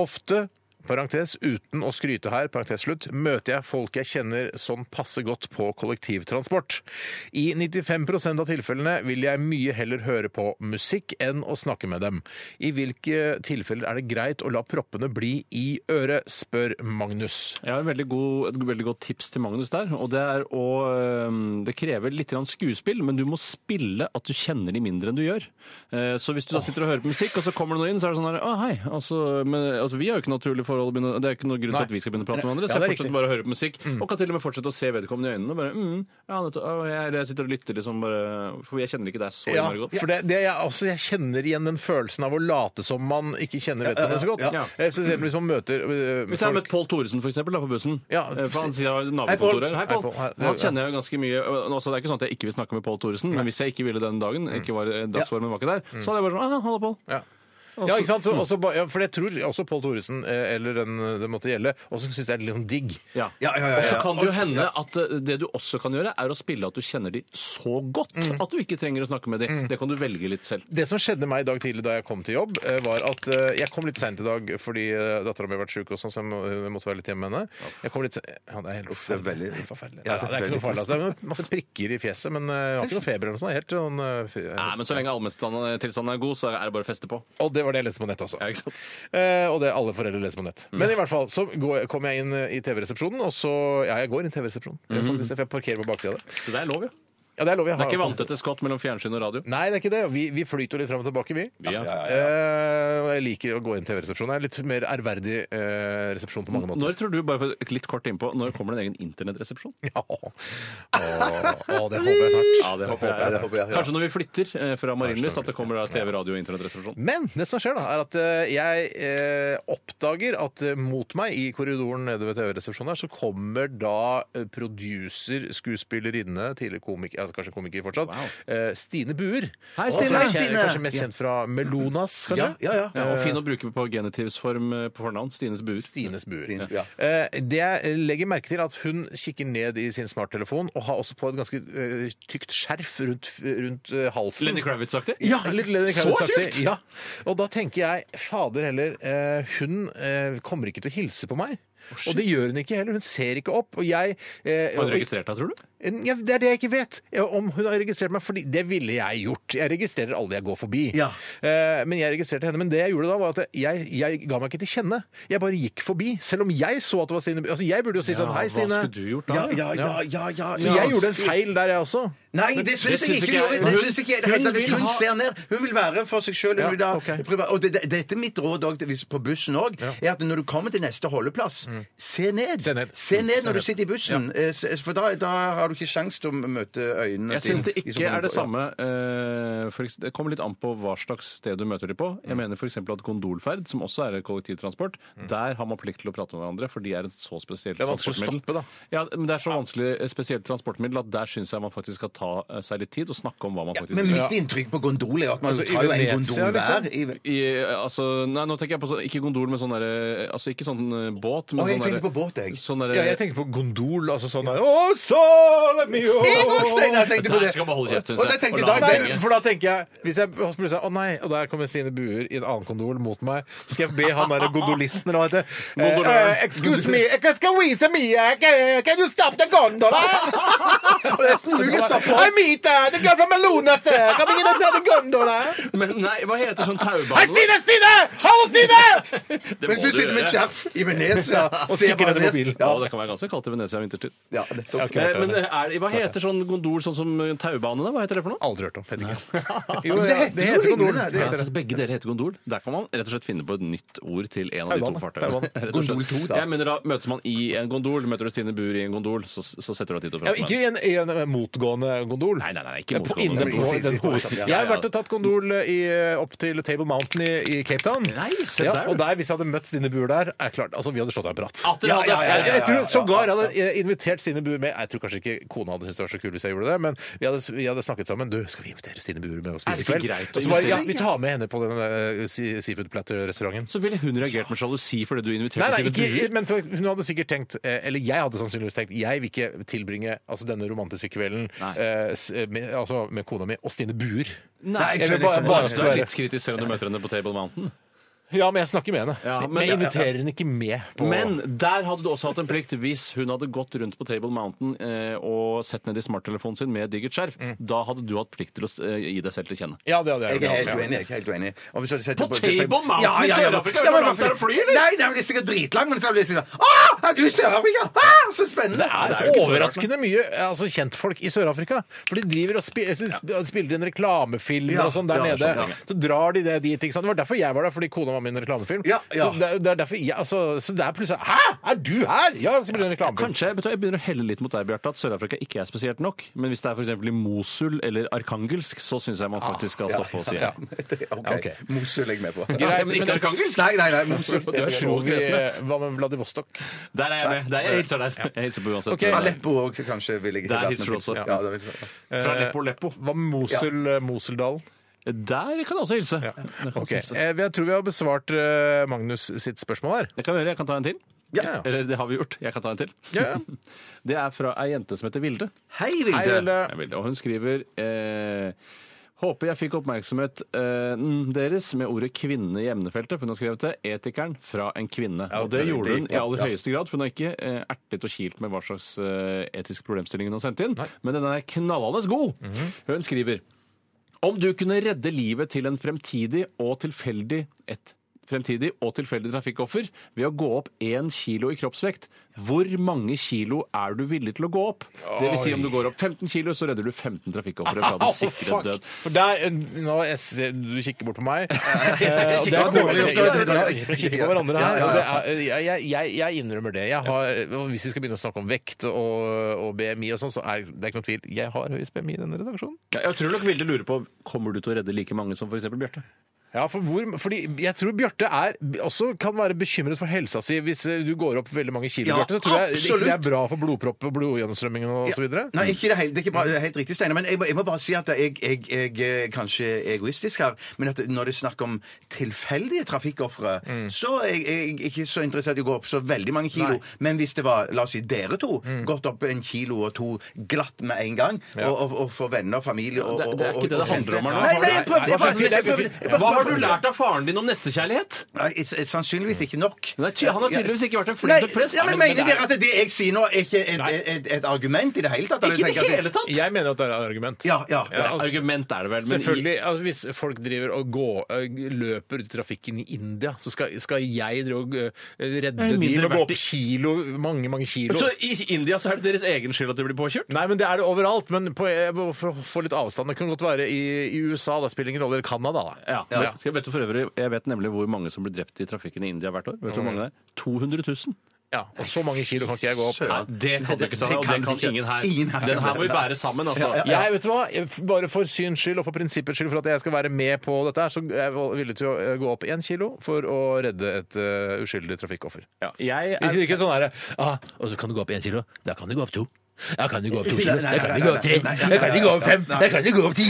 [SPEAKER 1] Ofte parentes, uten å skryte her, parentes slutt, møter jeg folk jeg kjenner som passer godt på kollektivtransport. I 95 av tilfellene vil jeg mye heller høre på musikk enn å snakke med dem. I hvilke tilfeller er det greit å la proppene bli i øret, spør Magnus.
[SPEAKER 3] Jeg har en veldig god, et veldig godt tips til Magnus der. og Det er å, øhm, det krever litt grann skuespill, men du må spille at du kjenner de mindre enn du gjør. Eh, Så hvis du da sitter og hører på musikk, og så kommer det noen inn, så er det sånn her Å, hei. Altså, men, altså, vi har jo ikke naturlig forhold, å begynne- det er ikke noen grunn til
[SPEAKER 1] Nei.
[SPEAKER 3] at vi skal begynne å prate med hverandre.
[SPEAKER 1] Ja,
[SPEAKER 3] Så
[SPEAKER 1] det
[SPEAKER 3] jeg
[SPEAKER 1] er
[SPEAKER 3] fortsetter
[SPEAKER 1] riktig. Mm.
[SPEAKER 3] bare å høre på musikk, og kan til og med fortsette å se vedkommende i øynene. og bare, mm, ja, nettopp, å, jeg, eller jeg sitter og lytter liksom bare For jeg kjenner ikke deg så
[SPEAKER 1] Ja,
[SPEAKER 3] innmari godt.
[SPEAKER 1] for det, det jeg, altså, jeg kjenner igjen den følelsen av å late som man ikke kjenner vedkommende så godt.
[SPEAKER 3] ja.
[SPEAKER 1] Eh, For eksempel hvis man møter øh,
[SPEAKER 3] Hvis jeg har
[SPEAKER 1] folk-
[SPEAKER 3] møtt Pål Thoresen for eksempel, da, på bussen
[SPEAKER 1] Ja,
[SPEAKER 3] eh, for Han sier jo
[SPEAKER 2] Pål.
[SPEAKER 3] nabokontoret. Hei,
[SPEAKER 1] Hei,
[SPEAKER 3] Pål!
[SPEAKER 1] Pål. Hei,
[SPEAKER 3] Han
[SPEAKER 1] ja.
[SPEAKER 3] kjenner jeg jo ganske mye. og Også, det er ikke sånn at jeg ikke vil snakke med Pål Thoresen, men hvis jeg ikke ville den dagen, ikke var eh, dagsformen var ikke der, så hadde jeg bare sånn «Ah, Halla, Pål.
[SPEAKER 1] Ja. Ja, ikke
[SPEAKER 3] Mm.
[SPEAKER 1] sant? Så, også, ba- ja, for jeg tror også Pål Thoresen, eh, eller den det måtte gjelde, også syns det er litt sånn digg.
[SPEAKER 3] Ja.
[SPEAKER 2] Ja, ja, ja, ja.
[SPEAKER 3] Og så kan det jo
[SPEAKER 2] Og-
[SPEAKER 3] hende at eh, det du også kan gjøre, er å spille at du kjenner de så godt at du ikke trenger å snakke med de. Det kan du velge litt selv.
[SPEAKER 1] Det som skjedde meg i dag tidlig da jeg kom til jobb, eh, var at eh, jeg kom litt seint i dag fordi eh, dattera mi har vært sjuk og sånn, så jeg må- jeg måtte være litt hjemme med henne. Jeg kom litt se- ja, det er helt
[SPEAKER 2] Det er veldig-
[SPEAKER 1] helt forferdelig.
[SPEAKER 2] Ja,
[SPEAKER 1] Ja,
[SPEAKER 2] det er
[SPEAKER 1] det er ikke
[SPEAKER 2] veldig
[SPEAKER 1] noe farlig. altså. Det er masse prikker i fjeset, men eh, jeg har ikke noe feber eller noe sånt. Helt sånn eh, fy-
[SPEAKER 3] Nei, men så lenge allmenntilstanden er god, så er det bare å feste på.
[SPEAKER 1] Og det var det jeg leste på nett også.
[SPEAKER 3] Ja, ikke sant? Mm.
[SPEAKER 1] Eh, og det alle foreldre leser på nett. Men i hvert fall så går, kom jeg inn eh, i TV-resepsjonen, og så Ja, jeg går inn i TV-resepsjonen, faktisk, for jeg parkerer på baksida der.
[SPEAKER 3] Så det er lov, ja.
[SPEAKER 1] Ja, det er lov. Jeg
[SPEAKER 3] Mm. Det er ikke
[SPEAKER 1] har-
[SPEAKER 3] vanntette skott mellom fjernsyn og radio.
[SPEAKER 1] Nei, det er ikke det. Vi, vi flyter jo litt fram og tilbake, vi.
[SPEAKER 3] Vi er-
[SPEAKER 1] Eh, og jeg liker å gå inn TV-resepsjonen. Det er litt mer ærverdig eh, resepsjon på mange måter.
[SPEAKER 3] Når tror du, bare for litt kort innpå, når kommer det en egen internettresepsjon?
[SPEAKER 1] Ja. Å, å, det håper jeg snart.
[SPEAKER 3] Ja, det håper jeg.
[SPEAKER 2] det håper jeg, ja.
[SPEAKER 3] Kanskje når vi flytter eh, fra Marienlyst, at det kommer da TV, radio og internettresepsjon.
[SPEAKER 1] Men det som skjer, da, er at eh, jeg eh, oppdager at eh, mot meg i korridoren nede ved TV-resepsjonen her, så kommer da eh, producer, skuespillerinne, tidligere komiker altså kanskje komiker fortsatt. Eh, Stine Buer.
[SPEAKER 3] Hei,
[SPEAKER 1] Og
[SPEAKER 3] Stine.
[SPEAKER 1] så er
[SPEAKER 3] Hei,
[SPEAKER 1] jeg
[SPEAKER 2] Stine.
[SPEAKER 1] Kanskje mest kjent fra Melonas, kanskje?
[SPEAKER 2] Ja, ja, ja.
[SPEAKER 3] Ja, og fin å bruke på genitivsform eh, på fornavn. Stines buer.
[SPEAKER 1] Stines buer.
[SPEAKER 2] Stines, ja.
[SPEAKER 1] Eh, Det jeg legger merke til, at hun kikker ned i sin smarttelefon og har også på et ganske eh, tykt skjerf rundt, rundt eh, halsen.
[SPEAKER 3] Lenny Kravitz-aktig?
[SPEAKER 1] Ja, litt Lenny
[SPEAKER 3] Så
[SPEAKER 1] Kravitz-aktig.
[SPEAKER 3] tjukt!
[SPEAKER 1] Ja. Og da tenker jeg, fader heller, eh, hun eh, kommer ikke til å hilse på meg. og det gjør hun ikke heller. Hun ser ikke opp. Og jeg eh,
[SPEAKER 3] Har du
[SPEAKER 1] og-
[SPEAKER 3] registrert deg, tror du?
[SPEAKER 1] ja, Det er det jeg ikke vet, ja, om hun har registrert meg. Fordi det ville jeg gjort. Jeg registrerer alle jeg går forbi.
[SPEAKER 2] Ja.
[SPEAKER 1] Eh, men jeg registrerte henne. Men det jeg gjorde da, var at jeg, jeg ga meg ikke til kjenne. Jeg bare gikk forbi. Selv om jeg så at det var Stine Altså, jeg burde jo si sånn Hei,
[SPEAKER 3] Hva
[SPEAKER 1] Stine.
[SPEAKER 3] skulle du gjort da?
[SPEAKER 2] Ja, ja, ja, ja, ja,
[SPEAKER 1] Så jeg gjorde en feil der, jeg også.
[SPEAKER 2] Nei, det syns jeg
[SPEAKER 3] synes
[SPEAKER 2] ikke
[SPEAKER 3] ikke
[SPEAKER 2] du gjorde.
[SPEAKER 3] jeg.
[SPEAKER 2] Det
[SPEAKER 3] Hun-
[SPEAKER 2] syns ikke jeg. Det
[SPEAKER 3] hun
[SPEAKER 2] heter, hvis
[SPEAKER 3] vil
[SPEAKER 2] hun
[SPEAKER 3] ha-
[SPEAKER 2] ser ned, hun vil være for seg sjøl.
[SPEAKER 1] Ja, ok.
[SPEAKER 2] Og det, det, dette er mitt råd også, hvis- på bussen òg, er at når du kommer til neste holdeplass,
[SPEAKER 3] Mm.
[SPEAKER 2] se ned.
[SPEAKER 1] Se ned.
[SPEAKER 2] Se
[SPEAKER 1] Mm,
[SPEAKER 2] ned
[SPEAKER 1] se
[SPEAKER 2] når du
[SPEAKER 1] ned.
[SPEAKER 2] sitter i bussen, eh, s- for da, da har du ikke sjans til å møte øynene
[SPEAKER 3] Jeg
[SPEAKER 2] til
[SPEAKER 3] syns det
[SPEAKER 2] de
[SPEAKER 3] ikke
[SPEAKER 2] som
[SPEAKER 3] er det
[SPEAKER 2] kommer på-
[SPEAKER 3] samme. eh, For ekse- det kommer litt an på hva slags sted du møter de på. Jeg mener f.eks. at gondolferd, som også er kollektivtransport, der har man plikt til å prate med hverandre, for de Mm. er et så spesielt
[SPEAKER 1] Det er vanskelig å
[SPEAKER 3] transportmiddel.
[SPEAKER 1] stoppe, da.
[SPEAKER 3] Ja, men det er så vanskelig eh, spesielt transportmiddel at der syns jeg man faktisk skal ta eh, seg litt tid og snakke om hva man
[SPEAKER 2] Ja.
[SPEAKER 3] faktisk
[SPEAKER 2] Men
[SPEAKER 3] gjør.
[SPEAKER 2] mitt inntrykk på gondol er at man
[SPEAKER 1] Altså, i
[SPEAKER 2] tar jo en
[SPEAKER 1] Venezia,
[SPEAKER 2] gondol hver.
[SPEAKER 1] liksom.
[SPEAKER 2] i-
[SPEAKER 3] I, altså, nei, nå tenker jeg på sånn, ikke gondol, men sånn derre Altså ikke sånn eh, båt, men
[SPEAKER 2] Å, jeg
[SPEAKER 3] sånn
[SPEAKER 2] tenkte på
[SPEAKER 3] derre-
[SPEAKER 2] båt, jeg.
[SPEAKER 3] Sånn derre
[SPEAKER 1] Ja, jeg tenker på gondol, altså sånn der, «Å, sole mio!»
[SPEAKER 2] Jeg òg, Steinar, tenkte på
[SPEAKER 3] Der
[SPEAKER 2] det.
[SPEAKER 3] skal man holde kjeft, synes
[SPEAKER 2] Og
[SPEAKER 3] jeg.
[SPEAKER 2] da tenker
[SPEAKER 3] Og
[SPEAKER 2] jeg,
[SPEAKER 3] la
[SPEAKER 2] da,
[SPEAKER 3] den
[SPEAKER 1] Nei,
[SPEAKER 2] det,
[SPEAKER 3] henge.
[SPEAKER 1] for da tenker jeg Hvis jeg og så plutselig sier å nei, og der kommer Stine Buer i en annen gondol mot meg, skal jeg be han der gondolisten eller hva det heter eh,
[SPEAKER 3] Gondoløren.
[SPEAKER 1] eh, Excuse me, jeg skal vise meg eh, Can can you stop the gondola? Og jeg snur meg og stopper. I meet eh, the girl from Alona, sir. Come in another gondola.
[SPEAKER 3] Men nei, hva heter sånn
[SPEAKER 1] Hei,
[SPEAKER 3] taubane?
[SPEAKER 1] Stine, Stine! Hallo, Stine!
[SPEAKER 3] Det
[SPEAKER 2] mens du sitter med skjerf i Venezia
[SPEAKER 1] Og
[SPEAKER 2] ser
[SPEAKER 1] kikker
[SPEAKER 2] bare
[SPEAKER 1] ned i mobilen.
[SPEAKER 2] Ja,
[SPEAKER 3] Ja, det kan være ganske kaldt i Venezia vinterstid.
[SPEAKER 2] ja, nettopp.
[SPEAKER 3] Eh, Men er, det- hva heter sånn gondol sånn som eh, taubane? da? Hva heter det for noe?
[SPEAKER 1] Aldri hørt om. Vet ikke. Jo,
[SPEAKER 2] Men
[SPEAKER 1] ja,
[SPEAKER 2] det heter jo lignende, det
[SPEAKER 1] Det
[SPEAKER 3] Ja,
[SPEAKER 1] heter det.
[SPEAKER 3] så begge dere heter gondol. Der kan man rett og slett finne på et nytt ord til en av de
[SPEAKER 1] Taubane.
[SPEAKER 3] to
[SPEAKER 1] Taubane.
[SPEAKER 3] fartøyene. Rett og slett.
[SPEAKER 2] Gondol to, da.
[SPEAKER 3] Jeg mener da møtes man i en gondol. Møter du Stine Buer i en gondol, så, så setter du deg dit og
[SPEAKER 1] Ja,
[SPEAKER 3] prater
[SPEAKER 1] men ikke
[SPEAKER 3] med henne.
[SPEAKER 1] i en, i en eh, motgående gondol.
[SPEAKER 3] Nei, nei, nei, ikke
[SPEAKER 1] Ja, på-
[SPEAKER 3] motgående.
[SPEAKER 1] inne på
[SPEAKER 2] Inne
[SPEAKER 1] den
[SPEAKER 2] på-
[SPEAKER 1] hovedstaden.
[SPEAKER 2] Ja,
[SPEAKER 1] Jeg har
[SPEAKER 3] ja.
[SPEAKER 1] vært og tatt gondol eh, i, opp til Table Mountain i, i Cape Town.
[SPEAKER 3] Nei, se der.
[SPEAKER 1] og der, Hvis jeg hadde møtt Stine Buer der, er klart, altså vi hadde slått av en prat.
[SPEAKER 3] At dere hadde-
[SPEAKER 1] Jeg- Jeg tror sågar jeg hadde eh, invitert Stine Buer med. Jeg tror kanskje ikke kona hadde syntes det var så kul hvis jeg gjorde det, men vi hadde, vi hadde snakket sammen. Du, skal vi invitere Stine Buer med og
[SPEAKER 3] Er
[SPEAKER 1] spise
[SPEAKER 3] det
[SPEAKER 1] i
[SPEAKER 3] ikke
[SPEAKER 1] kveld?
[SPEAKER 3] greit
[SPEAKER 1] Og
[SPEAKER 3] å
[SPEAKER 1] så bare, ja,
[SPEAKER 3] investere?
[SPEAKER 1] vi tar med henne på den eh, sea- seafood platter-restauranten.
[SPEAKER 3] Så ville hun reagert med sjalusi fordi du inviterte
[SPEAKER 1] Nei, nei,
[SPEAKER 3] Stine
[SPEAKER 1] ikke,
[SPEAKER 3] Buer.
[SPEAKER 1] men hun hadde sikkert tenkt eh, Eller jeg hadde sannsynligvis tenkt Jeg vil ikke tilbringe altså, denne romantiske kvelden
[SPEAKER 3] Nei.
[SPEAKER 1] eh, s- med, altså, med kona mi og Stine Buer.
[SPEAKER 2] Nei, jeg
[SPEAKER 1] Jeg vil
[SPEAKER 2] skjønner,
[SPEAKER 1] bare,
[SPEAKER 2] jeg skjønner,
[SPEAKER 1] bare
[SPEAKER 2] jeg
[SPEAKER 3] Så du er
[SPEAKER 1] spørre.
[SPEAKER 3] litt kritisk selv om du møter henne på Table Mountain.
[SPEAKER 1] Ja, men jeg snakker med henne.
[SPEAKER 3] Ja, men-
[SPEAKER 1] men, jeg inviterer henne ikke med på
[SPEAKER 3] Men der hadde du også hatt en plikt hvis hun hadde gått rundt på Table Mountain eh, og sett ned i smarttelefonen sin med et digert skjerf. Da hadde du hatt plikt til å eh, gi deg selv til kjenne.
[SPEAKER 1] Ja, det hadde jeg.
[SPEAKER 2] Jeg er helt
[SPEAKER 1] Ja.
[SPEAKER 2] uenig. Jeg er helt uenig. Og hvis du hadde sett
[SPEAKER 3] På
[SPEAKER 2] det
[SPEAKER 3] Table Mountain
[SPEAKER 2] Ja, ja, ja,
[SPEAKER 3] i
[SPEAKER 2] ja,
[SPEAKER 3] Sør-Afrika? Vet du
[SPEAKER 2] men
[SPEAKER 3] hvor langt det er å fly, eller?
[SPEAKER 2] Nei, nei, men det er sikkert dritlangt, men så blir det sikkert Å, er du i Sør-Afrika? Ah, så spennende!
[SPEAKER 1] Det er
[SPEAKER 3] Det er jo ikke så
[SPEAKER 1] overraskende mye altså, kjentfolk i Sør-Afrika. For de driver og spiller, spiller inn reklamefilmer
[SPEAKER 2] Ja,
[SPEAKER 1] og sånn der
[SPEAKER 2] ja,
[SPEAKER 1] nede.
[SPEAKER 2] sånn, ja.
[SPEAKER 1] Så drar de det dit. Ikke sant? Det var derfor jeg var der, fordi kona var med i en reklamefilm.
[SPEAKER 2] Ja, ja.
[SPEAKER 1] Så, det, er- det er derfor jeg, altså, så det er plutselig Hæ! Er du her?! Ja, jeg spiller en reklamefilm.
[SPEAKER 3] Kanskje jeg, vet du, hva, jeg begynner å helle litt mot deg, Bjarte, at Sør-Afrika ikke er spesielt nok. Men hvis det er for eksempel i Mosul eller Arkangelsk, så syns jeg man faktisk skal stoppe og si ja.
[SPEAKER 2] OK.
[SPEAKER 1] Ok.
[SPEAKER 2] Mosul legger med på.
[SPEAKER 1] Greit, men det-
[SPEAKER 3] Arkangelsk?
[SPEAKER 2] Nei, nei, nei, Mosul.
[SPEAKER 3] Du er
[SPEAKER 1] Tror vi, eh,
[SPEAKER 3] kresne.
[SPEAKER 1] hva med Vladivostok?
[SPEAKER 3] Der er jeg med. Der, jeg hilser der. Jeg hilser på uansett.
[SPEAKER 1] Ok.
[SPEAKER 2] Aleppo òg, kanskje. Vil jeg
[SPEAKER 3] Der
[SPEAKER 2] vært med
[SPEAKER 3] hilser
[SPEAKER 2] til.
[SPEAKER 3] du også.
[SPEAKER 2] Ja, der hilser du.
[SPEAKER 3] Fra Leppo Leppo.
[SPEAKER 1] Hva med Mosul, Moseldalen?
[SPEAKER 3] Der kan jeg også hilse. Der kan
[SPEAKER 1] Ok,
[SPEAKER 3] jeg
[SPEAKER 1] eh,
[SPEAKER 3] også hilse.
[SPEAKER 1] Jeg tror vi har besvart eh, Magnus sitt spørsmål her.
[SPEAKER 3] Det kan vi gjøre. Jeg kan ta en til.
[SPEAKER 1] Ja.
[SPEAKER 3] Eller det har vi gjort. Jeg kan ta en til.
[SPEAKER 1] Ja, ja.
[SPEAKER 3] Det er fra ei jente som heter Vilde.
[SPEAKER 2] Hei,
[SPEAKER 1] Hei,
[SPEAKER 2] Vilde.
[SPEAKER 1] Vilde.
[SPEAKER 3] Det er Vilde. Og hun skriver eh, Håper jeg fikk oppmerksomhet eh, n- deres med ordet 'kvinne' i emnefeltet. For hun har skrevet det 'Etikeren fra en kvinne'. og det
[SPEAKER 2] det-
[SPEAKER 3] gjorde
[SPEAKER 2] det-
[SPEAKER 3] hun i
[SPEAKER 2] ja,
[SPEAKER 3] aller
[SPEAKER 2] ja.
[SPEAKER 3] høyeste grad. For hun har ikke eh, ertet og kilt med hva slags eh, etisk problemstilling hun har sendt inn. Men den er knallende god. Hun skriver om du kunne redde livet til en fremtidig og tilfeldig et fremtidig og tilfeldig trafikkoffer ved å gå opp én kilo i kroppsvekt, hvor mange kilo er du villig til å gå opp? Det vil si om du går opp 15 kilo, så redder du 15 trafikkofre fra den
[SPEAKER 1] Au,
[SPEAKER 3] sikre
[SPEAKER 1] fuck!
[SPEAKER 3] død.
[SPEAKER 1] For der, eh, nå jeg, ser- du kikker bort på meg.
[SPEAKER 2] Jeg
[SPEAKER 1] Eh, og det
[SPEAKER 2] kikker
[SPEAKER 1] er
[SPEAKER 2] på
[SPEAKER 1] dårlig
[SPEAKER 2] hverandre.
[SPEAKER 1] gjort, da. Vi kikker på hverandre
[SPEAKER 2] Ja,
[SPEAKER 1] her.
[SPEAKER 2] ja,
[SPEAKER 1] og det er- Jeg, jeg- jeg, jeg innrømmer det. Jeg har, og hvis vi skal begynne å snakke om vekt og, og BMI og sånn, så er det er ikke noen tvil. Jeg har høyest BMI i denne redaksjonen.
[SPEAKER 3] Ja, Jeg tror nok Vilde lurer på kommer du til å redde like mange som f.eks. Bjarte.
[SPEAKER 1] Ja, for hvor, fordi jeg tror Bjarte er, også kan være bekymret for helsa si. Hvis eh, du går opp veldig mange kilo,
[SPEAKER 2] Ja,
[SPEAKER 1] Bjarte, så tror jeg ikke det
[SPEAKER 2] absolutt.
[SPEAKER 1] er bra for blodpropp og blodgjennomstrømmingen og så videre.
[SPEAKER 2] Nei, ikke det, helt, det er ikke
[SPEAKER 3] Mm.
[SPEAKER 2] bra, det er helt riktig, Steinar. Men jeg, må- jeg må bare si at jeg, jeg, jeg er kanskje egoistisk her, men at når det er snakk om tilfeldige trafikkofre,
[SPEAKER 3] Mm.
[SPEAKER 2] så er jeg, jeg ikke så interessert i å gå opp så veldig mange kilo. Men hvis det var, la oss si, dere to,
[SPEAKER 3] Mm.
[SPEAKER 2] gått opp en kilo og to glatt med en gang, og, og, og for venner og familie og,
[SPEAKER 3] Det,
[SPEAKER 2] og,
[SPEAKER 3] det er
[SPEAKER 2] og-
[SPEAKER 3] ikke det det
[SPEAKER 2] og kjente-
[SPEAKER 3] handler om her nå.
[SPEAKER 2] Nei, nei,
[SPEAKER 3] Har
[SPEAKER 2] jeg
[SPEAKER 3] du-
[SPEAKER 2] prøvde, jeg
[SPEAKER 3] Hva
[SPEAKER 2] bare,
[SPEAKER 3] slags-
[SPEAKER 2] jeg prøvde, jeg bare-
[SPEAKER 3] Hva har du lært av faren din om nestekjærlighet?
[SPEAKER 2] Nei, s- s- sannsynligvis ikke nok.
[SPEAKER 3] Nei, ty- han har tydeligvis ikke vært en
[SPEAKER 2] Nei,
[SPEAKER 3] flink prest.
[SPEAKER 2] ja, men Mener dere at det jeg sier nå, er ikke et, et, et, et argument i det hele tatt? Eller
[SPEAKER 3] Ikke i
[SPEAKER 2] tenker
[SPEAKER 3] det
[SPEAKER 2] jeg at
[SPEAKER 3] hele tatt!
[SPEAKER 1] Jeg mener at det er et argument.
[SPEAKER 2] Ja, ja.
[SPEAKER 3] Det
[SPEAKER 1] altså-
[SPEAKER 3] er argument er det vel, men
[SPEAKER 1] Selvfølgelig, altså Hvis folk driver og går, eh, løper ut i trafikken i India, så skal, skal jeg drive og eh, redde
[SPEAKER 3] Det er
[SPEAKER 1] de
[SPEAKER 3] mindre
[SPEAKER 1] med å gå
[SPEAKER 3] verdt.
[SPEAKER 1] opp kilo, mange mange kilo.
[SPEAKER 3] Så i India så er det deres egen skyld at de blir påkjørt?
[SPEAKER 1] Nei, men Det er det overalt. Men på, jeg må få få litt avstand. Det kan godt være i, i USA, da spiller ingen rolle. Eller Canada. da.
[SPEAKER 3] Ja. Skal jeg, vet du for øvrig, jeg vet nemlig hvor mange som blir drept i trafikken i India hvert år. Vet du hvor mange det er? 200 000.
[SPEAKER 1] Ja, og så mange kilo kan ikke jeg gå opp.
[SPEAKER 2] Søren.
[SPEAKER 3] Nei, det kan du ikke, Sanne,
[SPEAKER 2] det
[SPEAKER 3] og
[SPEAKER 2] kan
[SPEAKER 3] det kan
[SPEAKER 2] ikke.
[SPEAKER 3] ingen her.
[SPEAKER 2] Ingen her
[SPEAKER 3] Den
[SPEAKER 2] kan
[SPEAKER 3] her må
[SPEAKER 2] det.
[SPEAKER 3] vi bære sammen, altså.
[SPEAKER 1] Jeg, vet du hva? Jeg- Bare for syns skyld og for prinsippets skyld for at jeg skal være med på dette, her, så er jeg villig til å eh, gå opp én kilo for å redde et eh, uskyldig trafikkoffer.
[SPEAKER 3] Ja, Jeg
[SPEAKER 1] Ikke,
[SPEAKER 3] er
[SPEAKER 1] ikke sånn herre ah, Og så kan du gå opp én kilo. Da kan du gå opp to. Da kan du gå opp to
[SPEAKER 2] Nei,
[SPEAKER 1] kilo.
[SPEAKER 2] nei,
[SPEAKER 1] Da kan
[SPEAKER 2] nei,
[SPEAKER 1] du gå opp tre.
[SPEAKER 2] nei, nei,
[SPEAKER 1] Da kan du gå opp fem. Da kan du gå opp ti.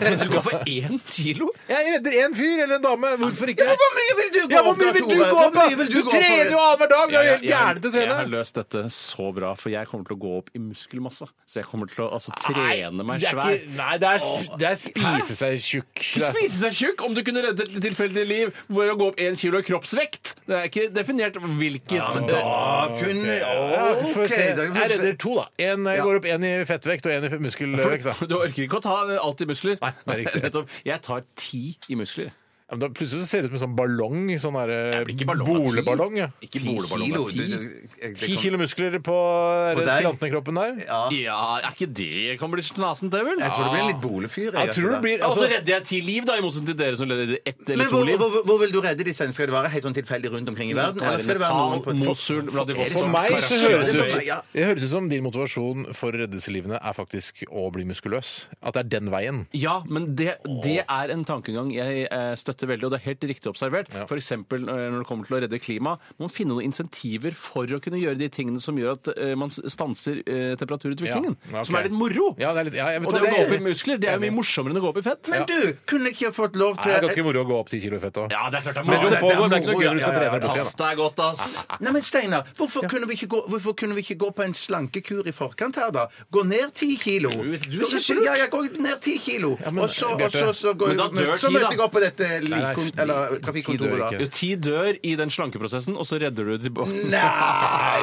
[SPEAKER 3] Du går for én kilo?
[SPEAKER 1] Jeg redder én fyr eller en dame. Hvorfor ikke?
[SPEAKER 2] Ja, hvor mye vil du gå
[SPEAKER 1] Ja, hvor
[SPEAKER 2] opp
[SPEAKER 1] mye
[SPEAKER 2] da,
[SPEAKER 1] vil du gå
[SPEAKER 2] Tore? Hvor
[SPEAKER 1] opp da?
[SPEAKER 2] mye vil
[SPEAKER 1] Du
[SPEAKER 2] gå opp,
[SPEAKER 1] trener
[SPEAKER 2] Tore?
[SPEAKER 1] jo annenhver dag! Du er jo helt
[SPEAKER 3] jeg-
[SPEAKER 1] gæren til å
[SPEAKER 3] Jeg har
[SPEAKER 1] trene.
[SPEAKER 3] løst dette så bra, for jeg kommer til å gå opp i muskelmasse. Så jeg kommer til å altså,
[SPEAKER 1] Nei,
[SPEAKER 3] trene meg
[SPEAKER 1] det er
[SPEAKER 3] svær.
[SPEAKER 1] ikke- Nei, det er, sp- det er spise seg tjukk. Det er-
[SPEAKER 3] Spise seg tjukk om du kunne redde et tilfeldig liv ved å gå opp én kilo i kroppsvekt. Det er ikke definert hvilket
[SPEAKER 2] Da kunne
[SPEAKER 1] Ja, vi får
[SPEAKER 2] OK,
[SPEAKER 1] se.
[SPEAKER 2] da
[SPEAKER 1] Jeg
[SPEAKER 2] får vi
[SPEAKER 1] redder
[SPEAKER 2] se.
[SPEAKER 1] to, da. En eh,
[SPEAKER 2] Ja.
[SPEAKER 1] går opp én i fettvekt og én i muskelvekt. Da.
[SPEAKER 3] Du orker ikke å ta eh, alt i muskler.
[SPEAKER 1] Nei, det er riktig.
[SPEAKER 3] Nettopp. Jeg tar ti i muskler.
[SPEAKER 1] Ja, men da plutselig så ser det ut som en sånn ballong. Sånn der, eh,
[SPEAKER 3] Det blir ikke ballong altså. av ti.
[SPEAKER 1] boleballong. Ja.
[SPEAKER 3] Ikke
[SPEAKER 2] Ti
[SPEAKER 3] boleballong av
[SPEAKER 2] kilo,
[SPEAKER 3] ti.
[SPEAKER 2] du- du- jeg- det
[SPEAKER 1] Ti
[SPEAKER 2] kom-
[SPEAKER 1] kilo muskler på,
[SPEAKER 2] På
[SPEAKER 1] på
[SPEAKER 2] deg?
[SPEAKER 1] skranten i kroppen der.
[SPEAKER 2] Ja.
[SPEAKER 3] Ja, er ikke det kan bli snasen, det vel?
[SPEAKER 2] Jeg tror det blir en litt bolefyr.
[SPEAKER 1] Jeg tror det blir
[SPEAKER 3] Ja, Og så
[SPEAKER 1] altså,
[SPEAKER 3] redder jeg ti liv, da, i motsetning til dere som redder ett eller
[SPEAKER 2] men hvor,
[SPEAKER 3] to liv.
[SPEAKER 2] hvor, hvor vil du redde disse? Skal det være helt sånn tilfeldig rundt omkring i verden? Eller skal det være noen på
[SPEAKER 3] Mosul, Vladivostok,
[SPEAKER 1] For meg så høres det
[SPEAKER 2] sånn?
[SPEAKER 3] Karasjok.
[SPEAKER 2] altså, for meg,
[SPEAKER 1] ut
[SPEAKER 2] ja.
[SPEAKER 1] Det høres ut som din motivasjon for å redde disse livene er faktisk å bli muskuløs. At det er den veien.
[SPEAKER 3] Ja, men det, det er en tankegang jeg eh, støtter veldig, og det er helt riktig observert. For F.eks. når det kommer til å redde klima, må man finne noen insentiver for å kunne gjøre de tingene som gjør at eh, man stanser eh, temperaturutviklingen.
[SPEAKER 1] Ja, ok.
[SPEAKER 3] Som er litt moro.
[SPEAKER 1] Ja, det er litt, ja, jeg vet
[SPEAKER 3] og det
[SPEAKER 1] hva,
[SPEAKER 3] å gå opp i muskler det er jo mye morsommere enn å gå opp i fett.
[SPEAKER 2] Men du, kunne ikke jeg fått lov
[SPEAKER 1] Nei,
[SPEAKER 2] til
[SPEAKER 1] det er ganske moro å gå opp ti kilo i fett òg.
[SPEAKER 3] Ja, det er klart det er
[SPEAKER 1] Men du
[SPEAKER 2] altså,
[SPEAKER 3] moro.
[SPEAKER 2] det er
[SPEAKER 1] pågår, men det er ikke noe
[SPEAKER 2] moro,
[SPEAKER 1] gøy når du skal trene
[SPEAKER 2] ja, ja, ja.
[SPEAKER 1] deg bort igjen. da.
[SPEAKER 3] Pasta er godt, ass.
[SPEAKER 2] Nei, men Steinar, hvorfor, kunne vi ikke gå- hvorfor kunne vi ikke gå på en slankekur i forkant her, da? Gå ned ti kilo.
[SPEAKER 3] du er så
[SPEAKER 2] Ikke- Ja, jeg går ned ti kilo.
[SPEAKER 1] men,
[SPEAKER 2] Og så, og
[SPEAKER 1] Bjarte,
[SPEAKER 2] så, så, går
[SPEAKER 3] men da
[SPEAKER 2] jeg, men,
[SPEAKER 3] dør
[SPEAKER 2] så
[SPEAKER 3] ti,
[SPEAKER 2] møter
[SPEAKER 3] da.
[SPEAKER 2] jeg opp på dette likkon-
[SPEAKER 1] Nei,
[SPEAKER 2] eller
[SPEAKER 1] ti dør
[SPEAKER 2] trafikkontoret,
[SPEAKER 1] ikke.
[SPEAKER 2] da.
[SPEAKER 3] Jo, ti dør i den slankeprosessen, og så redder du tilbake.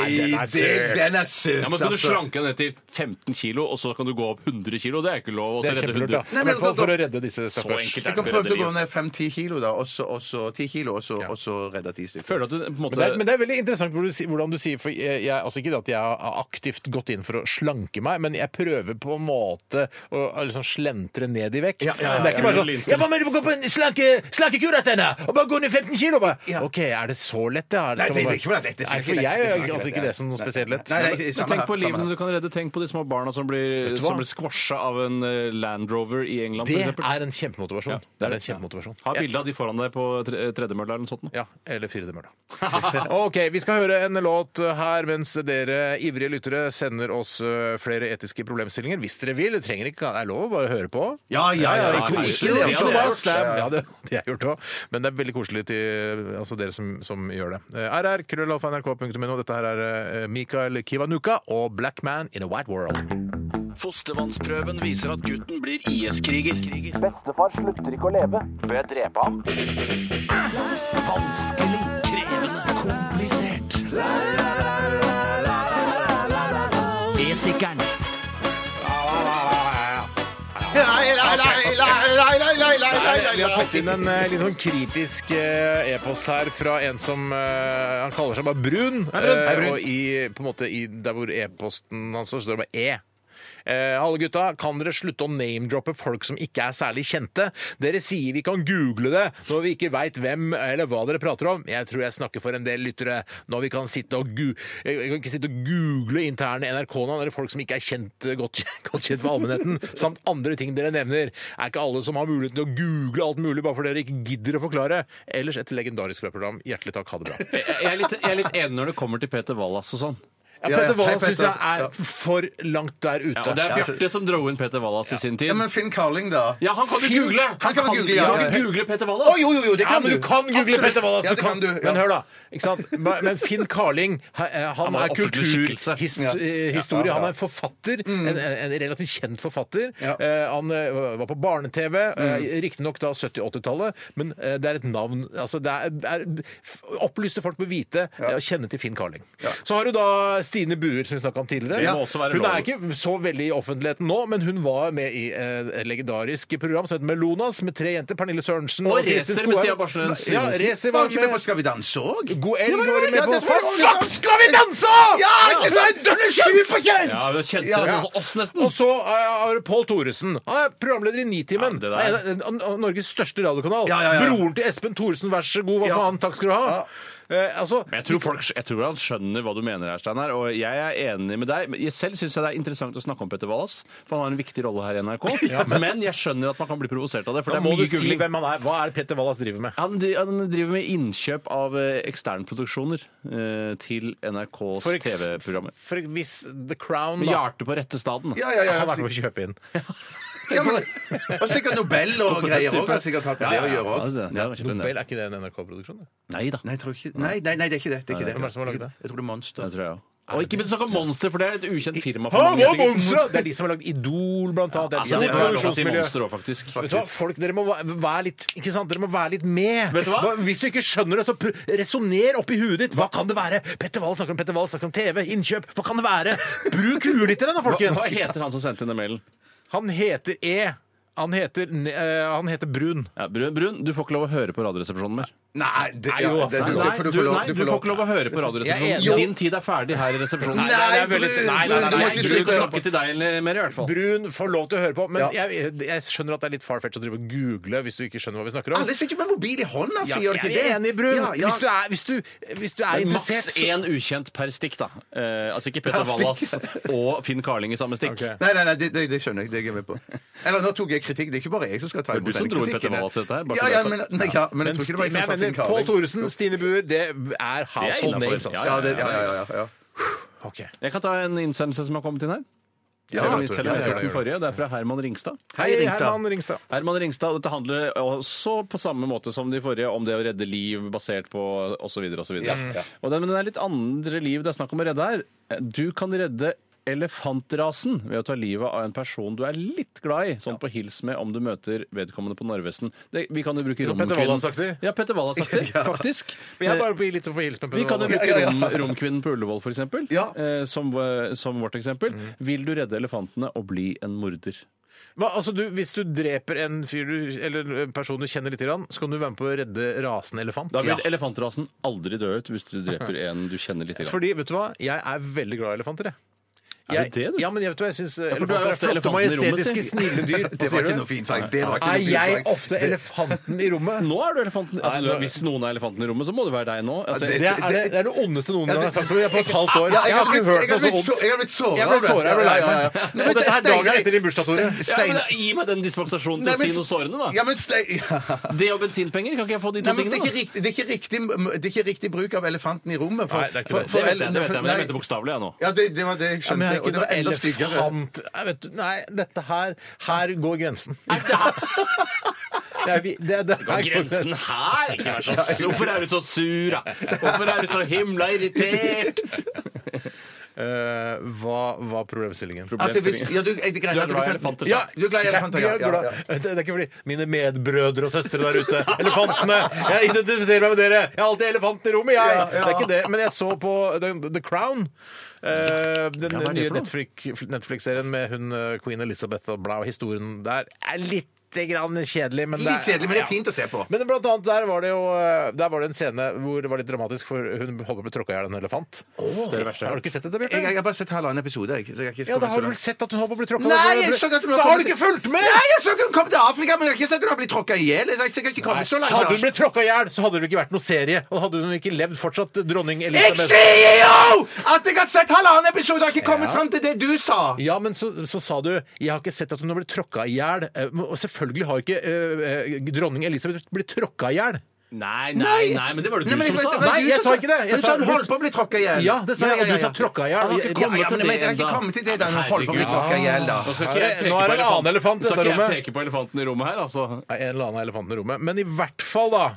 [SPEAKER 2] Nei,
[SPEAKER 1] den er
[SPEAKER 2] det-
[SPEAKER 1] søt. altså.
[SPEAKER 2] den er søt, altså.
[SPEAKER 3] Ja, men Skal du slanke ned til 15 kilo, og så kan du gå opp 100 kilo? Det er ikke lov. Og
[SPEAKER 1] Det
[SPEAKER 3] så
[SPEAKER 1] er
[SPEAKER 3] redde
[SPEAKER 1] kjempelurt, da.
[SPEAKER 3] 100.
[SPEAKER 2] altså, Nei,
[SPEAKER 1] I
[SPEAKER 2] men
[SPEAKER 1] hvert fall for å
[SPEAKER 2] da-
[SPEAKER 1] redde disse
[SPEAKER 3] Så
[SPEAKER 1] stakkars.
[SPEAKER 3] enkelt
[SPEAKER 2] Jeg
[SPEAKER 3] er det
[SPEAKER 2] har
[SPEAKER 3] med
[SPEAKER 2] prøvd å
[SPEAKER 3] rederier.
[SPEAKER 2] gå ned fem-ti kilo, da, og så- og så ti kilo, og så, og så redde ti stykker.
[SPEAKER 3] Føler at du på en måte
[SPEAKER 1] Men det, er, men det er veldig interessant hvor du, si- hvordan du sier for jeg, jeg, altså Ikke det at jeg har aktivt gått inn for å slanke meg, men jeg prøver på en måte å å liksom slentre ned i vekt.
[SPEAKER 2] Ja, ja, ja,
[SPEAKER 1] det er ikke bare
[SPEAKER 3] ja.
[SPEAKER 1] sånn Jeg bare mener du må gå på en slanke, slankekur, da, Steinar! Og bare gå ned 15 kilo! Bare.
[SPEAKER 2] Ja.
[SPEAKER 1] OK, er det så lett, ja?
[SPEAKER 2] Nei,
[SPEAKER 1] Skal
[SPEAKER 2] det er
[SPEAKER 1] man bare-
[SPEAKER 2] ikke bare lett, det er
[SPEAKER 1] Nei,
[SPEAKER 2] ikke
[SPEAKER 1] for
[SPEAKER 2] lett,
[SPEAKER 1] jeg
[SPEAKER 2] det er ikke
[SPEAKER 1] er altså
[SPEAKER 2] lett,
[SPEAKER 1] ikke det som noe
[SPEAKER 2] nei,
[SPEAKER 1] spesielt
[SPEAKER 2] nei,
[SPEAKER 1] lett.
[SPEAKER 2] nei, nei,
[SPEAKER 1] Men-
[SPEAKER 2] samme
[SPEAKER 3] tenk
[SPEAKER 2] her,
[SPEAKER 3] på
[SPEAKER 2] samme
[SPEAKER 3] livene
[SPEAKER 2] her.
[SPEAKER 3] du kan redde. Tenk på de små barna som
[SPEAKER 1] Vet
[SPEAKER 3] blir,
[SPEAKER 1] du hva?
[SPEAKER 3] som blir squasha av en eh, Land Rover i England,
[SPEAKER 1] Det
[SPEAKER 3] f.eks.
[SPEAKER 1] er en kjempemotivasjon.
[SPEAKER 3] Ja,
[SPEAKER 1] det er en kjempemotivasjon.
[SPEAKER 3] Ha bilde av de foran deg på tre- eh, tredemølla eller noe sånt. nå.
[SPEAKER 1] Ja, eller fire demør, da. OK, vi skal høre en låt her mens dere ivrige lyttere sender oss eh, flere etiske problemstillinger. Hvis dere vil. Det trenger ikke, det er lov å bare høre på.
[SPEAKER 2] Ja, ja, ja,
[SPEAKER 1] ikke noe-
[SPEAKER 2] koselig,
[SPEAKER 1] ikke
[SPEAKER 2] det
[SPEAKER 1] noe
[SPEAKER 2] har jeg
[SPEAKER 1] ikke noe
[SPEAKER 2] gjort.
[SPEAKER 1] bass, det er- Ja, det har jeg gjort òg. Men det er veldig koselig til eh, altså dere som, som gjør det. Eh, RR, krøllalfa.nrk.no. Dette her er eh, Mikael Kiwanuka og Black Man in a White World.
[SPEAKER 3] Fostervannsprøven viser at gutten blir IS-kriger.
[SPEAKER 7] Bestefar slutter ikke å leve. Bør jeg drepe ham? Vanskelig, krevende, komplisert. Etikeren.
[SPEAKER 1] Nei, Vi har fått inn en eh, litt sånn kritisk eh, e-post her fra en som eh, Han kaller seg bare Brun. eh,
[SPEAKER 2] Hei, Brun.
[SPEAKER 1] Og i, på en måte, i der hvor e-posten hans står, så står det bare E. Eh, alle gutta, kan dere slutte å name-droppe folk som ikke er særlig kjente? Dere sier vi kan google det når vi ikke veit hvem eller hva dere prater om. Jeg tror jeg snakker for en del lyttere når vi kan sitte og, gu jeg kan ikke sitte og google interne NRK-navn eller folk som ikke er kjent, eh, godt, godt kjent for allmennheten, samt andre ting dere nevner. Er ikke alle som har muligheten til å google alt mulig bare fordi dere ikke gidder å forklare? Ellers et legendarisk program. Hjertelig takk, ha det bra.
[SPEAKER 3] Jeg jeg er, litt, jeg er litt enig når det kommer til Peter Wallas og sånn.
[SPEAKER 1] Ja,
[SPEAKER 2] Ja, ja.
[SPEAKER 1] Petter
[SPEAKER 2] Hei,
[SPEAKER 1] Wold
[SPEAKER 2] Petter.
[SPEAKER 1] syns jeg er for langt der ute.
[SPEAKER 3] Ja, og det er
[SPEAKER 1] altså-
[SPEAKER 3] Bjarte som dro inn Peter Wallas i sin tid.
[SPEAKER 2] Ja, men Finn Carling, da?
[SPEAKER 3] Ja, han kan jo
[SPEAKER 2] Finn-
[SPEAKER 3] google!
[SPEAKER 2] Han kan jo google,
[SPEAKER 3] ja.
[SPEAKER 2] ja.
[SPEAKER 3] Kan vi google Peter Wallas?
[SPEAKER 2] Å, jo, jo, jo, det
[SPEAKER 1] ja,
[SPEAKER 2] kan
[SPEAKER 1] men du kan google
[SPEAKER 2] Absolutt.
[SPEAKER 1] Petter Wallas!
[SPEAKER 2] Ja,
[SPEAKER 1] du
[SPEAKER 2] det kan du. Ja.
[SPEAKER 1] Men hør, da. Ikke sant? Men men Finn Carling, he- eh, han,
[SPEAKER 3] Han var
[SPEAKER 1] er
[SPEAKER 3] offentlig skikkelse.
[SPEAKER 1] kulturhistorie.
[SPEAKER 2] Ja, ja, ja. Mm.
[SPEAKER 1] Han er forfatter. En, en en relativt kjent forfatter.
[SPEAKER 2] Ja. Mm.
[SPEAKER 1] Eh, Han eh, var på barne-TV, eh, riktignok da 70-80-tallet, men eh, det er et navn altså det er, det er, f- Opplyste folk bør vite eh, og kjenne til Finn Carling. Så har du da Stine Buer, som vi snakka om tidligere.
[SPEAKER 3] Det må også være
[SPEAKER 1] Hun
[SPEAKER 3] lov.
[SPEAKER 1] er ikke så veldig i offentligheten nå, men hun var med i eh, et legendarisk program som het Melonas, med tre jenter. Pernille Sørensen
[SPEAKER 3] Og
[SPEAKER 1] Kristin
[SPEAKER 3] Racer med
[SPEAKER 1] Skoheim.
[SPEAKER 3] Stia Barsnes
[SPEAKER 1] Ja,
[SPEAKER 3] Simonsen.
[SPEAKER 1] Racer
[SPEAKER 2] Var
[SPEAKER 1] var
[SPEAKER 2] han ikke med på
[SPEAKER 1] med.
[SPEAKER 2] Skal vi danse òg?
[SPEAKER 1] God elg
[SPEAKER 2] Ja, men-
[SPEAKER 1] var det
[SPEAKER 2] ja,
[SPEAKER 1] med på.
[SPEAKER 2] det tror jeg også.
[SPEAKER 1] Fuck, skal vi danse?!
[SPEAKER 2] Ja, ikke sant? Den er superkjent!
[SPEAKER 3] Ja, vi kjente
[SPEAKER 2] Ja.
[SPEAKER 3] den oss nesten.
[SPEAKER 1] Og så eh, har du Pål Thoresen. Han er programleder i Nitimen.
[SPEAKER 3] Ja, det der.
[SPEAKER 1] Han er en- en- en- Norges største radiokanal.
[SPEAKER 2] Ja, ja, ja.
[SPEAKER 1] Broren til Espen Thoresen, vær så god, hva
[SPEAKER 2] Ja.
[SPEAKER 1] faen, takk skal du ha. Eh, altså,
[SPEAKER 3] Men Jeg tror, folk, jeg tror han skjønner hva du mener, her, Steinar. Og jeg er enig med deg. Men jeg selv syns det er interessant å snakke om Petter Wallas, for han har en viktig rolle her i NRK. Men jeg skjønner at man kan bli provosert av det. For
[SPEAKER 1] da
[SPEAKER 3] det er
[SPEAKER 1] må du
[SPEAKER 3] mye
[SPEAKER 1] si
[SPEAKER 3] googling.
[SPEAKER 1] hvem han er. Hva er det Petter Wallas driver med?
[SPEAKER 3] Han, dri- han driver med innkjøp av eh, eksternproduksjoner eh, til NRKs
[SPEAKER 1] For eks-
[SPEAKER 3] TV-programmer.
[SPEAKER 1] For hvis The Crown
[SPEAKER 3] Med
[SPEAKER 1] da,
[SPEAKER 3] Hjarte på rette staden.
[SPEAKER 2] Ja, ja, ja.
[SPEAKER 1] har vært
[SPEAKER 2] sikkert.
[SPEAKER 1] med å kjøpe inn.
[SPEAKER 2] Ja, men- Og sikkert Nobel og greier òg. Har sikkert hatt med det å gjøre òg.
[SPEAKER 3] Altså, det er kanskje den der.
[SPEAKER 1] Nobel, er ikke det en NRK-produksjon? det?
[SPEAKER 3] Nei da.
[SPEAKER 2] Nei, jeg tror ikke Nei, nei, nei, det er ikke det. det, er ikke det.
[SPEAKER 1] Hvem er det som har laget det?
[SPEAKER 2] Jeg tror det er
[SPEAKER 3] Det
[SPEAKER 2] Monster.
[SPEAKER 3] tror jeg òg. Og ikke begynn å snakke om Monster, for det er et ukjent firma.
[SPEAKER 1] Ha,
[SPEAKER 3] for mange,
[SPEAKER 1] hva,
[SPEAKER 3] sikkert.
[SPEAKER 1] Monster? Det er de som har lagd Idol, blant annet. Det er de
[SPEAKER 3] Altså,
[SPEAKER 1] som
[SPEAKER 3] det
[SPEAKER 1] har
[SPEAKER 3] er lov å si
[SPEAKER 1] produksjonsmiljø.
[SPEAKER 3] Monster òg, faktisk.
[SPEAKER 1] Vet du hva? Folk, dere må va- være litt ikke sant? Dere må være litt med.
[SPEAKER 3] Vet du hva?
[SPEAKER 1] Hvis du ikke skjønner det, så pr- resonner oppi huet ditt. Hva kan det være? Petter Wahl snakker om Petter Wahl, snakker om TV, innkjøp. Hva kan det være? Bruk huet litt i den, da,
[SPEAKER 3] Hva,
[SPEAKER 1] folkens!
[SPEAKER 3] hva heter han som sendte inn den mailen?
[SPEAKER 1] Han heter E. Han heter, ne- eh, han heter Brun.
[SPEAKER 3] Ja, Brun, Brun, du får ikke lov å høre på Radioresepsjonen mer.
[SPEAKER 2] Nei, det,
[SPEAKER 1] Nei,
[SPEAKER 2] ja,
[SPEAKER 1] jo,
[SPEAKER 2] det,
[SPEAKER 1] nei,
[SPEAKER 2] du, det får du
[SPEAKER 3] du,
[SPEAKER 2] få lov.
[SPEAKER 3] nei, du får ikke lov å høre på
[SPEAKER 1] Jeg er
[SPEAKER 3] Radioresepsjonen.
[SPEAKER 1] enig.
[SPEAKER 3] Din tid er ferdig her i resepsjonen.
[SPEAKER 2] Nei,
[SPEAKER 3] det er
[SPEAKER 2] Brun,
[SPEAKER 3] veldig- nei, nei, nei,
[SPEAKER 2] Brun, du må
[SPEAKER 3] nei,
[SPEAKER 2] ikke
[SPEAKER 3] jeg
[SPEAKER 2] slutte
[SPEAKER 3] vil ikke
[SPEAKER 2] å-
[SPEAKER 3] snakke til deg eller- mer, i hvert fall.
[SPEAKER 1] Brun får lov til å høre på, men
[SPEAKER 2] Ja.
[SPEAKER 1] jeg, jeg skjønner at det er litt far-fetched å drive og google hvis du ikke skjønner hva vi snakker om.
[SPEAKER 2] Alle sitter med mobil i hånda,
[SPEAKER 1] Ja,
[SPEAKER 2] sier gjør de ikke det?
[SPEAKER 1] jeg er enig, Brun.
[SPEAKER 2] Ja, ja.
[SPEAKER 1] Hvis, du er, hvis, du, hvis du er
[SPEAKER 3] Det er
[SPEAKER 1] interessert
[SPEAKER 3] maks
[SPEAKER 1] så-
[SPEAKER 3] én ukjent per stikk, da. Eh, altså ikke Petter
[SPEAKER 2] Per stikk.
[SPEAKER 3] Wallas og Finn Carling i samme stikk.
[SPEAKER 1] Ok.
[SPEAKER 2] Nei, nei, nei, det, det, det skjønner jeg. Det er jeg med på. Eller nå tok jeg kritikk. Det er ikke bare jeg som skal ta
[SPEAKER 3] Det er du
[SPEAKER 2] imot den
[SPEAKER 3] som dro
[SPEAKER 2] kritikken.
[SPEAKER 3] inn Petter Wallace i dette her, bare
[SPEAKER 2] Ja,
[SPEAKER 3] for
[SPEAKER 2] ja,
[SPEAKER 3] det er
[SPEAKER 2] men,
[SPEAKER 3] sagt.
[SPEAKER 2] nei, ja,
[SPEAKER 1] Men
[SPEAKER 2] men jeg tror ikke det var jeg
[SPEAKER 1] Sti-
[SPEAKER 2] som sa
[SPEAKER 1] jeg mener,
[SPEAKER 2] Finn
[SPEAKER 1] Pål
[SPEAKER 2] Carling.
[SPEAKER 1] Thoresen, Stine Buer, det er household
[SPEAKER 3] innenfor.
[SPEAKER 1] names.
[SPEAKER 3] Ja,
[SPEAKER 1] Altså.
[SPEAKER 2] Ja, det, ja, ja, ja, ja.
[SPEAKER 1] Ok.
[SPEAKER 3] Jeg kan ta en innsendelse som har kommet inn her.
[SPEAKER 2] Ja,
[SPEAKER 3] selv om
[SPEAKER 2] Tore,
[SPEAKER 3] selv om
[SPEAKER 2] ja,
[SPEAKER 3] jeg
[SPEAKER 2] ja,
[SPEAKER 3] tok den forrige. Det er fra Herman Ringstad.
[SPEAKER 1] Hei, Herman Ringstad.
[SPEAKER 3] Herman Ringstad, dette handler også på samme måte som de forrige om det å redde liv basert på osv. osv.
[SPEAKER 2] Ja, ja.
[SPEAKER 3] Men det er litt andre liv det er snakk om å redde her. Du kan redde elefantrasen ved å ta livet av en person du er litt glad i. Sånn på hils med om du møter vedkommende på Narvesen. Det, vi kan jo bruke
[SPEAKER 1] Petter Wallas-aktig.
[SPEAKER 3] Ja, Petter Wallas-aktig, faktisk. Eh,
[SPEAKER 1] Jeg er bare på, litt på hilsen
[SPEAKER 3] Vi kan jo
[SPEAKER 1] Petter
[SPEAKER 3] bruke
[SPEAKER 2] Ja, ja,
[SPEAKER 3] Rom, Romkvinnen på Ullevål, f.eks., eksempel
[SPEAKER 2] Ja.
[SPEAKER 3] eh, som, som vårt eksempel. Vil du redde elefantene og bli en morder?
[SPEAKER 1] Hva, altså, du, hvis du dreper en fyr du, eller en person du kjenner litt, grann, så kan du være med på å redde rasen elefant?
[SPEAKER 3] Da vil elefantrasen aldri dø ut hvis du dreper en du kjenner litt.
[SPEAKER 1] Fordi, vet du hva, jeg er veldig glad i elefanter, jeg.
[SPEAKER 3] Er du det, du?
[SPEAKER 1] Ja, men jeg vet du hva, jeg syns
[SPEAKER 3] for du er
[SPEAKER 1] elefanter
[SPEAKER 3] jo
[SPEAKER 1] er
[SPEAKER 3] ofte
[SPEAKER 1] flotte,
[SPEAKER 3] elefanten i rommet,
[SPEAKER 1] majestetiske, snille dyr.
[SPEAKER 2] Det
[SPEAKER 1] Hva
[SPEAKER 2] var
[SPEAKER 1] sier
[SPEAKER 2] ikke
[SPEAKER 1] du?
[SPEAKER 2] noe fint sagt. Det var ikke
[SPEAKER 1] Er
[SPEAKER 2] noe
[SPEAKER 1] jeg
[SPEAKER 2] fint sagt.
[SPEAKER 1] ofte elefanten i rommet?
[SPEAKER 3] Nå er du elefanten. Altså,
[SPEAKER 1] Nei,
[SPEAKER 3] du,
[SPEAKER 1] nå-
[SPEAKER 3] hvis noen er elefanten i rommet, så må det være deg nå. Altså,
[SPEAKER 2] Ja,
[SPEAKER 1] Det er det, det, er det ondeste noen gang har sagt til meg på et halvt år.
[SPEAKER 2] Ja, jeg
[SPEAKER 1] Jeg har
[SPEAKER 2] har blitt,
[SPEAKER 1] ikke hørt
[SPEAKER 2] jeg
[SPEAKER 1] noe
[SPEAKER 2] har
[SPEAKER 1] så
[SPEAKER 2] blitt, så,
[SPEAKER 1] vondt.
[SPEAKER 2] jeg har blitt
[SPEAKER 1] Jeg ble såret, jeg ble
[SPEAKER 2] såret.
[SPEAKER 1] lei meg.
[SPEAKER 2] Ja, ja, ja.
[SPEAKER 1] Og dette er dagen
[SPEAKER 2] Steinar-
[SPEAKER 1] etter din bursdag, Tore.
[SPEAKER 3] ja, men,
[SPEAKER 2] Steinar-
[SPEAKER 3] da, gi meg den dispensasjonen til
[SPEAKER 2] Nei, men-
[SPEAKER 3] å si noe sårende, da.
[SPEAKER 2] Ja, men Stein- ja.
[SPEAKER 3] Det og bensinpenger, kan ikke jeg få de to
[SPEAKER 2] Nei, men det, er ikke
[SPEAKER 3] tingene?
[SPEAKER 2] riktig, det, er ikke riktig, det er ikke riktig bruk av elefanten i rommet. For,
[SPEAKER 1] Nei, det er ikke
[SPEAKER 2] for-
[SPEAKER 1] det.
[SPEAKER 2] for-
[SPEAKER 3] Det vet jeg, det vet jeg, men jeg
[SPEAKER 2] nei.
[SPEAKER 3] mente bokstavelig, jeg nå.
[SPEAKER 2] Ja, det, det var det jeg
[SPEAKER 1] Ja, men
[SPEAKER 2] skjønte.
[SPEAKER 1] jeg er
[SPEAKER 2] og det var
[SPEAKER 1] ikke
[SPEAKER 2] enda
[SPEAKER 1] noe
[SPEAKER 2] styggere.
[SPEAKER 1] elefant Nei, vet du, Nei, dette her Her går grensen. Det er vi- det- det-
[SPEAKER 3] Gå
[SPEAKER 1] her går
[SPEAKER 3] grensen her! Ikke vær så sur. Hvorfor er du så sur, da? Hvorfor er du så himla irritert?
[SPEAKER 1] Eh, hva var problemstillingen?
[SPEAKER 2] At det, hvis- ja, du, er det greit
[SPEAKER 3] Du er
[SPEAKER 2] at
[SPEAKER 3] glad i
[SPEAKER 2] kan-
[SPEAKER 3] elefanter,
[SPEAKER 2] Ja,
[SPEAKER 3] sa
[SPEAKER 2] du er glad i elefanter. Ja,
[SPEAKER 1] Jeg er
[SPEAKER 2] ja,
[SPEAKER 1] glad-
[SPEAKER 2] ja.
[SPEAKER 1] Det er ikke fordi mine medbrødre og søstre der ute Elefantene! Jeg identifiserer meg med dere! Jeg har alltid elefanten i rommet, jeg! Det er ikke det. Men jeg så på The, The Crown. eh, den
[SPEAKER 3] Ja, hva er det
[SPEAKER 1] nye
[SPEAKER 3] for noe?
[SPEAKER 1] Netflix- Netflix-serien med hun eh, Queen Elizabeth og bla, og historien der er litt lite grann kjedelig. Men
[SPEAKER 2] Litt kjedelig, men det er
[SPEAKER 1] ja.
[SPEAKER 2] fint å se på.
[SPEAKER 1] Men blant annet der var det jo eh, Der var det en scene hvor det var litt dramatisk, for hun holdt på å bli tråkka i hjel av en elefant. det er det verste. Har du ikke sett dette,
[SPEAKER 2] Jeg,
[SPEAKER 1] Bjarte?
[SPEAKER 2] jeg har bare sett halvannen episode. Jeg, så jeg har ikke
[SPEAKER 1] Ja, da
[SPEAKER 2] kommet så
[SPEAKER 1] har du vel
[SPEAKER 2] langt.
[SPEAKER 1] sett at hun holdt på å bli tråkka
[SPEAKER 2] Nei, jeg så ikke at hun
[SPEAKER 1] Da har du ikke fulgt med!
[SPEAKER 2] Nei, jeg så ikke hun kom til Afrika, men jeg har ikke sett at hun har blitt tråkka i hjel. Jeg har sikkert ikke kommet så langt.
[SPEAKER 1] Hadde hun blitt tråkka i hjel, så hadde det ikke vært noe serie. Og hadde hun ikke levd fortsatt dronning
[SPEAKER 2] jeg
[SPEAKER 1] Elisabeth.
[SPEAKER 2] sier jo at jeg har sett halvannen episode! Jeg har ikke kommet fram til det du sa!
[SPEAKER 1] Ja, men så, så sa du Jeg har ikke sett at hun har blitt tråkka i hjel. Eh, men- Og selvfølgelig har ikke eh, eh, dronning Elisabeth blitt tråkka i hjel.
[SPEAKER 3] Nei, nei, nei, men det var det
[SPEAKER 2] Nei,
[SPEAKER 3] du
[SPEAKER 2] men
[SPEAKER 3] som
[SPEAKER 2] jeg-
[SPEAKER 3] sa.
[SPEAKER 2] det var
[SPEAKER 1] Nei,
[SPEAKER 2] du
[SPEAKER 1] jeg
[SPEAKER 2] som
[SPEAKER 1] sa ikke det. Jeg
[SPEAKER 2] Du
[SPEAKER 1] sa-
[SPEAKER 2] sa hun holdt på å bli tråkka i hjel.
[SPEAKER 1] Ja, det sa jeg, og du sa tråkka i hjel.
[SPEAKER 3] Han har ikke
[SPEAKER 1] Jeg-
[SPEAKER 2] Ja,
[SPEAKER 3] kommet
[SPEAKER 2] ja,
[SPEAKER 3] til
[SPEAKER 2] men jeg
[SPEAKER 3] det
[SPEAKER 2] har ikke
[SPEAKER 3] ennå.
[SPEAKER 2] kommet til det da hun
[SPEAKER 3] Herregud.
[SPEAKER 2] holdt på å bli tråkka i hjel, da.
[SPEAKER 3] Nå skal ikke jeg
[SPEAKER 1] Nå er det-
[SPEAKER 3] peke
[SPEAKER 1] nå er det
[SPEAKER 3] på
[SPEAKER 1] en annen elefant i
[SPEAKER 3] Nå skal
[SPEAKER 1] dette
[SPEAKER 3] ikke jeg
[SPEAKER 1] rommet.
[SPEAKER 3] peke på elefanten i rommet her, altså.
[SPEAKER 1] Nei, en eller annen elefant i rommet. Men i hvert fall, da,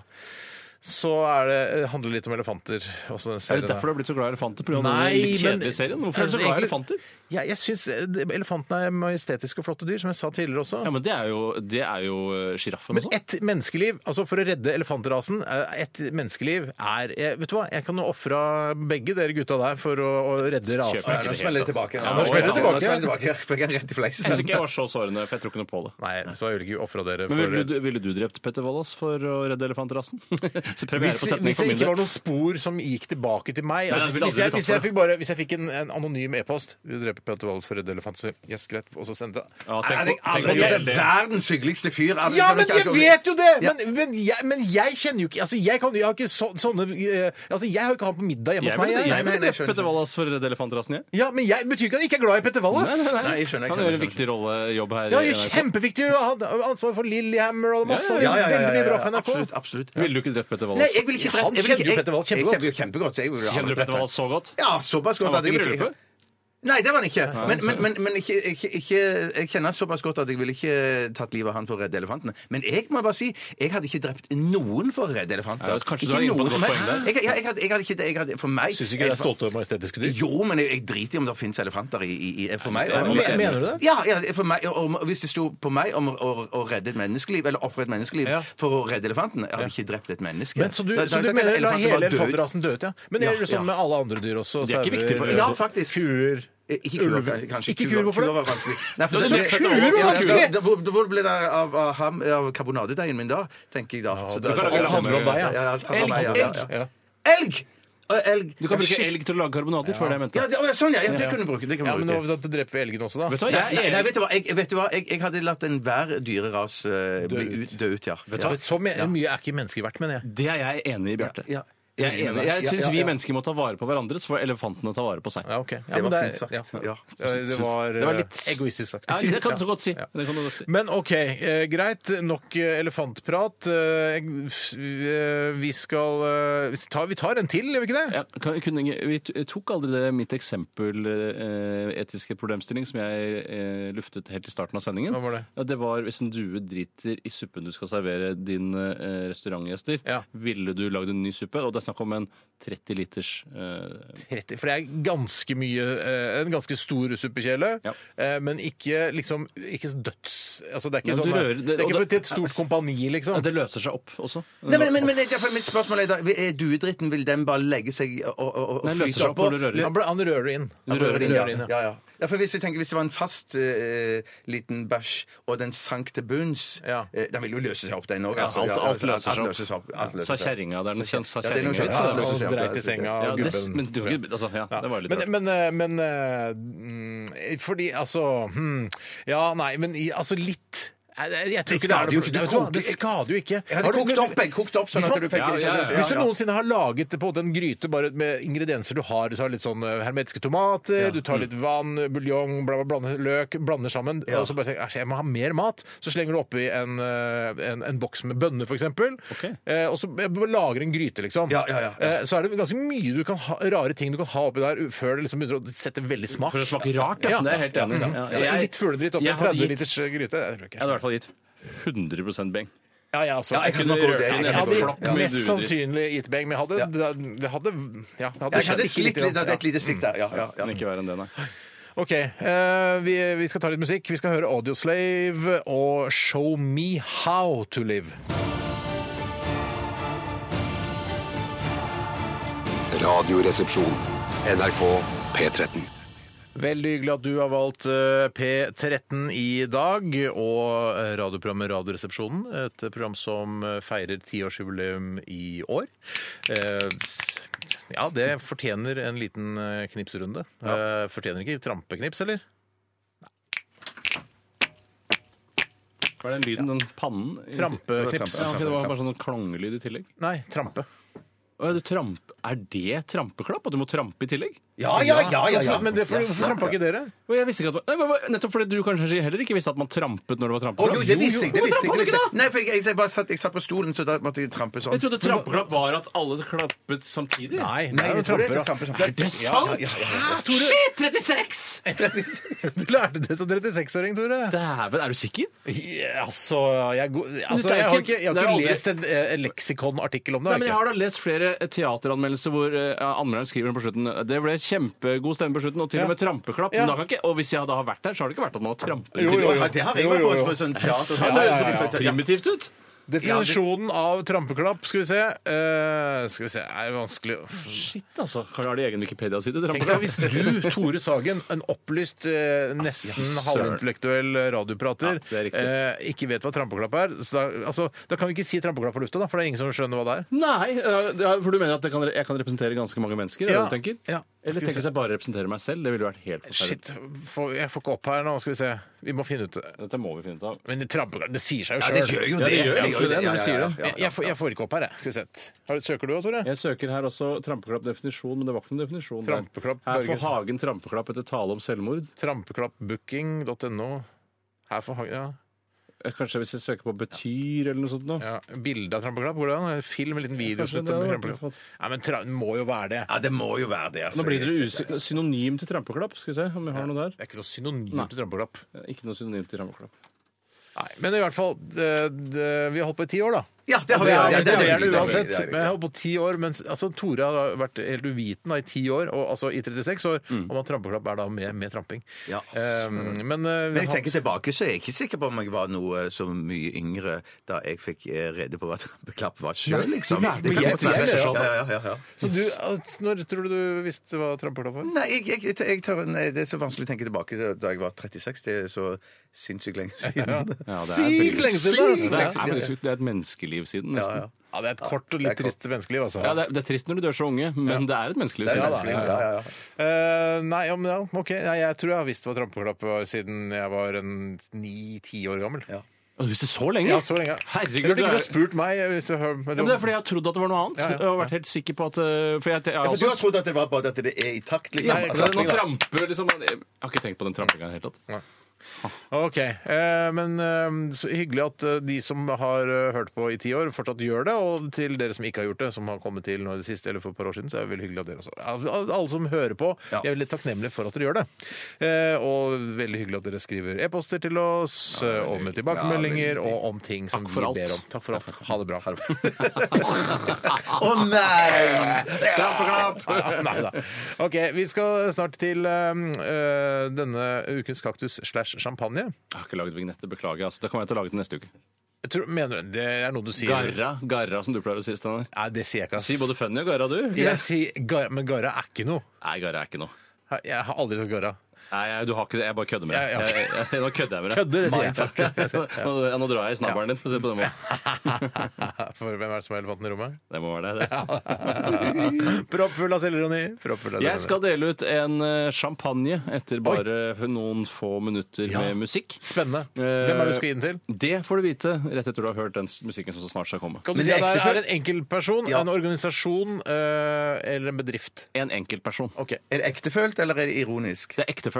[SPEAKER 1] så er det, eh, handler det litt om elefanter. Også den
[SPEAKER 3] Er
[SPEAKER 1] serien
[SPEAKER 3] det derfor du
[SPEAKER 1] her.
[SPEAKER 3] har blitt så glad i elefanter? På grunn av
[SPEAKER 1] Nei,
[SPEAKER 3] den litt
[SPEAKER 1] men-
[SPEAKER 3] kjedelige serien? Hvorfor er du så glad
[SPEAKER 1] Egentlig-
[SPEAKER 3] i elefanter?
[SPEAKER 1] Ja, jeg syns elefantene er majestetiske og flotte dyr, som jeg sa tidligere også.
[SPEAKER 3] Ja, men det er jo, det er jo sjiraffen
[SPEAKER 1] Men
[SPEAKER 3] også.
[SPEAKER 1] ett menneskeliv, altså for å redde elefantrasen eh, Ett menneskeliv er jeg, Vet du hva, jeg kan jo ofre begge dere gutta der for å, å redde
[SPEAKER 3] Kjøper
[SPEAKER 1] rasen.
[SPEAKER 3] ikke
[SPEAKER 2] Nå
[SPEAKER 3] det
[SPEAKER 2] smeller
[SPEAKER 3] helt,
[SPEAKER 2] det tilbake.
[SPEAKER 3] altså. Ja,
[SPEAKER 1] nå smeller det tilbake.
[SPEAKER 2] Nå smeller det tilbake. Fikk jeg rett i
[SPEAKER 3] Jeg syns
[SPEAKER 2] fleisen.
[SPEAKER 3] ikke jeg var så sårende, for jeg tror ikke noe på det.
[SPEAKER 1] Nei, så jeg vil ikke ofra dere
[SPEAKER 3] Men
[SPEAKER 1] for
[SPEAKER 3] ville du, ville du drept Petter Wallas for å redde elefantrassen? Så premiere
[SPEAKER 1] hvis,
[SPEAKER 3] på setning
[SPEAKER 1] hvis
[SPEAKER 3] for
[SPEAKER 1] det
[SPEAKER 3] min
[SPEAKER 1] ikke var
[SPEAKER 3] del.
[SPEAKER 1] noen spor som gikk tilbake til meg
[SPEAKER 3] Nei,
[SPEAKER 1] altså,
[SPEAKER 3] jeg ville
[SPEAKER 1] Hvis
[SPEAKER 3] aldri
[SPEAKER 1] jeg,
[SPEAKER 3] blitt tatt
[SPEAKER 1] hvis
[SPEAKER 3] for
[SPEAKER 1] jeg
[SPEAKER 3] det.
[SPEAKER 1] fikk, bare, hvis jeg fikk en, en anonym e-post Du dreper Peter Walles for å redde elefanter. Yes, greit. Og så sendte jeg
[SPEAKER 3] Ja,
[SPEAKER 1] Nei,
[SPEAKER 3] tenk på-
[SPEAKER 1] jeg-
[SPEAKER 3] tenk på
[SPEAKER 1] aldri-
[SPEAKER 2] Det
[SPEAKER 3] det.
[SPEAKER 2] er verdens hyggeligste fyr. Alle
[SPEAKER 1] Ja,
[SPEAKER 2] kan
[SPEAKER 1] men
[SPEAKER 2] ikke-
[SPEAKER 1] jeg vet jo det! Men, men, jeg, men jeg kjenner jo ikke Altså, jeg, kan, jeg har ikke så, sånne eh, Altså, jeg har jo ikke han på middag hjemme hos
[SPEAKER 3] Jeg
[SPEAKER 1] meg.
[SPEAKER 3] ville
[SPEAKER 1] Jeg,
[SPEAKER 3] jeg
[SPEAKER 2] nei,
[SPEAKER 3] ville
[SPEAKER 2] nei,
[SPEAKER 3] drept Petter Wallas for å redde elefantrassen, jeg.
[SPEAKER 1] Ja, men jeg betyr ikke at jeg ikke er glad i Petter Wallas.
[SPEAKER 2] Nei, jeg skjønner, jeg
[SPEAKER 3] Han
[SPEAKER 2] skjønner,
[SPEAKER 3] gjør en
[SPEAKER 2] jeg
[SPEAKER 3] viktig rollejobb her.
[SPEAKER 1] Ja,
[SPEAKER 3] i
[SPEAKER 1] det er
[SPEAKER 3] NRK.
[SPEAKER 1] kjempeviktig. å ha ansvar for Lillehammer og masse.
[SPEAKER 2] Ja, ja, ja, ja,
[SPEAKER 1] Veldig mye
[SPEAKER 2] ja,
[SPEAKER 1] bra
[SPEAKER 2] ja,
[SPEAKER 1] for NRK.
[SPEAKER 2] Absolutt. absolutt.
[SPEAKER 3] Ville du ikke drept Petter
[SPEAKER 2] Nei,
[SPEAKER 3] Wallas?
[SPEAKER 2] jeg vil ikke drept
[SPEAKER 1] Han
[SPEAKER 2] jeg vil ikke-
[SPEAKER 1] kjenner jo Petter Walls
[SPEAKER 2] jeg-
[SPEAKER 1] kjempegodt.
[SPEAKER 2] Jeg kjenner jo kjempegodt. så jeg vil
[SPEAKER 3] Kjenner du Petter Wallas så godt?
[SPEAKER 2] Ja, såpass godt.
[SPEAKER 3] Han var
[SPEAKER 2] at jeg
[SPEAKER 3] ikke i
[SPEAKER 2] vil
[SPEAKER 3] bryllupet?
[SPEAKER 2] Nei, det var han ikke. Men,
[SPEAKER 3] så-
[SPEAKER 2] men, men, men ikke, ikke, ikke, jeg kjenner såpass godt at jeg ville ikke tatt livet av han for å redde elefanten. Men jeg må bare si, jeg hadde ikke drept noen for å redde elefanter.
[SPEAKER 3] Ja, kanskje du er inne på et godt poeng
[SPEAKER 2] Jeg, jeg, jeg, hadde, jeg hadde ikke det. Jeg hadde, for meg
[SPEAKER 1] Syns ikke jeg er stolt over majestetiske dyr.
[SPEAKER 2] Jo, men jeg, jeg driter i om det fins elefanter i, i, i For meg
[SPEAKER 3] det er-
[SPEAKER 1] Men- Mener du det?
[SPEAKER 2] ja, ja, for meg, om, hvis det sto på meg om å, å redde et menneskeliv, eller ofre et menneskeliv
[SPEAKER 1] Ja.
[SPEAKER 2] for å redde elefanten Jeg hadde ikke drept et menneske.
[SPEAKER 1] Men, så du,
[SPEAKER 2] Da- da-
[SPEAKER 1] så du
[SPEAKER 2] da kan
[SPEAKER 1] mener la
[SPEAKER 2] elefanten
[SPEAKER 1] hele
[SPEAKER 2] bare dø ut.
[SPEAKER 1] elefantrasen dø ut, ja? Men gjør
[SPEAKER 2] Ja,
[SPEAKER 1] det sånn
[SPEAKER 2] ja.
[SPEAKER 1] med alle andre dyr også?
[SPEAKER 3] De er ikke viktige for-
[SPEAKER 1] sauer,
[SPEAKER 2] Ja, faktisk.
[SPEAKER 1] Kuer.
[SPEAKER 2] Eh, Ikke kuer,
[SPEAKER 1] Ulver.
[SPEAKER 2] kanskje.
[SPEAKER 1] Ikke kuer, hvorfor det?
[SPEAKER 2] Kuer var vanskelig. Nei, for
[SPEAKER 3] Da
[SPEAKER 2] det,
[SPEAKER 3] er
[SPEAKER 2] det,
[SPEAKER 3] det
[SPEAKER 2] det,
[SPEAKER 3] kuer,
[SPEAKER 1] kuer var
[SPEAKER 2] ja,
[SPEAKER 1] vanskelig!
[SPEAKER 2] da- hvor, hvor ble det av, av, ham, av karbonadedeigen min da, tenker jeg da. Så da- da-
[SPEAKER 3] kan lage
[SPEAKER 1] Alt handler om deg,
[SPEAKER 2] Ja,
[SPEAKER 1] ja.
[SPEAKER 2] alt handler om meg, ja, ja, ja.
[SPEAKER 1] Ja.
[SPEAKER 2] Elg! Og elg.
[SPEAKER 3] Du kan
[SPEAKER 2] Ja,
[SPEAKER 3] bruke
[SPEAKER 2] shit.
[SPEAKER 3] elg til å lage karbonader, for det jeg mente.
[SPEAKER 2] Ja, det, å, ja, sånn, ja, ja. Det kunne du bruke. Det kunne
[SPEAKER 1] Ja,
[SPEAKER 2] du
[SPEAKER 1] men
[SPEAKER 2] bruke.
[SPEAKER 1] nå, da dreper vi elgen også, da.
[SPEAKER 3] Vet du hva,
[SPEAKER 2] Nei,
[SPEAKER 3] jeg er
[SPEAKER 2] nei,
[SPEAKER 3] enig.
[SPEAKER 2] vet du hva? Jeg, vet du hva? jeg, jeg hadde latt enhver dyreras eh, bli
[SPEAKER 1] ut.
[SPEAKER 2] ut, dø ut, ja.
[SPEAKER 1] Så- Så mye, mye er ikke mennesker verdt, mener jeg.
[SPEAKER 3] Det er jeg enig i, Bjarte.
[SPEAKER 2] Ja, ja.
[SPEAKER 3] Jeg, er enig. jeg
[SPEAKER 2] Ja,
[SPEAKER 3] syns
[SPEAKER 2] ja,
[SPEAKER 3] vi
[SPEAKER 2] ja.
[SPEAKER 3] mennesker må ta vare på hverandre, så får elefantene ta vare på seg.
[SPEAKER 1] Ja, ok. Ja, men
[SPEAKER 2] Det var
[SPEAKER 1] er-
[SPEAKER 2] fint sagt.
[SPEAKER 1] Ja.
[SPEAKER 2] Ja.
[SPEAKER 1] Ja, Det var,
[SPEAKER 3] Det var
[SPEAKER 1] eh,
[SPEAKER 3] litt-
[SPEAKER 1] egoistisk sagt.
[SPEAKER 3] Ja, det kan du så godt si.
[SPEAKER 1] Ja.
[SPEAKER 3] Det kan du godt si.
[SPEAKER 1] Men OK, eh, greit. Nok eh, elefantprat. Eh, eh, vi skal eh, vi tar- Vi tar en til, gjør vi ikke det?
[SPEAKER 3] Ja, kan, kunne, vi t- tok aldri det mitt eksempel eh, etiske problemstilling som jeg eh, luftet helt i starten av sendingen.
[SPEAKER 1] Hva var det?
[SPEAKER 3] Ja, det var hvis en due driter i suppen du skal servere dine eh, restaurantgjester,
[SPEAKER 1] Ja.
[SPEAKER 3] ville du lagd en ny suppe? Og det er snakk om en 30 liters eh,
[SPEAKER 1] 30, for det er ganske mye eh, En ganske stor suppekjele,
[SPEAKER 3] Ja.
[SPEAKER 1] eh, men ikke liksom Ikke døds... Altså, det er ikke
[SPEAKER 3] Men du
[SPEAKER 1] sånn
[SPEAKER 3] rører-
[SPEAKER 1] det,
[SPEAKER 3] det-
[SPEAKER 1] er
[SPEAKER 3] og
[SPEAKER 1] ikke
[SPEAKER 3] det-
[SPEAKER 1] til et stort kompani, liksom.
[SPEAKER 3] Det løser seg opp også.
[SPEAKER 2] Nei, men, men, men derfor, mitt spørsmål er da Er duedritten, vil den bare legge seg og, og, og
[SPEAKER 3] Den løser
[SPEAKER 2] flyte
[SPEAKER 3] seg opp
[SPEAKER 2] oppå?
[SPEAKER 3] når du rører i.
[SPEAKER 1] Han, ble, han rører inn.
[SPEAKER 2] Han rører inn, ja.
[SPEAKER 1] Rører inn, ja.
[SPEAKER 2] ja, ja. ja for hvis, jeg tenker, hvis det var en fast eh, liten bæsj, og den sank til bunns
[SPEAKER 1] Ja.
[SPEAKER 2] eh, Den vil jo løse seg opp, den òg.
[SPEAKER 3] Ja,
[SPEAKER 2] altså.
[SPEAKER 3] alt-
[SPEAKER 2] Ja,
[SPEAKER 3] alt
[SPEAKER 2] altså, alt
[SPEAKER 3] løser seg opp.
[SPEAKER 2] løser seg opp. Alt løser seg
[SPEAKER 3] Sa
[SPEAKER 2] opp.
[SPEAKER 3] kjerringa. Det er noe kjent sa
[SPEAKER 2] Ja, det er noen
[SPEAKER 3] kjerringa.
[SPEAKER 2] kjerringer.
[SPEAKER 1] Han
[SPEAKER 2] det
[SPEAKER 3] Ja,
[SPEAKER 2] løser seg opp,
[SPEAKER 1] dreit
[SPEAKER 2] det-
[SPEAKER 1] i senga
[SPEAKER 3] Ja,
[SPEAKER 1] og
[SPEAKER 3] det,
[SPEAKER 1] gubben
[SPEAKER 3] men, det var ikke- altså, ja,
[SPEAKER 1] Ja.
[SPEAKER 3] det var litt
[SPEAKER 1] men,
[SPEAKER 3] rart.
[SPEAKER 1] men, eh, men eh, mm, Fordi altså hmm, Ja, nei, men i- altså litt Nei, det- jeg tror
[SPEAKER 2] Det
[SPEAKER 1] ikke det, er
[SPEAKER 2] skader jo ikke. Du
[SPEAKER 1] Vet du hva?
[SPEAKER 2] koker-
[SPEAKER 1] Det skader jo ikke.
[SPEAKER 2] Jeg hadde
[SPEAKER 1] Har du-
[SPEAKER 2] kokt opp, jeg. Kokt opp sånn
[SPEAKER 1] Hvis
[SPEAKER 2] at
[SPEAKER 1] man-
[SPEAKER 2] du fikk
[SPEAKER 3] Ja, ja, ja.
[SPEAKER 1] Hvis du noensinne har laget på en måte en gryte bare med ingredienser du har, du tar litt sånn eh, hermetiske tomater, du tar
[SPEAKER 2] Mm.
[SPEAKER 1] litt vann, buljong, bla, bla, bla, løk, blander sammen, og så bare tenker æsj, jeg må ha mer mat, så slenger du oppi en, eh, en, en boks med bønner, for eksempel,
[SPEAKER 3] Ok.
[SPEAKER 1] eh, og så eh, lager en gryte, liksom.
[SPEAKER 2] Ja, ja, ja, ja.
[SPEAKER 1] Eh, Så er det ganske mye du kan ha, rare ting du kan ha oppi der u- før det liksom begynner å sette veldig smak.
[SPEAKER 3] For det smaker rart,
[SPEAKER 1] Ja.
[SPEAKER 3] ja. Det er jeg helt enig i. Ja,
[SPEAKER 1] Så
[SPEAKER 3] jeg-
[SPEAKER 1] litt fugledritt oppi
[SPEAKER 3] jeg
[SPEAKER 1] en
[SPEAKER 3] hadde
[SPEAKER 1] 30
[SPEAKER 3] gitt-
[SPEAKER 1] liters eh, gryte. Jeg tror
[SPEAKER 3] Jeg hadde i
[SPEAKER 1] ikke.
[SPEAKER 3] hvert fall gitt 100 beng.
[SPEAKER 1] Ja, ja, altså.
[SPEAKER 2] Ja, jeg
[SPEAKER 1] jeg
[SPEAKER 2] kan nok gå det. Jeg
[SPEAKER 1] jeg
[SPEAKER 2] kan
[SPEAKER 1] hadde
[SPEAKER 2] nok gå
[SPEAKER 3] flokk
[SPEAKER 2] det.
[SPEAKER 3] med
[SPEAKER 1] mest
[SPEAKER 3] duer.
[SPEAKER 1] sannsynlig gitt beng, men jeg hadde, det, det hadde, ja, jeg hadde
[SPEAKER 2] Jeg hadde
[SPEAKER 1] stikket
[SPEAKER 2] slitt
[SPEAKER 1] grann.
[SPEAKER 2] litt, det er et lite stikk der. Ja, ja, ja.
[SPEAKER 3] Kan ikke være enn det, nei.
[SPEAKER 1] Ok, eh, vi, vi skal ta litt musikk. Vi skal høre Audioslave og Show Me How To Live.
[SPEAKER 6] Radioresepsjon. NRK P13.
[SPEAKER 1] Veldig hyggelig at du har valgt eh, P13 i dag og eh, radioprogrammet Radioresepsjonen. Et program som eh, feirer tiårsjubileum i år. Eh, s- Ja, det fortjener en liten eh, knipsrunde. Eh, Fortjener ikke trampeknips, eller?
[SPEAKER 3] Hva er den lyden? Den pannen?
[SPEAKER 1] Trampeknips.
[SPEAKER 3] Ja, ok, det var bare sånn klangelyd i tillegg.
[SPEAKER 1] Nei, trampe.
[SPEAKER 3] Å, ja, du tramp... Er det trampeklapp? At du må trampe i tillegg?
[SPEAKER 2] Ja, ja, ja, ja, ja.
[SPEAKER 1] Hvorfor- Men det, for, hvorfor trampa ikke dere?
[SPEAKER 3] Å, Jeg visste ikke at det var... Nei, men hva- Nettopp fordi du kanskje heller ikke visste at man trampet når det var
[SPEAKER 2] Å
[SPEAKER 3] trampeklapp.
[SPEAKER 2] jo, det visste jeg. det visste jeg,
[SPEAKER 3] Hvorfor
[SPEAKER 2] det visste
[SPEAKER 3] tramper
[SPEAKER 2] jeg. Nei, for jeg, jeg, bare satt, jeg satt på stolen, så da måtte jeg trampe sånn.
[SPEAKER 3] Jeg trodde trampeklapp var at alle klappet samtidig.
[SPEAKER 1] Nei,
[SPEAKER 2] Nei,
[SPEAKER 1] det er jo
[SPEAKER 2] jeg tror det
[SPEAKER 1] tramper.
[SPEAKER 2] heter
[SPEAKER 1] da.
[SPEAKER 2] trampe sånn.
[SPEAKER 3] Er det sant?
[SPEAKER 2] Ja, ja, ja, ja.
[SPEAKER 3] Hæ, Tore? Shit, 36!
[SPEAKER 1] 36. Du lærte det som 36-åring, Tore.
[SPEAKER 3] Dæven, er du sikker?
[SPEAKER 1] Ja, altså, jeg, er god- altså,
[SPEAKER 3] det er
[SPEAKER 1] jeg har ikke,
[SPEAKER 3] ikke-
[SPEAKER 1] jeg har
[SPEAKER 3] det er
[SPEAKER 1] ikke
[SPEAKER 3] aldri-
[SPEAKER 1] lest en, eh, en leksikonartikkel om det.
[SPEAKER 3] Nei, men Jeg
[SPEAKER 1] ikke.
[SPEAKER 3] har da lest flere eh, teateranmeldelser hvor eh, anmelderen skriver på slutten Det ble kjempegod stemme på slutten, og til
[SPEAKER 1] Ja.
[SPEAKER 3] og med trampeklapp.
[SPEAKER 1] Ja.
[SPEAKER 3] Men da kan ikke, og hvis jeg da har vært der, så har det ikke vært at man har trampet.
[SPEAKER 1] Jo,
[SPEAKER 3] til-
[SPEAKER 1] jo,
[SPEAKER 2] Ja, det har jeg
[SPEAKER 1] Jo, jo,
[SPEAKER 2] vært
[SPEAKER 1] jo.
[SPEAKER 2] på, på sånn teater.
[SPEAKER 3] Ja, det høres
[SPEAKER 2] Ja,
[SPEAKER 3] litt
[SPEAKER 2] ja, ja.
[SPEAKER 3] primitivt ut.
[SPEAKER 1] Definisjonen av trampeklapp, skal vi se. Eh, skal vi se, er det vanskelig å-
[SPEAKER 3] Shit, altså. Kan har de egen Wikipedia-side?
[SPEAKER 1] Tenk deg
[SPEAKER 3] trampeklapp?
[SPEAKER 1] hvis du, Tore Sagen, en opplyst, eh, nesten
[SPEAKER 3] Ah, Ja, søren.
[SPEAKER 1] halvintellektuell eh, radioprater,
[SPEAKER 3] Ja, det er
[SPEAKER 1] eh, ikke vet hva trampeklapp er, så da, altså, da kan vi ikke si trampeklapp på lufta, da, for det er ingen som skjønner hva det er.
[SPEAKER 3] Nei, eh, det er- for du mener at det kan, jeg kan representere ganske mange mennesker? er
[SPEAKER 1] Ja.
[SPEAKER 3] det du tenker?
[SPEAKER 1] Ja.
[SPEAKER 3] Eller
[SPEAKER 1] Skal vi
[SPEAKER 3] tenker
[SPEAKER 1] se.
[SPEAKER 3] jeg bare representere meg selv? Det ville vært helt forferdelig.
[SPEAKER 1] Shit, får- jeg får ikke opp her nå, skal vi se. Vi må finne ut det.
[SPEAKER 3] Dette må vi finne ut av.
[SPEAKER 1] Men trampeklapp, det sier seg jo
[SPEAKER 2] Ja,
[SPEAKER 1] sjøl.
[SPEAKER 2] det gjør jo
[SPEAKER 3] Ja,
[SPEAKER 2] det.
[SPEAKER 3] det gjør
[SPEAKER 2] Ja, ja,
[SPEAKER 3] jo det når du
[SPEAKER 2] ja, ja,
[SPEAKER 3] sier det.
[SPEAKER 2] ja, ja,
[SPEAKER 1] jeg, jeg, får- jeg får ikke opp her, jeg. Skal vi se. Har du- Søker du òg, Tore?
[SPEAKER 3] Jeg søker her også trampeklapp definisjon, men det var ikke noen definisjon. der.
[SPEAKER 1] Trampeklapp,
[SPEAKER 3] Her får
[SPEAKER 1] Børges.
[SPEAKER 3] Hagen trampeklapp etter tale om selvmord.
[SPEAKER 1] Trampeklappbooking.no. Her får Hagen ja.
[SPEAKER 3] Eh, Kanskje hvis jeg søker på betyr eller noe sånt nå.
[SPEAKER 1] ja. Bilde av trampeklapp? Går det an? Film, en liten video
[SPEAKER 3] Kanskje
[SPEAKER 1] slutt
[SPEAKER 3] det
[SPEAKER 1] med
[SPEAKER 3] hadde vært
[SPEAKER 1] trampeklapp?
[SPEAKER 3] flott.
[SPEAKER 1] Nei, men tra det må jo være det.
[SPEAKER 2] Ja, det må jo være det. altså.
[SPEAKER 3] Nå blir dere usy- synonym til trampeklapp. Skal vi se om vi har noe der.
[SPEAKER 1] Det er ikke noe synonym
[SPEAKER 3] Nei.
[SPEAKER 1] til trampeklapp.
[SPEAKER 3] Eh, Ikke noe synonym til trampeklapp.
[SPEAKER 1] Nei, Men i hvert fall, det, det, vi har holdt på i ti år, da.
[SPEAKER 2] Ja, det har vi.
[SPEAKER 1] Det
[SPEAKER 2] ja,
[SPEAKER 1] er,
[SPEAKER 2] ja,
[SPEAKER 1] det
[SPEAKER 2] har vi,
[SPEAKER 1] er det
[SPEAKER 2] det har vi,
[SPEAKER 1] uansett.
[SPEAKER 2] det har vi.
[SPEAKER 1] Men jeg har holdt på ti år, mens altså, Tore har vært helt uviten da, i ti år, og altså i 36 år, om at trampeklapp er da med, med tramping.
[SPEAKER 2] Mm. Ja.
[SPEAKER 1] Um, men, eh, vi
[SPEAKER 2] Men jeg
[SPEAKER 1] har
[SPEAKER 2] tenker
[SPEAKER 1] hatt-
[SPEAKER 2] tilbake, så er jeg ikke sikker på om jeg var noe eh, så mye yngre da jeg fikk eh, rede på hva trampeklapp var sjøl, liksom.
[SPEAKER 1] Nei,
[SPEAKER 2] Det
[SPEAKER 1] men
[SPEAKER 2] kan
[SPEAKER 1] jeg-
[SPEAKER 2] godt være.
[SPEAKER 1] jeg-
[SPEAKER 2] ja, ja, ja, ja.
[SPEAKER 1] Så du, altså, Når tror du du visste hva trampeklapp var?
[SPEAKER 2] Nei, jeg, jeg, jeg, jeg tør, nei, det er så vanskelig å tenke tilbake til da jeg var 36. Det er så sinnssykt lenge siden.
[SPEAKER 3] Ja, det er
[SPEAKER 1] Sykt
[SPEAKER 3] veldig-
[SPEAKER 1] lenge
[SPEAKER 3] Det
[SPEAKER 1] siden! da!
[SPEAKER 3] er, det er menneske- det er et menneskeliv siden,
[SPEAKER 2] Ja, ja.
[SPEAKER 3] nesten.
[SPEAKER 1] Ja, det er et kort og litt
[SPEAKER 2] Det er kort.
[SPEAKER 1] trist menneskeliv, altså.
[SPEAKER 3] Ja, det, er, det er trist når du dør så unge, men det er et menneskeliv
[SPEAKER 2] Det er
[SPEAKER 3] siden.
[SPEAKER 2] vanskelig. Ja, ja, ja.
[SPEAKER 1] Eh, nei, ja, men ja, OK. Nei, jeg tror jeg har visst hva trampeklapp var siden jeg var en ni-ti år gammel.
[SPEAKER 2] Ja.
[SPEAKER 3] Å, Du visste så lenge?
[SPEAKER 1] Ja, så lenge.
[SPEAKER 3] Herregud,
[SPEAKER 1] Jeg burde
[SPEAKER 3] du
[SPEAKER 1] ikke
[SPEAKER 3] er-
[SPEAKER 1] ha spurt meg. eh, Hvis jeg, hører- men
[SPEAKER 3] Ja, men det er fordi jeg har trodd at det var noe annet.
[SPEAKER 1] Ja, ja,
[SPEAKER 3] Jeg har vært helt sikker på at eh, For jeg, jeg, har
[SPEAKER 2] For du har
[SPEAKER 3] også-
[SPEAKER 2] trodd at det var bare at det er i takt,
[SPEAKER 3] Ja,
[SPEAKER 2] liksom?
[SPEAKER 1] Nei,
[SPEAKER 2] At-
[SPEAKER 3] men nå
[SPEAKER 1] da.
[SPEAKER 3] tramper liksom Jeg har ikke tenkt på den trampinga i det hele tatt.
[SPEAKER 1] OK. eh, men eh, så hyggelig at eh, de som har eh, hørt på i ti år, fortsatt gjør det. Og til dere som ikke har gjort det, som har kommet til nå i det siste eller for et par år siden, så er det veldig hyggelig at dere også Al- al- Alle som hører på, jeg er veldig takknemlig for at dere gjør det. Eh, og veldig hyggelig at dere skriver e-poster til oss, eh, og med tilbakemeldinger, og om ting som
[SPEAKER 3] Takk
[SPEAKER 1] vi
[SPEAKER 3] for alt.
[SPEAKER 1] ber om. Takk for alt. Ha det bra. Ha det bra.
[SPEAKER 2] Å nei!
[SPEAKER 1] Nei, nei da. Ok, vi skal snart til um, øh, denne ukens kaktus slash champagne.
[SPEAKER 3] Jeg har ikke laget vignette, beklager. Altså. Det kommer jeg til å lage til neste uke.
[SPEAKER 1] Jeg tror, mener du, det er noe du sier?
[SPEAKER 3] Garra, garra som du pleier å si, Steinar.
[SPEAKER 1] Nei, det sier jeg ikke, ass.
[SPEAKER 3] Si både funny og garra, du.
[SPEAKER 1] jeg sier garra, men garra er ikke noe.
[SPEAKER 3] Nei, garra er ikke noe.
[SPEAKER 1] Jeg har aldri sagt garra.
[SPEAKER 3] Nei, jeg, du har ikke det. Jeg bare kødder med deg.
[SPEAKER 1] Ja, ja.
[SPEAKER 3] Jeg- jeg- jeg- Nå kødder jeg med deg.
[SPEAKER 1] Kødder, det sier jeg.
[SPEAKER 3] jeg. Nå, nå drar jeg i snabberen din, for å si det på den måten.
[SPEAKER 1] For hvem er det som er elefanten i rommet?
[SPEAKER 3] Det må være det. det.
[SPEAKER 1] Proppfull av selvironi. Proppfull av selvironi.
[SPEAKER 3] Jeg skal dele ut en eh, champagne etter bare noen få minutter med musikk.
[SPEAKER 1] Spennende. Hvem er det du skal gi den til?
[SPEAKER 3] Det får du vite rett etter du har hørt den s- musikken som så snart skal komme.
[SPEAKER 1] Kan du
[SPEAKER 2] Men
[SPEAKER 1] si
[SPEAKER 2] det
[SPEAKER 1] at
[SPEAKER 2] er
[SPEAKER 1] det er
[SPEAKER 2] ektefelle-
[SPEAKER 1] en enkeltperson,
[SPEAKER 2] Ja.
[SPEAKER 1] en organisasjon øh, eller en bedrift?
[SPEAKER 3] En enkeltperson.
[SPEAKER 1] Ok,
[SPEAKER 2] Er det ektefølt, eller er det ironisk?
[SPEAKER 3] Det er ektefølt.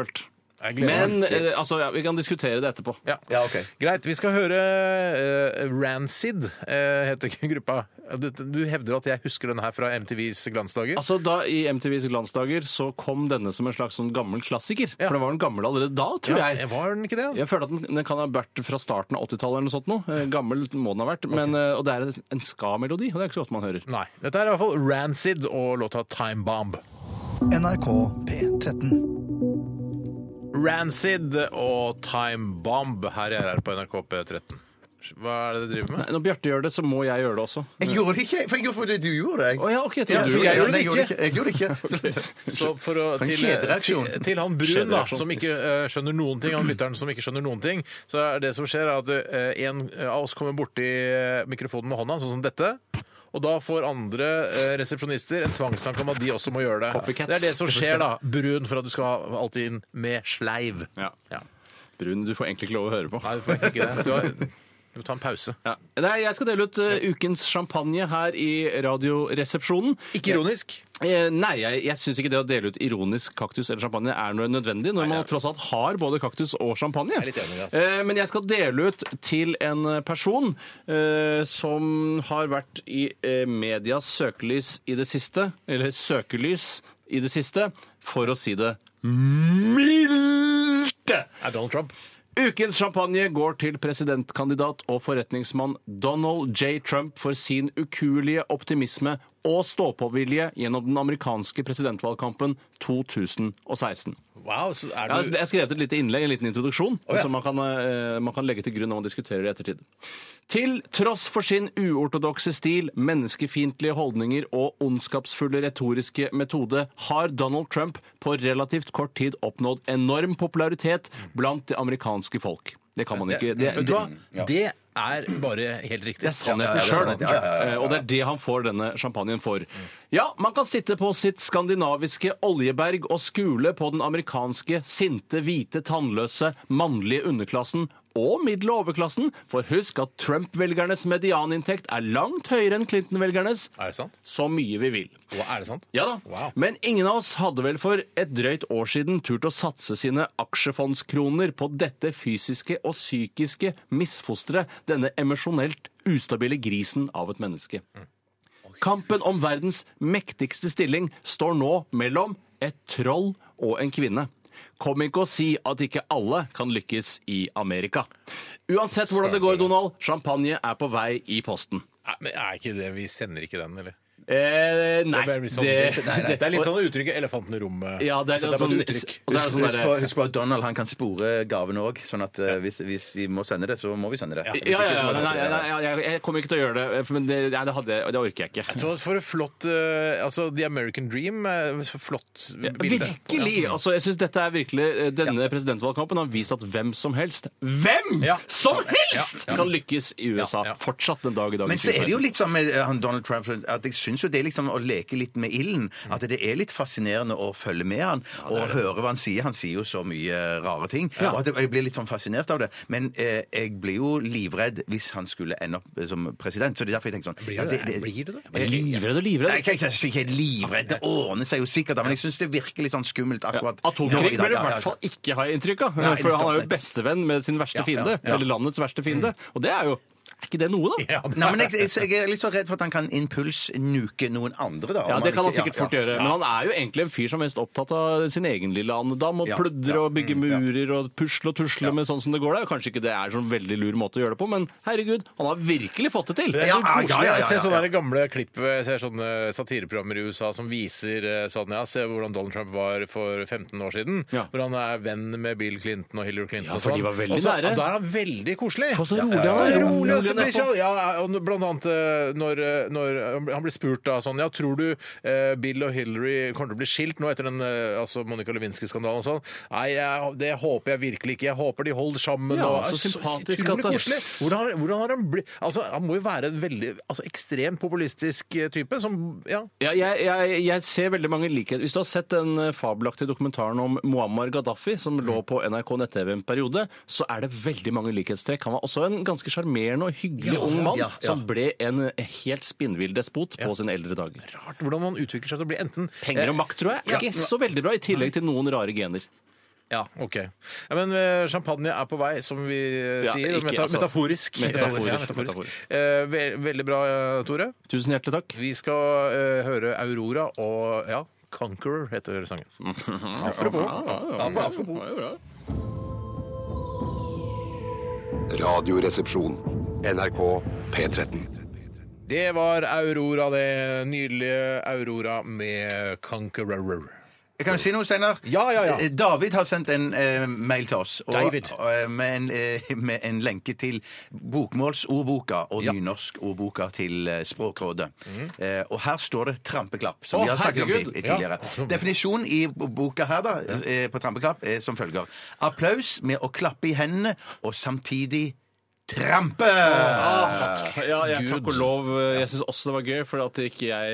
[SPEAKER 1] jeg gleder meg.
[SPEAKER 3] Men eh, altså, ja, vi kan diskutere det etterpå.
[SPEAKER 1] Ja.
[SPEAKER 2] Ja, OK.
[SPEAKER 1] Greit, vi skal høre eh, Rancid, eh, heter gruppa. Du, du hevder at jeg husker den her fra MTVs glansdager.
[SPEAKER 3] Altså da I MTVs glansdager så kom denne som en slags sånn gammel klassiker.
[SPEAKER 1] Ja.
[SPEAKER 3] For den var den gammel allerede da, tror
[SPEAKER 1] Ja,
[SPEAKER 3] jeg.
[SPEAKER 1] Var den ikke det?
[SPEAKER 3] Jeg føler at den, den kan ha vært fra starten av 80-tallet eller noe sånt. Noe. Eh, Gammel må den ha vært. Men, eh, og det er en ska-melodi, og det er ikke så ofte man hører.
[SPEAKER 1] Nei. Dette er i hvert fall Rancid og låta Time Bomb.
[SPEAKER 4] NRK P13.
[SPEAKER 1] Rancid og Time Bomb her jeg er på NRK P13. Hva er det du driver med?
[SPEAKER 3] Når Bjarte gjør det, så må jeg gjøre det også.
[SPEAKER 2] Jeg gjorde det ikke! For jeg gjorde for det du gjorde det. jeg.
[SPEAKER 3] Å ja, ok, jeg
[SPEAKER 2] Ja,
[SPEAKER 3] trodde
[SPEAKER 2] så
[SPEAKER 3] du
[SPEAKER 2] jeg,
[SPEAKER 3] jeg
[SPEAKER 2] gjorde det ikke. Jeg gjorde det ikke.
[SPEAKER 1] Så for å,
[SPEAKER 2] For en
[SPEAKER 1] til, til,
[SPEAKER 2] kjedereaksjon.
[SPEAKER 1] til han Brun, da,
[SPEAKER 3] Kjedereaksjon.
[SPEAKER 1] som ikke eh, skjønner noen ting, han lytteren som ikke skjønner noen ting, så er det som skjer er at eh, en av oss kommer borti eh, mikrofonen med hånda, sånn som dette. Og da får andre eh, resepsjonister en tvangstanke om at de også må gjøre det.
[SPEAKER 3] Copycats.
[SPEAKER 1] Det er det som skjer, da. Brun, for at du skal ha alt inn med sleiv.
[SPEAKER 3] Ja.
[SPEAKER 1] Ja.
[SPEAKER 3] Brun, du får egentlig ikke lov å høre på.
[SPEAKER 1] Nei, du får egentlig ikke det. Du, har, du må ta en pause.
[SPEAKER 3] Ja. Nei, jeg skal dele ut eh, ukens champagne her i Radioresepsjonen.
[SPEAKER 1] Ikke ironisk.
[SPEAKER 3] Eh, Nei, jeg, jeg syns ikke det å dele ut ironisk kaktus eller champagne er noe nødvendig, når man tross alt har både kaktus og champagne.
[SPEAKER 1] er litt enig altså. i det,
[SPEAKER 3] Eh, Men jeg skal dele ut til en person eh, som har vært i eh, medias søkelys i det siste, eller søkelys i det siste, for å si det mildt.
[SPEAKER 1] Er Donald Trump.
[SPEAKER 3] Ukens champagne går til presidentkandidat og forretningsmann Donald J. Trump for sin ukuelige optimisme og ståpåvilje gjennom den amerikanske presidentvalgkampen 2016.
[SPEAKER 1] Wow, så er
[SPEAKER 3] Jeg har-
[SPEAKER 1] du
[SPEAKER 3] altså, jeg har skrevet et lite innlegg, en liten introduksjon, som man kan, eh, man kan legge til grunn når man diskuterer i ettertid. Til tross for sin uortodokse stil, menneskefiendtlige holdninger og ondskapsfulle retoriske metode har Donald Trump på relativt kort tid oppnådd enorm popularitet blant det amerikanske folk. Det kan man ikke. Det,
[SPEAKER 1] Vet du hva? Det er bare helt riktig.
[SPEAKER 3] det er sannheten
[SPEAKER 2] det er
[SPEAKER 3] sjøl.
[SPEAKER 2] sant, ja, ja, ja, ja.
[SPEAKER 3] Og det er det han får denne champagnen for. Ja, man kan sitte på sitt skandinaviske oljeberg og skule på den amerikanske sinte, hvite, tannløse, mannlige underklassen og middel- og overklassen, for husk at Trump-velgernes medianinntekt er langt høyere enn Clinton-velgernes.
[SPEAKER 1] Er det sant?
[SPEAKER 3] Så mye vi vil.
[SPEAKER 1] Hva, er det sant?
[SPEAKER 3] Ja da.
[SPEAKER 1] Wow.
[SPEAKER 3] Men ingen av oss hadde vel for et drøyt år siden turt å satse sine aksjefondskroner på dette fysiske og psykiske misfosteret, denne emosjonelt ustabile grisen av et menneske.
[SPEAKER 1] Mm.
[SPEAKER 3] Kampen om verdens mektigste stilling står nå mellom et troll og en kvinne. Kom ikke og si at ikke alle kan lykkes i Amerika. Uansett hvordan det går, Donald, champagne er på vei i posten.
[SPEAKER 1] Nei, men er ikke det Vi sender ikke den, eller?
[SPEAKER 3] Eh, nei,
[SPEAKER 1] Det er, bare litt sånn, det, det er litt sånn uttrykket 'elefanten i rommet'.
[SPEAKER 3] Ja, det er
[SPEAKER 1] Så
[SPEAKER 3] litt
[SPEAKER 1] bare
[SPEAKER 3] sånn-
[SPEAKER 1] et uttrykk.
[SPEAKER 3] Og så er det sånn
[SPEAKER 2] Husk
[SPEAKER 3] derre-
[SPEAKER 2] på, husk på at Donald han kan spore gaven òg, sånn at eh, hvis, hvis vi må sende det, så må vi sende det. Hvis
[SPEAKER 3] Ja, ja,
[SPEAKER 2] ikke, så
[SPEAKER 3] ja,
[SPEAKER 2] må det-
[SPEAKER 3] nei, nei, nei, jeg, jeg kommer ikke til å gjøre det, for- men det, nei, det, hadde, jeg- det orker jeg ikke.
[SPEAKER 1] Så for et flott eh, Altså, The American Dream er et flott bilde.
[SPEAKER 3] Virkelig! altså jeg synes dette er virkelig, eh, Denne presidentvalgkampen har vist at hvem som helst Hvem
[SPEAKER 1] Ja.
[SPEAKER 3] som helst!
[SPEAKER 1] Ja, ja.
[SPEAKER 3] Kan lykkes i USA.
[SPEAKER 1] Ja, ja.
[SPEAKER 3] Fortsatt den dag i dag.
[SPEAKER 2] Men så er det jo litt sånn med eh, han Donald Trump at jeg syns jo det er liksom å leke litt med ilden.
[SPEAKER 3] Mm.
[SPEAKER 2] At det er litt fascinerende å følge med han og høre hva han sier. Han sier jo så mye eh, rare ting. Og at jeg blir litt sånn fascinert av det. Men eh, jeg blir jo livredd hvis han skulle ende opp eh, som president. Så det er derfor jeg tenker sånn
[SPEAKER 1] Blir
[SPEAKER 2] ja,
[SPEAKER 1] du det? Blir du det?
[SPEAKER 3] Men Livredd og
[SPEAKER 2] Nei,
[SPEAKER 3] livredd.
[SPEAKER 2] jeg er ikke- ikke livredd. Det ordner seg jo sikkert, da, men jeg syns det virker litt sånn skummelt akkurat
[SPEAKER 3] Atomkrig
[SPEAKER 2] dag.
[SPEAKER 3] bør du i
[SPEAKER 2] Ja, ja,
[SPEAKER 3] hvert fall ikke ha inntrykk av.
[SPEAKER 2] Nei,
[SPEAKER 3] For han er jo
[SPEAKER 2] nettopp, nettopp.
[SPEAKER 3] bestevenn med sin verste
[SPEAKER 2] Ja, ja,
[SPEAKER 3] fiende.
[SPEAKER 2] ja.
[SPEAKER 3] Eller landets verste fiende. Og det er jo Er ikke det noe, da?
[SPEAKER 1] Ja, det-
[SPEAKER 2] Nei, men jeg, jeg, jeg er litt så redd for at han kan impulsnuke noen andre, da.
[SPEAKER 3] Ja,
[SPEAKER 2] Om
[SPEAKER 3] det kan han
[SPEAKER 2] ikke-
[SPEAKER 3] sikkert
[SPEAKER 2] ja,
[SPEAKER 3] fort
[SPEAKER 2] ja.
[SPEAKER 3] gjøre. Men han er jo egentlig en fyr som er mest opptatt av sin egen lille andedam, og
[SPEAKER 2] Ja,
[SPEAKER 3] pludre
[SPEAKER 2] ja,
[SPEAKER 3] og bygge murer og pusle og tusle med sånn som det går der. Kanskje ikke det er sånn veldig lur måte å gjøre det på, men herregud, han har virkelig fått det til!
[SPEAKER 1] Det er så
[SPEAKER 2] Ja, ja,
[SPEAKER 1] koselig.
[SPEAKER 2] ja, ja,
[SPEAKER 1] Jeg ser
[SPEAKER 2] ja,
[SPEAKER 1] sånne
[SPEAKER 2] ja.
[SPEAKER 1] der gamle klipp Jeg ser sånne satireprogrammer i USA som viser eh, sånn, ja, se hvordan Donald Trump var for 15 år siden.
[SPEAKER 3] Ja.
[SPEAKER 1] Hvor han er venn med Bill Clinton og Hillary Clinton.
[SPEAKER 3] Ja,
[SPEAKER 1] og
[SPEAKER 3] for de
[SPEAKER 1] sånn.
[SPEAKER 3] var veldig
[SPEAKER 1] Og så-
[SPEAKER 3] nære.
[SPEAKER 1] og Da er han veldig koselig.
[SPEAKER 3] For så rolig han
[SPEAKER 1] Ja,
[SPEAKER 3] er.
[SPEAKER 1] rolig og så
[SPEAKER 3] han er
[SPEAKER 1] blir
[SPEAKER 3] på.
[SPEAKER 1] sånn, ja, og Blant annet eh, når, når han ble spurt da sånn Ja, tror du eh, Bill og Hillary kommer til å bli skilt nå etter den eh, altså Monica Lewinsky-skandalen og sånn? Nei, jeg, det håper jeg virkelig ikke. Jeg håper de holder sammen.
[SPEAKER 3] Ja,
[SPEAKER 1] og,
[SPEAKER 3] så
[SPEAKER 1] er
[SPEAKER 3] sympatisk
[SPEAKER 1] utrolig
[SPEAKER 3] at han-
[SPEAKER 1] koselig. Hvordan, har- hvordan har han blitt Altså, han må jo være en veldig altså, ekstremt populistisk eh, type som Ja.
[SPEAKER 3] Ja, jeg, jeg, jeg ser veldig mange likheter. Hvis du har sett den eh, fabelaktige dokumentaren om Muammar Gaddafi, som
[SPEAKER 2] Mm.
[SPEAKER 3] lå på NRK nett-TV en periode, så er det veldig mange likhetstrekk. Han var også en ganske sjarmerende og hyggelig ung mann,
[SPEAKER 2] ja, ja.
[SPEAKER 3] som ble en helt spinnvill despot på sine eldre dager.
[SPEAKER 1] Rart hvordan man utvikler seg til å bli enten eh,
[SPEAKER 3] Penger og makt, tror jeg. Ikke så veldig bra, i tillegg til noen rare gener.
[SPEAKER 1] Ja, OK. Ja, men eh, champagne er på vei, som vi eh,
[SPEAKER 3] Ja,
[SPEAKER 1] sier.
[SPEAKER 3] ikke,
[SPEAKER 1] meta
[SPEAKER 3] altså.
[SPEAKER 1] metaforisk.
[SPEAKER 3] Metaforisk,
[SPEAKER 1] Ja,
[SPEAKER 3] metaforisk.
[SPEAKER 1] Eh, ve veldig bra, eh, Tore.
[SPEAKER 3] Tusen hjertelig takk.
[SPEAKER 1] Vi skal eh, høre Aurora og ja, Conqueror heter sangen.
[SPEAKER 6] Radioresepsjon. NRK P13.
[SPEAKER 1] Det var Aurora, det nydelige Aurora med Conqueror.
[SPEAKER 2] Jeg kan si noe, Steinar.
[SPEAKER 1] Ja, ja, ja.
[SPEAKER 2] Eh, David har sendt en eh, mail til oss og,
[SPEAKER 1] David.
[SPEAKER 2] og, eh, med, en, eh, med en lenke til bokmålsordboka og
[SPEAKER 1] Ja. Mm.
[SPEAKER 2] nynorskordboka til eh, Språkrådet. Eh, og her står det trampeklapp, som
[SPEAKER 1] Å,
[SPEAKER 2] vi har snakket om
[SPEAKER 1] herregud.
[SPEAKER 2] ti- tidligere.
[SPEAKER 1] Ja.
[SPEAKER 2] Definisjonen i b- boka her da, eh, på trampeklapp er som følger. Applaus med å klappe i hendene og samtidig trampe!
[SPEAKER 3] Ja, jeg, Ah, takk
[SPEAKER 1] Gud.
[SPEAKER 3] og lov. Jeg syns også det var gøy, for at ikke jeg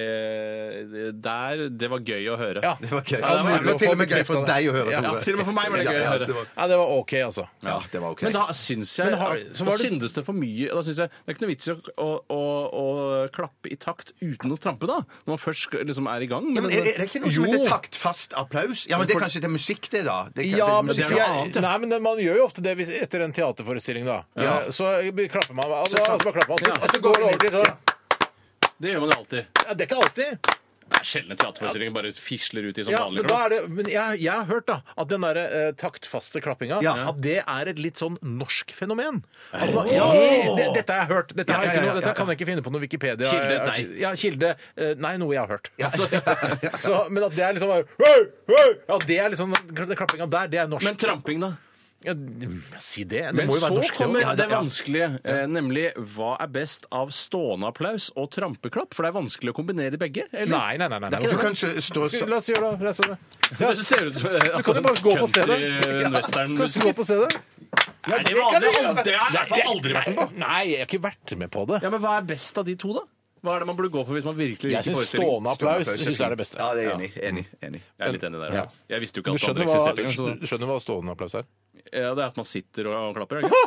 [SPEAKER 3] Der Det var gøy å høre.
[SPEAKER 1] Ja.
[SPEAKER 2] Det var gøy.
[SPEAKER 1] Ja, det var
[SPEAKER 2] Det var
[SPEAKER 1] å
[SPEAKER 2] til
[SPEAKER 1] få
[SPEAKER 2] og med gøy for
[SPEAKER 1] bekreftet det.
[SPEAKER 2] deg å høre,
[SPEAKER 1] Ja,
[SPEAKER 2] Tore.
[SPEAKER 3] til og med for meg var det gøy å
[SPEAKER 2] Ja,
[SPEAKER 3] høre.
[SPEAKER 2] det var-
[SPEAKER 1] Ja, det var OK, altså.
[SPEAKER 2] Ja, det var ok.
[SPEAKER 3] Men da syns jeg
[SPEAKER 1] Men har-
[SPEAKER 3] at-
[SPEAKER 1] så
[SPEAKER 3] Da
[SPEAKER 1] var det-
[SPEAKER 3] syntes det for mye Da synes jeg Det er ikke noe vits i å, å, å, å klappe i takt uten å trampe, da. Når man først skal- liksom er i gang.
[SPEAKER 2] Ja, men er, er det ikke noe som
[SPEAKER 1] sånn Jo.
[SPEAKER 2] heter taktfast applaus? Ja, men Det er kanskje til musikk, det, da. Det er kanskje
[SPEAKER 1] Ja,
[SPEAKER 2] til
[SPEAKER 1] men,
[SPEAKER 2] musikk.
[SPEAKER 3] det er noe annet, ja.
[SPEAKER 1] Nei, men man gjør jo ofte det hvis, etter en teaterforestilling, da.
[SPEAKER 2] Ja.
[SPEAKER 1] Eh, Så klapper man, og så, og så bare klapper man, og så,
[SPEAKER 3] Ja.
[SPEAKER 1] og så går det over til sånn.
[SPEAKER 3] Det gjør man jo alltid.
[SPEAKER 1] Ja, det er ikke alltid.
[SPEAKER 3] Det er sjelden en teaterforestilling bare fisler ut i sånn
[SPEAKER 1] Ja,
[SPEAKER 3] vanlig
[SPEAKER 1] men da er det, men jeg, jeg har hørt da at den derre eh, taktfaste klappinga
[SPEAKER 2] Ja.
[SPEAKER 1] At det er et litt sånn norsk fenomen. At man, ja, det, dette har jeg hørt. Dette, har jeg ikke
[SPEAKER 2] ja, ja,
[SPEAKER 1] noe,
[SPEAKER 2] ja, ja.
[SPEAKER 1] dette kan jeg ikke finne på noe Wikipedia.
[SPEAKER 3] Kilde deg.
[SPEAKER 1] Ja, kilde eh, Nei, noe jeg har hørt.
[SPEAKER 2] Ja.
[SPEAKER 1] Så, men at det er liksom bare «Hei, hei!» Ja, det er liksom Den klappinga der, det er norsk.
[SPEAKER 3] Men tramping, da?
[SPEAKER 1] ja, d- si det. Det
[SPEAKER 3] Men
[SPEAKER 1] må jo
[SPEAKER 3] så
[SPEAKER 1] være norsk. det
[SPEAKER 3] kommer
[SPEAKER 1] også.
[SPEAKER 3] det vanskelige, eh, nemlig hva er best av stående applaus og trampeklapp? For det er vanskelig å kombinere begge. Eller?
[SPEAKER 1] Nei, nei, nei. nei, nei.
[SPEAKER 2] Du kan ikke stå
[SPEAKER 1] Skal, la oss gjøre det. Reise det.
[SPEAKER 3] Det ser ut som eh,
[SPEAKER 1] Du kan jo bare gå på stedet.
[SPEAKER 3] country, eh, western
[SPEAKER 1] Kan du gå på stedet?
[SPEAKER 3] Er det
[SPEAKER 2] kan
[SPEAKER 3] vanlig?
[SPEAKER 2] du gjøre.
[SPEAKER 3] Det har jeg i hvert fall aldri vært med på.
[SPEAKER 1] Nei, jeg har ikke vært med på det.
[SPEAKER 3] Ja, men hva er best av de to, da? Hva er det man burde gå for hvis man virkelig
[SPEAKER 1] Jeg
[SPEAKER 3] liker
[SPEAKER 1] syns
[SPEAKER 3] forestillingen?
[SPEAKER 1] stående applaus jeg synes er det beste.
[SPEAKER 2] Ja, det er enig. enig, enig.
[SPEAKER 3] Jeg er litt enig der. ja. Jeg visste jo ikke
[SPEAKER 1] Du
[SPEAKER 3] at det
[SPEAKER 1] skjønner
[SPEAKER 3] andre
[SPEAKER 1] hva,
[SPEAKER 3] eksisterte engang. så-
[SPEAKER 1] du skjønner hva stående applaus er?
[SPEAKER 3] Ja, det er at man sitter og og klapper. er det ikke?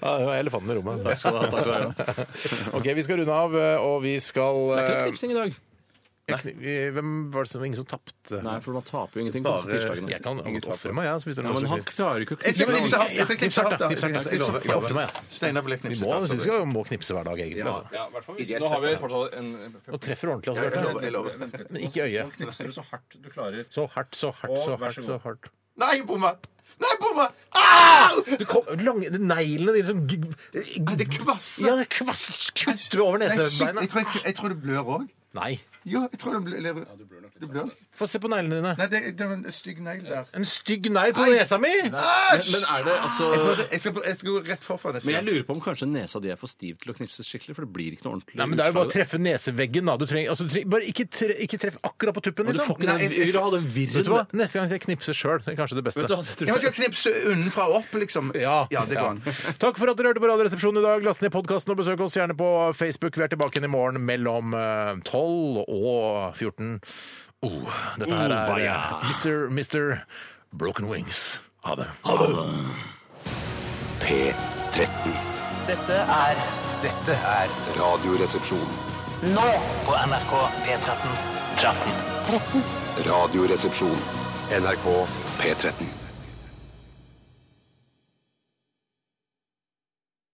[SPEAKER 1] Ja, det var elefanten i rommet.
[SPEAKER 3] Takk skal du ha, takk skal du ha.
[SPEAKER 1] Ok, Vi skal runde av, eh, og vi skal
[SPEAKER 3] Det er ikke noe knipsing i dag.
[SPEAKER 1] eh, kni- Hvem var det som ingen som tapte?
[SPEAKER 3] Nei, for man taper jo ingenting på disse tirsdagene.
[SPEAKER 1] Jeg kan ofre meg, jeg. så hvis det er
[SPEAKER 3] Ja,
[SPEAKER 1] noen
[SPEAKER 3] men
[SPEAKER 1] som
[SPEAKER 3] han
[SPEAKER 1] vil.
[SPEAKER 3] klarer jo ikke å
[SPEAKER 2] Jeg skal
[SPEAKER 3] knipse.
[SPEAKER 2] knipse hardt. Jeg skal knipse hardt, da. Jeg skal
[SPEAKER 1] Knipse hardt,
[SPEAKER 2] knipse- jeg lover, jeg
[SPEAKER 1] knipse hardt til meg,
[SPEAKER 2] lover. Steinar ble
[SPEAKER 1] Vi må,
[SPEAKER 2] knipset. altså.
[SPEAKER 1] synes jeg må knipse hver dag, egentlig.
[SPEAKER 2] Ja.
[SPEAKER 1] Altså.
[SPEAKER 3] Ja, i hvert fall hvis-
[SPEAKER 2] Ideelt
[SPEAKER 3] Nå har vi
[SPEAKER 2] sett,
[SPEAKER 3] fortsatt en
[SPEAKER 1] Og treffer ordentlig,
[SPEAKER 2] Jeg
[SPEAKER 1] altså.
[SPEAKER 2] lover, jeg
[SPEAKER 1] Bjarte.
[SPEAKER 2] lover.
[SPEAKER 1] Men ikke i øyet.
[SPEAKER 3] knipser du så hardt du klarer.
[SPEAKER 1] Så hardt, så hardt, så
[SPEAKER 3] Og vær
[SPEAKER 1] hardt.
[SPEAKER 3] så
[SPEAKER 1] så hardt.
[SPEAKER 2] Nei, bomma! Nei, bomma! Au!
[SPEAKER 1] Du kom, lange, de neglene dine som gig-
[SPEAKER 2] Nei, Det
[SPEAKER 1] Ja,
[SPEAKER 2] kvasser.
[SPEAKER 1] det kvass- kutter du over
[SPEAKER 2] Nei, shit,
[SPEAKER 1] nesebeina.
[SPEAKER 2] jeg tror, jeg, jeg tror det blør òg.
[SPEAKER 1] Nei.
[SPEAKER 2] Jo, jeg tror det blør. eller- Det blør litt.
[SPEAKER 1] Få se på neglene dine.
[SPEAKER 2] Nei, det, det var en stygg negl der.
[SPEAKER 1] En stygg negl på nesa mi!
[SPEAKER 3] Men, men er det altså
[SPEAKER 2] Jeg skal, jeg skal gå rett forfra neste
[SPEAKER 3] men jeg
[SPEAKER 2] gang.
[SPEAKER 3] lurer på om kanskje nesa di er for stiv til å knipses skikkelig, for det blir ikke noe ordentlig
[SPEAKER 1] Nei, men Det er jo bare å
[SPEAKER 3] utslag.
[SPEAKER 1] treffe neseveggen. da. Du trenger, altså, du trenger, bare ikke, tre, ikke treff akkurat på tuppen.
[SPEAKER 3] Men Du
[SPEAKER 1] liksom.
[SPEAKER 3] får ikke
[SPEAKER 2] Nei,
[SPEAKER 3] den,
[SPEAKER 2] jeg- jeg-
[SPEAKER 3] du vil ha den
[SPEAKER 1] Vet du hva?
[SPEAKER 3] virren.
[SPEAKER 1] Neste gang skal jeg knipse sjøl. Det er kanskje det beste.
[SPEAKER 3] Vet du hva, det tror
[SPEAKER 2] Jeg må
[SPEAKER 3] jeg-
[SPEAKER 2] ikke knipse unnenfra og opp, liksom.
[SPEAKER 1] Ja.
[SPEAKER 2] ja det går an.
[SPEAKER 1] Takk for at dere hørte på Radioresepsjonen i dag. Last ned podkasten og besøk oss gjerne på Facebook. Vi er tilbake igjen i morgen mellom eh, 12 og 14. Oh, dette her
[SPEAKER 3] Oh,
[SPEAKER 1] er
[SPEAKER 3] baja.
[SPEAKER 1] eh, Mr. Mr. Broken Wings. Ha det.
[SPEAKER 6] P13.
[SPEAKER 8] Dette er
[SPEAKER 6] Dette er Radioresepsjon.
[SPEAKER 8] nå på NRK P13. 13.
[SPEAKER 6] Radioresepsjon. NRK P13.